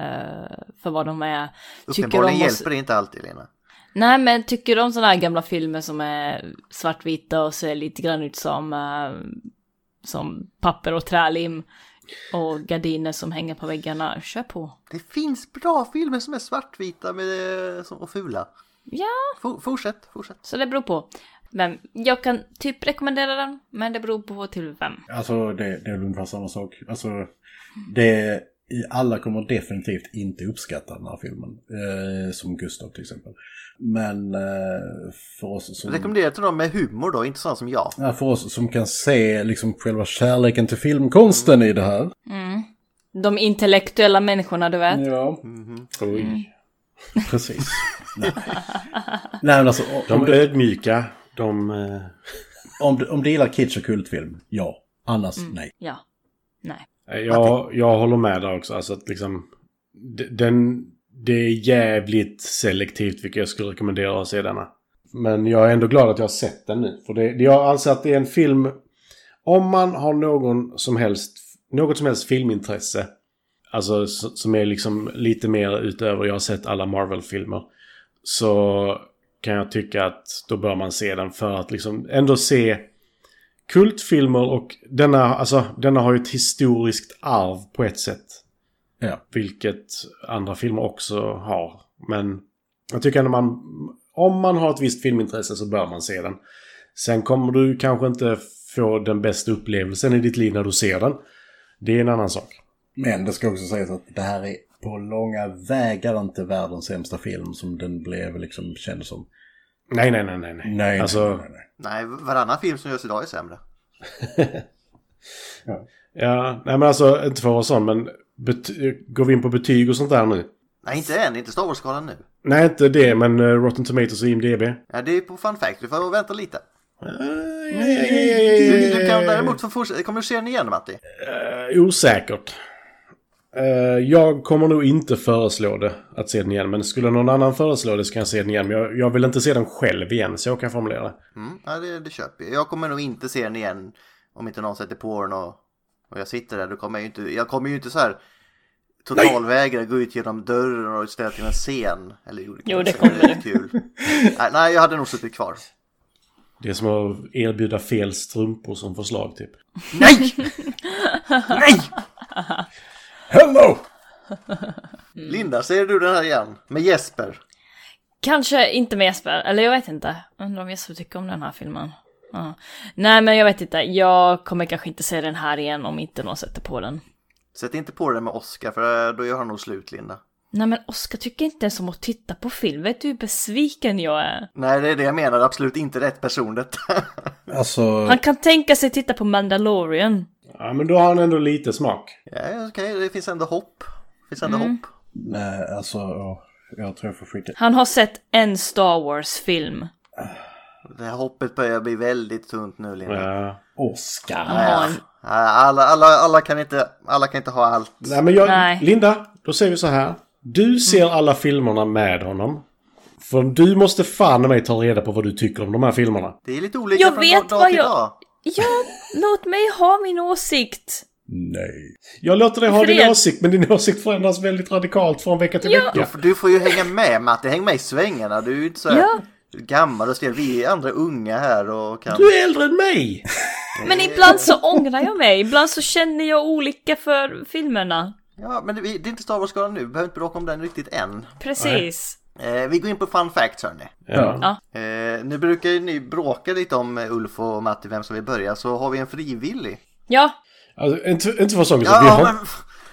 [SPEAKER 1] eh, för vad de är? Tycker
[SPEAKER 2] Uppenbarligen
[SPEAKER 1] de måste...
[SPEAKER 2] hjälper det inte alltid, Lena.
[SPEAKER 1] Nej men tycker du om sådana här gamla filmer som är svartvita och ser lite grann ut som, eh, som papper och trälim och gardiner som hänger på väggarna? Kör på.
[SPEAKER 2] Det finns bra filmer som är svartvita med, eh, som- och fula.
[SPEAKER 1] Ja,
[SPEAKER 2] For, fortsätt, fortsätt.
[SPEAKER 1] så det beror på. Men jag kan typ rekommendera den, men det beror på till vem.
[SPEAKER 4] Alltså det, det är väl ungefär samma sak. Alltså, det, alla kommer definitivt inte uppskatta den här filmen. Eh, som Gustav till exempel. Men eh, för oss som...
[SPEAKER 2] Rekommenderar till dem med humor då, inte sådana som jag.
[SPEAKER 4] Ja, för oss som kan se liksom själva kärleken till filmkonsten i det här.
[SPEAKER 1] De intellektuella människorna, du vet.
[SPEAKER 4] Ja,
[SPEAKER 3] Oj.
[SPEAKER 4] Mm. precis. Nej. Nej, men alltså om,
[SPEAKER 3] De
[SPEAKER 4] du,
[SPEAKER 3] ödmjuka, de... eh,
[SPEAKER 4] om, du, om du gillar kitsch och kultfilm, ja. Annars, nej.
[SPEAKER 1] Ja. Nej.
[SPEAKER 3] Eh, Jag, jag håller med där också. Alltså att liksom... d- Den, det är jävligt selektivt vilka jag skulle rekommendera att se denna. Men jag är ändå glad att jag har sett den nu. För det, det- jag anser att det är en film... Om man har någon som helst, något som helst filmintresse. Alltså s- som är liksom lite mer utöver, jag har sett alla Marvel-filmer. Så kan jag tycka att då bör man se den för att liksom ändå se kultfilmer och denna, alltså, denna har ju ett historiskt arv på ett sätt.
[SPEAKER 4] Ja.
[SPEAKER 3] Vilket andra filmer också har. Men jag tycker att man, om man har ett visst filmintresse så bör man se den. Sen kommer du kanske inte få den bästa upplevelsen i ditt liv när du ser den. Det är en annan sak.
[SPEAKER 4] Men det ska också sägas att det här är på långa vägar inte världens sämsta film som den blev liksom känd som.
[SPEAKER 3] Nej, nej, nej, nej. nej.
[SPEAKER 4] Nej,
[SPEAKER 3] Alltså-
[SPEAKER 4] nej, nej, nej.
[SPEAKER 2] Nej, varannan film som görs idag är sämre.
[SPEAKER 3] Ja, nej men alltså inte för att vara sån men bet- går vi in på betyg och sånt där nu?
[SPEAKER 2] Nej, inte än. Inte Star Wars-skalan nu.
[SPEAKER 3] Nej, inte det men eh, Rotten Tomatoes och IMDB.
[SPEAKER 2] Ja, det är på Fun Fact. Du får vänta lite.
[SPEAKER 3] Eh,
[SPEAKER 2] Du, du kan däremot få fortsätta. Kommer du se den igen, Matti?
[SPEAKER 3] Osäkert. Eh, Jag kommer nog inte föreslå det att se den igen men skulle någon annan föreslå det så kan jag se den igen. Men jag, jag vill inte se den själv igen så jag kan formulera det.
[SPEAKER 2] Mm, ja, det, det köper jag. Jag kommer nog inte se den igen om inte någon sätter på den och, och jag sitter där. Då kommer jag, ju inte, jag kommer ju inte så här totalvägra gå ut genom dörren och ställa till en scen. Eller jo, det,
[SPEAKER 1] Jo, det
[SPEAKER 2] kanske
[SPEAKER 1] kommer
[SPEAKER 2] är kul. nej, nej, jag hade nog suttit kvar.
[SPEAKER 3] Det är som att erbjuda fel strumpor som förslag typ.
[SPEAKER 2] Nej! nej!
[SPEAKER 4] Hello!
[SPEAKER 1] Mm.
[SPEAKER 2] Linda, ser du den här igen? Med Jesper?
[SPEAKER 1] Kanske inte med Jesper, eller jag vet inte. Undrar om Jesper tycker om den här filmen. Ja. Nej men jag vet inte, jag kommer kanske inte se den här igen om inte någon sätter på den.
[SPEAKER 2] Sätt inte på den med Oscar för eh, då gör han nog slut, Linda.
[SPEAKER 1] Nej men Oskar tycker inte ens om att titta på film, vet du hur besviken jag är?
[SPEAKER 2] Nej, det är det jag menar. Absolut inte rätt person detta.
[SPEAKER 4] Alltså,
[SPEAKER 1] Han kan tänka sig titta på Mandalorian.
[SPEAKER 3] Ja men då har han ändå lite smak.
[SPEAKER 2] ja, okej, det finns ändå hopp. Det finns ändå
[SPEAKER 1] Mm.
[SPEAKER 2] hopp.
[SPEAKER 4] nej, alltså, ja, jag tror jag får skicka.
[SPEAKER 1] Han har sett en Star Wars-film.
[SPEAKER 2] Det här hoppet börjar bli väldigt tunt nu, Linda.
[SPEAKER 3] Ja.
[SPEAKER 4] Oscar.
[SPEAKER 1] Han har en...
[SPEAKER 2] Nej, Alla, alla, alla, kan inte, alla kan inte ha allt.
[SPEAKER 3] Nej, men jag,
[SPEAKER 1] Nej. Mm.
[SPEAKER 3] Linda, då säger vi så här. Du ser alla filmerna med honom. För du måste fan i mig ta reda på vad du tycker om de här filmerna.
[SPEAKER 2] Det är lite olika
[SPEAKER 1] Jag
[SPEAKER 2] från
[SPEAKER 1] vet
[SPEAKER 2] dag, dag
[SPEAKER 1] vad
[SPEAKER 2] till
[SPEAKER 1] jag-
[SPEAKER 2] dag.
[SPEAKER 1] Ja, låt mig ha min åsikt!
[SPEAKER 4] Nej.
[SPEAKER 3] Jag låter dig ha
[SPEAKER 1] Fred.
[SPEAKER 3] din åsikt, men din åsikt förändras väldigt radikalt från vecka till
[SPEAKER 1] Ja.
[SPEAKER 3] vecka.
[SPEAKER 2] För Du får ju hänga med Matti, häng med i svängarna. Du är ju inte så här
[SPEAKER 1] Ja.
[SPEAKER 2] gammal och stel. Vi är andra unga här och kan...
[SPEAKER 3] Du är äldre än mig!
[SPEAKER 1] Men ibland så ångrar jag mig, ibland så känner jag olika för filmerna.
[SPEAKER 2] Ja, men det, det är inte Star Wars-skalan nu, vi behöver inte bråka om den riktigt än.
[SPEAKER 1] Precis.
[SPEAKER 2] Eh, vi går in på fun facts hörni.
[SPEAKER 1] Ja.
[SPEAKER 2] Eh, nu brukar ju ni bråka lite om eh, Ulf och Matti, vem som vill börja, så har vi en frivillig.
[SPEAKER 1] Ja,
[SPEAKER 3] Alltså, inte, inte för sånt.
[SPEAKER 2] Ja,
[SPEAKER 3] vi, har,
[SPEAKER 2] men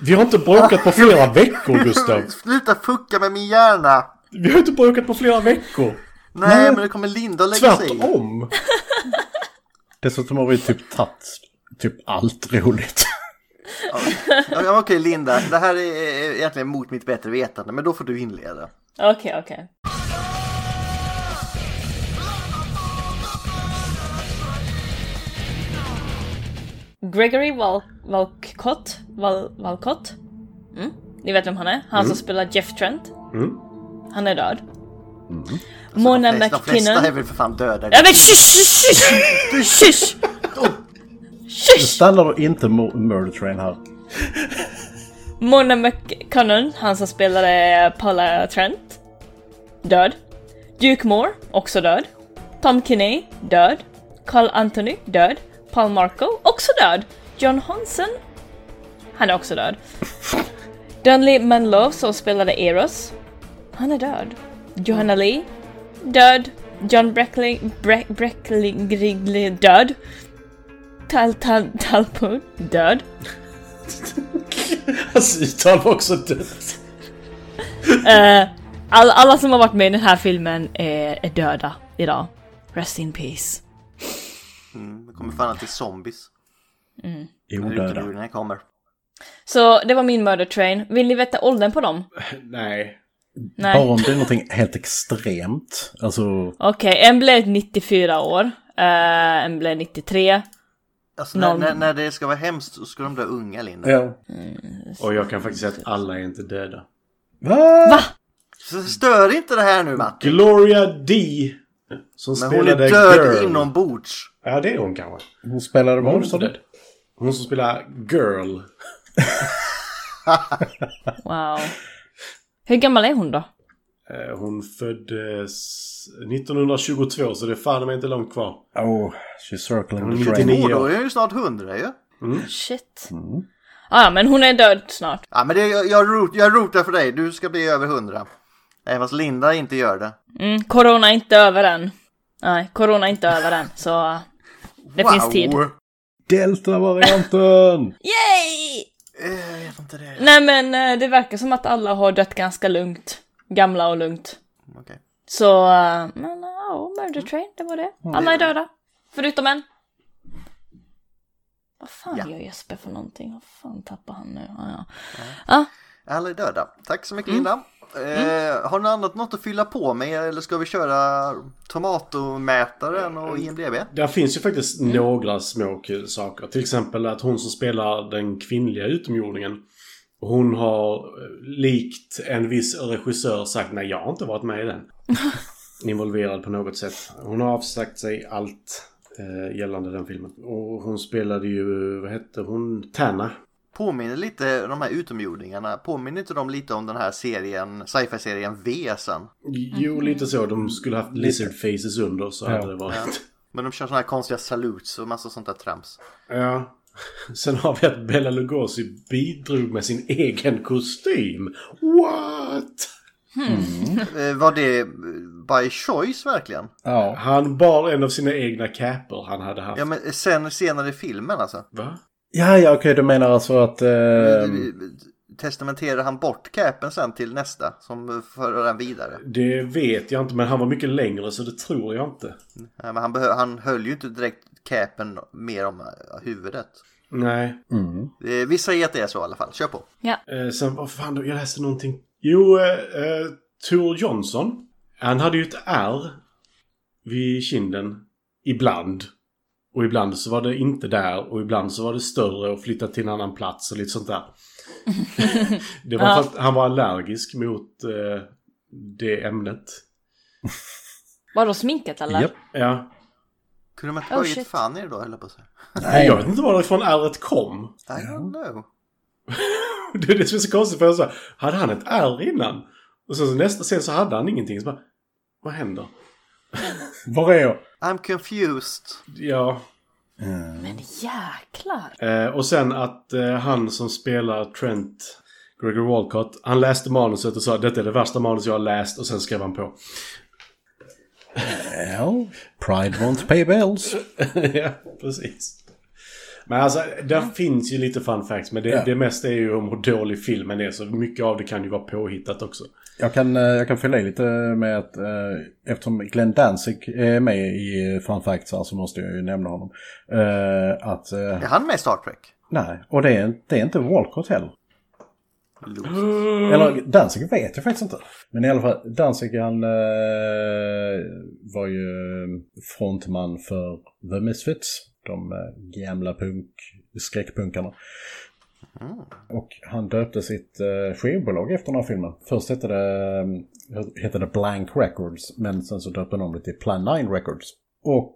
[SPEAKER 3] vi har inte bråkat på flera veckor, Gustav.
[SPEAKER 2] sluta fucka med min hjärna!
[SPEAKER 3] Vi har inte bråkat på flera veckor.
[SPEAKER 2] Nej, men det kommer Linda och lägga sig i.
[SPEAKER 3] Tvärtom.
[SPEAKER 4] Dessutom har vi typ tagit typ allt roligt.
[SPEAKER 2] Ja, men okej Linda, det här är egentligen mot mitt bättre vetande, men då får du inleda.
[SPEAKER 1] okej, okej. Gregory Val- Valcott, Val- Valcott. Mm. Ni vet vem han är? Han som spelar Jeff Trent. Han är död. Mona
[SPEAKER 2] Alltså, de flesta, de
[SPEAKER 1] McKinnon.
[SPEAKER 2] flesta är väl för fan döda.
[SPEAKER 1] Ja men shush, shush, shush! Shush!
[SPEAKER 2] Oh.
[SPEAKER 1] Shush!
[SPEAKER 4] Stannar du inte Mo- Murder Train här?
[SPEAKER 1] Mona McCunnon, han som spelade Paula Trent. Död. Duke Moore, också död. Tom Kinney, död. Carl Anthony, död. Paul Marco, också död. John Hansen, han är också död. Dunley Manlove som spelade Eros, han är död. Johanna Lee, död. John Breckley, Bre- Breckley, Grigley, död. Tal, tal, Talpo, död.
[SPEAKER 3] Hans uttal var också dött.
[SPEAKER 1] All, alla som har varit med i den här filmen är, är döda idag. Rest in peace.
[SPEAKER 2] Mm, det kommer fan att till zombies. Nu rycker du
[SPEAKER 4] Odöda.
[SPEAKER 2] den här kommer.
[SPEAKER 1] Så det var min murder train. Vill ni veta åldern på dem?
[SPEAKER 3] Nej.
[SPEAKER 1] Nej.
[SPEAKER 4] Bara om det är någonting helt extremt. Alltså,
[SPEAKER 1] Okej, en blev 94 år. eh, en blev 93.
[SPEAKER 2] Alltså, när,
[SPEAKER 1] Någon-
[SPEAKER 2] när, när det ska vara hemskt så ska de dö unga Linda.
[SPEAKER 4] ja.
[SPEAKER 3] Och jag kan faktiskt säga att alla är inte döda.
[SPEAKER 4] Va?
[SPEAKER 2] Så Stör inte det här nu Matti.
[SPEAKER 3] Gloria D. Som
[SPEAKER 2] Men hon är
[SPEAKER 3] spelade
[SPEAKER 2] död
[SPEAKER 3] Girl.
[SPEAKER 2] inombords.
[SPEAKER 3] Ja, det är hon kanske.
[SPEAKER 4] Hon spelade
[SPEAKER 3] Hon
[SPEAKER 4] vad
[SPEAKER 3] är
[SPEAKER 4] sa
[SPEAKER 3] död.
[SPEAKER 4] du?
[SPEAKER 3] Hon som spelar Girl.
[SPEAKER 1] Wow. Hur gammal är hon då?
[SPEAKER 3] Eh, Hon föddes 1922 så det är fan mig inte långt kvar.
[SPEAKER 4] Oh, she's circling
[SPEAKER 3] Hon är
[SPEAKER 4] the
[SPEAKER 3] lite
[SPEAKER 4] train.
[SPEAKER 3] ny.
[SPEAKER 2] Och
[SPEAKER 3] Ja.
[SPEAKER 2] då är jag ju snart hundra ju.
[SPEAKER 1] Shit. Ah, ja, men hon är död snart.
[SPEAKER 2] Ja, men det, jag, jag, root, jag rotar för dig. Du ska bli över 100. Även fast Linda inte gör det.
[SPEAKER 1] Mm, corona är inte över än. Nej, corona är inte över än, så eh, det finns tid.
[SPEAKER 4] Delta-varianten!
[SPEAKER 1] Yay!
[SPEAKER 2] Eh, Jag vet inte det.
[SPEAKER 1] Nej men eh, det verkar som att alla har dött ganska lugnt. Gamla och lugnt.
[SPEAKER 2] Okej.
[SPEAKER 1] Så, eh, men eh, ja, Murder Train, det var det. Alla är döda. Förutom en. Vad fan
[SPEAKER 2] Ja.
[SPEAKER 1] gör Jesper för någonting? Vad fan tappar han nu? Ja, ja.
[SPEAKER 2] Alla är döda. Tack så mycket Linda. Eh, har ni annat något att fylla på med eller ska vi köra tomatomätaren och IMDB?
[SPEAKER 3] Där finns ju faktiskt några små kul saker. Till exempel att hon som spelar den kvinnliga utomjordingen. Hon har eh, likt en viss regissör sagt nej jag har inte varit med i den. Involverad på något sätt. Hon har avsagt sig allt eh, gällande den filmen. Och hon spelade ju, vad hette hon? Tana.
[SPEAKER 2] Påminner lite de här utomjordingarna, påminner inte de lite om den här serien, sci-fi-serien Vesen?
[SPEAKER 3] Jo, lite så. De skulle haft lizard faces under så hade det varit.
[SPEAKER 2] Men de kör sådana här konstiga saluts och massa sånt där trams.
[SPEAKER 3] Ja. Sen har vi att Bella Lugosi bidrog med sin egen kostym. What?
[SPEAKER 2] Eh, var det eh, by choice verkligen?
[SPEAKER 4] Ja.
[SPEAKER 3] Han bar en av sina egna capor han hade haft.
[SPEAKER 2] Ja men sen senare i filmen alltså.
[SPEAKER 3] Va?
[SPEAKER 4] Ja, ja, okej, du menar alltså att...
[SPEAKER 2] Mm.
[SPEAKER 4] ehm,
[SPEAKER 2] Eh, Testamenterar han bort capen sen till nästa som för den vidare?
[SPEAKER 3] Det vet jag inte, men han var mycket längre så det tror jag inte.
[SPEAKER 2] Nej, men han, behö- han höll ju inte direkt capen mer om eh, huvudet.
[SPEAKER 3] Nej.
[SPEAKER 4] mm.
[SPEAKER 2] Eh, vi säger att det är så i alla fall. Kör på.
[SPEAKER 3] Eh, sen, vad fan, jag läste någonting. Jo, eh, eh, Tor Johnson. Han hade ju ett R vid kinden. Ibland. Och ibland så var det inte där och ibland så var det större och flyttat till en annan plats och lite sånt där. det var för att han var allergisk mot eh, det ämnet.
[SPEAKER 1] Vadå sminket eller?
[SPEAKER 4] Japp.
[SPEAKER 3] Ja.
[SPEAKER 2] Kunde man inte
[SPEAKER 1] Oh,
[SPEAKER 2] höjt
[SPEAKER 1] shit.
[SPEAKER 2] fan i det då höll jag på att säga.
[SPEAKER 3] Nej. Jag vet inte varifrån R kom.
[SPEAKER 2] I don't know.
[SPEAKER 3] Det är det som är så konstigt för jag sa, hade han ett R innan? Och sen så nästa scen så hade han ingenting. Så bara, vad händer?
[SPEAKER 4] Var är jag?
[SPEAKER 2] I'm confused.
[SPEAKER 3] Ja.
[SPEAKER 1] Men jäklar!
[SPEAKER 3] Eh, och sen att eh, han som spelar Trent, Gregory Walcott, han läste manuset och sa detta är det värsta manus jag har läst och sen skrev han på.
[SPEAKER 4] Ja, Pride won't pay bills.
[SPEAKER 3] ja, precis. Men alltså, där finns ju lite fun facts, men det,
[SPEAKER 4] Ja.
[SPEAKER 3] det mesta är ju om hur dålig filmen är, så mycket av det kan ju vara påhittat också.
[SPEAKER 4] Jag kan, eh, jag kan fylla i lite med att eh, eftersom Glenn Danzig är med i Fun Facts här så måste jag ju nämna honom. Eh, att, eh,
[SPEAKER 2] Är han med i Star Trek?
[SPEAKER 4] nej, och det är, det är inte Walcott heller.
[SPEAKER 2] Luke.
[SPEAKER 4] Eller Danzig vet jag faktiskt inte. Men i alla fall, Danzig han eh, var ju eh, frontman för The Misfits. De eh, gamla punk, skräckpunkarna. Och han döpte sitt eh, skivbolag efter den här filmen. Först hette det, eh, hette det Blank Records, men sen så döpte de det till Plan 9 Records. Och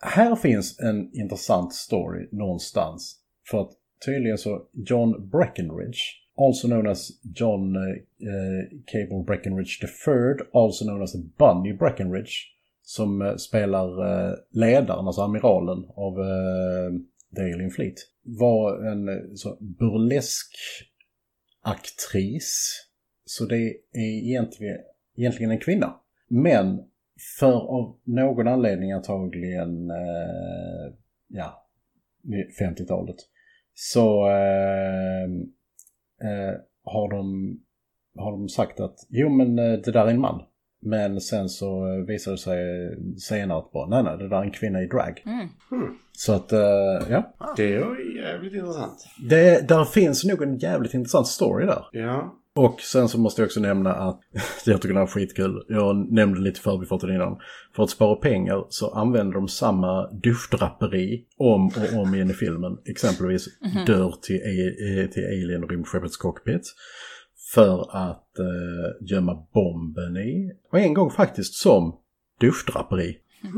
[SPEAKER 4] här finns en intressant story någonstans. För att tydligen så John Breckenridge, also known as John eh, eh, Cable Breckenridge the third, also known as Bunny Breckenridge, som eh, spelar eh, ledaren, alltså amiralen av eh, Daily Fleet, var en eh, så burlesk aktris. Så det är egentligen, egentligen en kvinna. Men för av någon anledning antagligen eh, ja, 50-talet så eh, eh, har, de, har de sagt att jo men eh, det där är en man. Men sen så eh, visar det sig senare att bara, nej nej det där är en kvinna i drag. Så att eh, ja,
[SPEAKER 3] Det är ju jävligt intressant.
[SPEAKER 4] det, där finns nog en jävligt intressant story där.
[SPEAKER 3] Ja.
[SPEAKER 4] Och sen så måste jag också nämna att jag tycker det här är skitkul. Jag nämnde lite förbifarten innan. För att spara pengar så använder de samma duschdraperi om och om igen i filmen. Exempelvis dörr till, A- eh, till Alien och rymdskeppets cockpit. För att eh, gömma bomben i. Och en gång faktiskt som duschdraperi.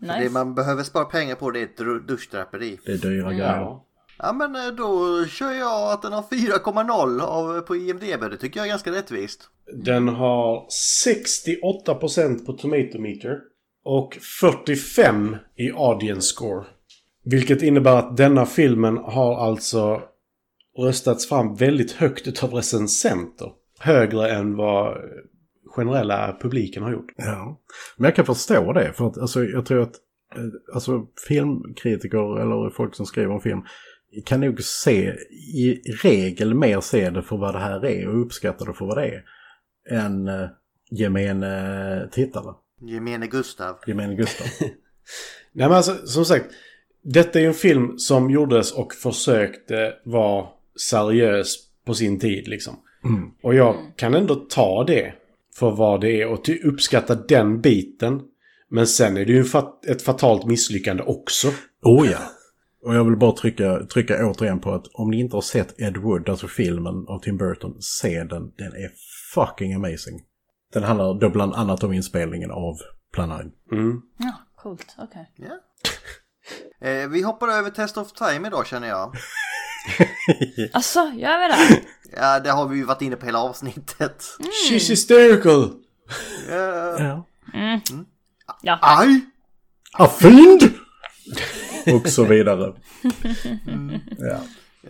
[SPEAKER 2] Det
[SPEAKER 1] Nice.
[SPEAKER 2] man behöver spara pengar på det är ett dru- duschdraperi.
[SPEAKER 4] Det är dyra grejer.
[SPEAKER 3] Ja.
[SPEAKER 2] Ja men eh, då kör jag att den har 4,0 av, eh, på IMDB. Det tycker jag är ganska rättvist.
[SPEAKER 3] Den har 68% på Tomato Meter och 45 i audience score. Vilket innebär att denna filmen har alltså röstats fram väldigt högt utav recensenter. Högre än vad generella publiken har gjort.
[SPEAKER 4] Ja. Men jag kan förstå det, för att alltså, jag tror att eh, alltså, filmkritiker eller folk som skriver om film kan nog se, i regel mer se det för vad det här är och uppskatta det för vad det är än eh, gemene tittare,
[SPEAKER 2] Gemene Gustav.
[SPEAKER 4] gemene Gustav.
[SPEAKER 3] Nej men alltså, som sagt. Detta är ju en film som gjordes och försökte vara seriös på sin tid liksom. Och jag kan ändå ta det för vad det är och ty- uppskatta den biten. Men sen är det ju en fat- ett fatalt misslyckande också.
[SPEAKER 4] Oh ja. Och jag vill bara trycka, trycka återigen på att om ni inte har sett Ed Wood, alltså filmen av Tim Burton, se den. Den är fucking amazing. Den handlar då bland annat om inspelningen av Plan 9.
[SPEAKER 1] Ja, coolt. Okej.
[SPEAKER 2] Ja. Eh, vi hoppar över Test of Time idag känner jag.
[SPEAKER 1] Alltså, gör vi det?
[SPEAKER 2] Ja, det har vi ju varit inne på hela avsnittet.
[SPEAKER 3] She's hysterical!
[SPEAKER 2] Eh,
[SPEAKER 4] Ja.
[SPEAKER 2] aj!
[SPEAKER 4] Ah, fynd! Och så vidare. Ja.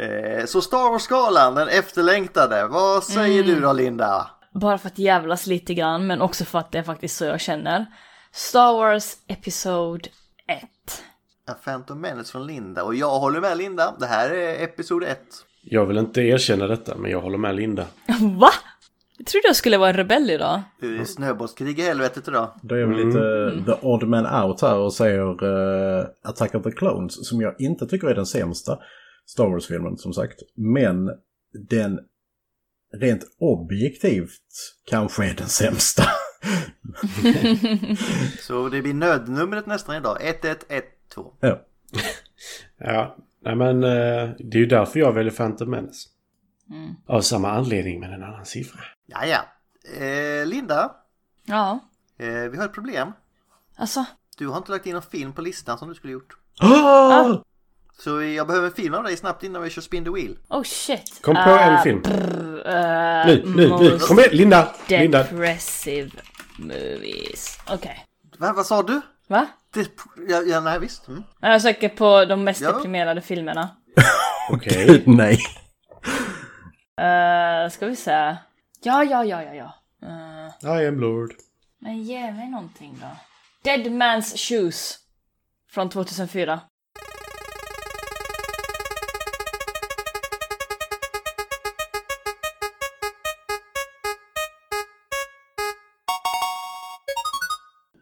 [SPEAKER 2] Eh, så Star Wars-skalan, den efterlängtade. Vad säger du då Linda?
[SPEAKER 1] Bara för att jävlas lite grann, men också för att det är faktiskt så jag känner. Star Wars Episod 1.
[SPEAKER 2] A Phantom Menace från Linda och jag håller med Linda. Det här är episod 1.
[SPEAKER 3] Jag vill inte erkänna detta, men jag håller med Linda.
[SPEAKER 1] Va? Jag trodde jag skulle vara en rebell idag.
[SPEAKER 2] Snöbollskrig i helvetet idag.
[SPEAKER 4] Då är vi
[SPEAKER 3] Mm.
[SPEAKER 4] lite eh, the odd man out här och säger eh, Attack of the Clones som jag inte tycker är den sämsta Star Wars-filmen som sagt. Men den rent objektivt kanske är den sämsta.
[SPEAKER 2] Så det blir nödnumret nästan idag. 1112.
[SPEAKER 4] ja.
[SPEAKER 3] Ja, nej men eh, det är ju därför jag väljer Phantom Menace. Av samma anledning, men en annan siffra.
[SPEAKER 2] Ja, ja. Eh, Linda,
[SPEAKER 1] Ja,
[SPEAKER 2] eh, vi har ett problem.
[SPEAKER 1] alltså.
[SPEAKER 2] Du har inte lagt in någon film på listan som du skulle gjort.
[SPEAKER 4] Ah!
[SPEAKER 2] Så jag behöver en film av dig snabbt innan vi kör Spin the Wheel.
[SPEAKER 1] Oh shit.
[SPEAKER 3] Kom på
[SPEAKER 1] Ah,
[SPEAKER 3] en film.
[SPEAKER 1] eh,
[SPEAKER 3] Nu, nu, nu!
[SPEAKER 1] most
[SPEAKER 3] Kom igen, Linda! Linda!
[SPEAKER 1] Depressive movies. Okej.
[SPEAKER 2] Va, vad sa du?
[SPEAKER 1] Va?
[SPEAKER 2] Det, ja, ja, nej, visst. Mm.
[SPEAKER 1] Nej, Jag söker på de mest
[SPEAKER 2] Ja.
[SPEAKER 1] deprimerade filmerna.
[SPEAKER 3] Okej.
[SPEAKER 4] Nej.
[SPEAKER 1] Uh, ska vi se. Ja, ja, ja, ja, ja. Eh,
[SPEAKER 3] I am Lord.
[SPEAKER 1] men ge mig någonting då. Dead Man's Shoes. Från 2004.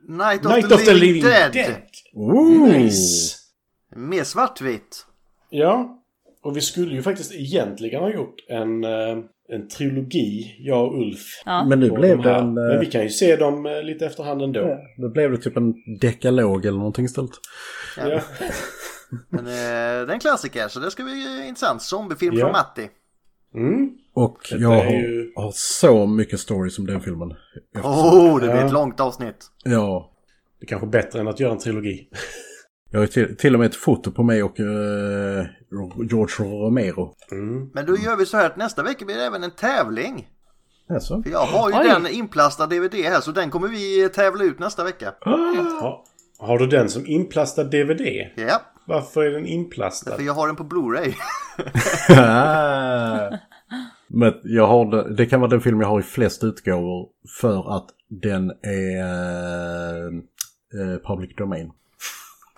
[SPEAKER 2] Night of,
[SPEAKER 3] Night
[SPEAKER 2] the,
[SPEAKER 3] of the
[SPEAKER 2] Living
[SPEAKER 3] Living
[SPEAKER 2] Dead.
[SPEAKER 3] Dead!
[SPEAKER 4] Ooh.
[SPEAKER 3] Nice!
[SPEAKER 2] Mer svartvitt.
[SPEAKER 3] Ja, och vi skulle ju faktiskt egentligen ha gjort en, eh, en trilogi, jag och Ulf.
[SPEAKER 1] Ja.
[SPEAKER 4] Men nu
[SPEAKER 3] på
[SPEAKER 4] blev
[SPEAKER 3] de
[SPEAKER 4] det
[SPEAKER 3] här.
[SPEAKER 4] en...
[SPEAKER 3] Men vi
[SPEAKER 4] eh,
[SPEAKER 3] kan ju se dem eh, lite efterhand ändå.
[SPEAKER 4] Nu blev det typ en dekalog eller någonting istället.
[SPEAKER 3] Ja.
[SPEAKER 2] Men eh, det är en klassiker, så det ska bli eh, intressant. Zombiefilm
[SPEAKER 3] Ja.
[SPEAKER 2] från Matti.
[SPEAKER 3] Mm.
[SPEAKER 4] Och
[SPEAKER 3] Detta
[SPEAKER 4] jag
[SPEAKER 3] är
[SPEAKER 4] har,
[SPEAKER 3] ju-
[SPEAKER 4] har så mycket stories om den filmen.
[SPEAKER 2] Oh, det blir ett
[SPEAKER 3] Ja.
[SPEAKER 2] långt avsnitt.
[SPEAKER 4] Ja,
[SPEAKER 3] Det är kanske bättre än att göra en trilogi.
[SPEAKER 4] Jag har till, till och med ett foto på mig och eh, George Romero.
[SPEAKER 3] Mm.
[SPEAKER 2] Men då gör vi så här att nästa vecka blir det även en tävling.
[SPEAKER 4] Alltså.
[SPEAKER 2] För jag har ju
[SPEAKER 1] Oj.
[SPEAKER 2] den inplastad DVD här, så den kommer vi tävla ut nästa vecka.
[SPEAKER 3] Ha, har du den som inplastad DVD?
[SPEAKER 2] Ja,
[SPEAKER 3] Varför är den inplastad?
[SPEAKER 2] för jag har den på Blu-ray.
[SPEAKER 4] Men jag har det, det kan vara den film jag har i flest utgåvor för att den är eh, eh, public domain.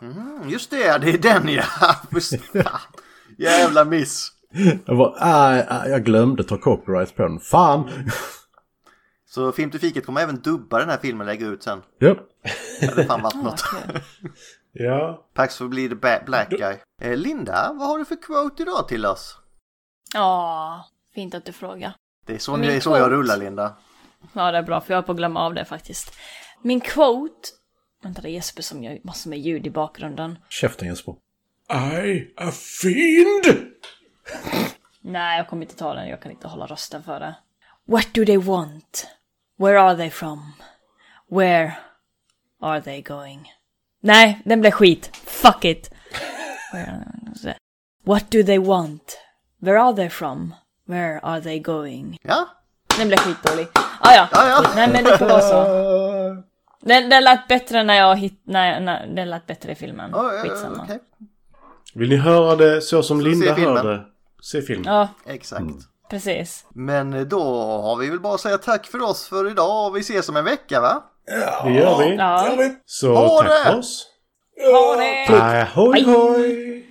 [SPEAKER 2] Mm, Just det, det är den ja! Fan, Jävla miss!
[SPEAKER 4] Jag, bara, ah, ah, jag glömde ta copyright på den. Fan!
[SPEAKER 2] Så Film till fiket kommer även dubba den här filmen och lägga ut sen.
[SPEAKER 4] Japp.
[SPEAKER 2] Det hade fan varit något.
[SPEAKER 3] Ja.
[SPEAKER 2] Pax for blir the ba- black guy. Eh, Linda, vad har du för quote idag till oss?
[SPEAKER 1] Ja, fint att du frågar.
[SPEAKER 2] Det är så,
[SPEAKER 1] Min
[SPEAKER 2] det är så jag
[SPEAKER 1] quote.
[SPEAKER 2] rullar Linda.
[SPEAKER 1] Ja, det är bra för jag är på att glömma av det faktiskt. Min quote... Vänta, det är Jesper som gör massor med ljud i bakgrunden.
[SPEAKER 4] Käften Jesper.
[SPEAKER 3] I a fiend!
[SPEAKER 1] Nej, jag kommer inte ta den. Jag kan inte hålla rösten för det. What do they want? Where are they from? Where are they going? Nej, den blev skit. Fuck it! Where- What do they want? Where are they from? Where are they going?
[SPEAKER 2] Ja,
[SPEAKER 1] Den blev skitdålig. Ah, ja.
[SPEAKER 2] Ja, ja.
[SPEAKER 1] Nej, men det får vara så. Den, den lät bättre när jag hit... Nej, nej, den lät bättre i filmen.
[SPEAKER 2] oh, eh,
[SPEAKER 1] Skitsamma.
[SPEAKER 2] okej.
[SPEAKER 3] Vill ni höra det så som
[SPEAKER 2] Så
[SPEAKER 3] Linda
[SPEAKER 2] se filmen.
[SPEAKER 3] hörde? Se filmen.
[SPEAKER 1] Ja,
[SPEAKER 2] Exakt.
[SPEAKER 1] precis.
[SPEAKER 2] Men eh, då har vi väl bara att säga tack för oss för idag och vi ses om en vecka va?
[SPEAKER 3] Det gör vi.
[SPEAKER 1] Ja.
[SPEAKER 3] Så
[SPEAKER 2] Ha
[SPEAKER 3] tack
[SPEAKER 2] det!
[SPEAKER 3] för oss. Dạ,
[SPEAKER 1] Ha det!
[SPEAKER 3] Ahoj, hoj!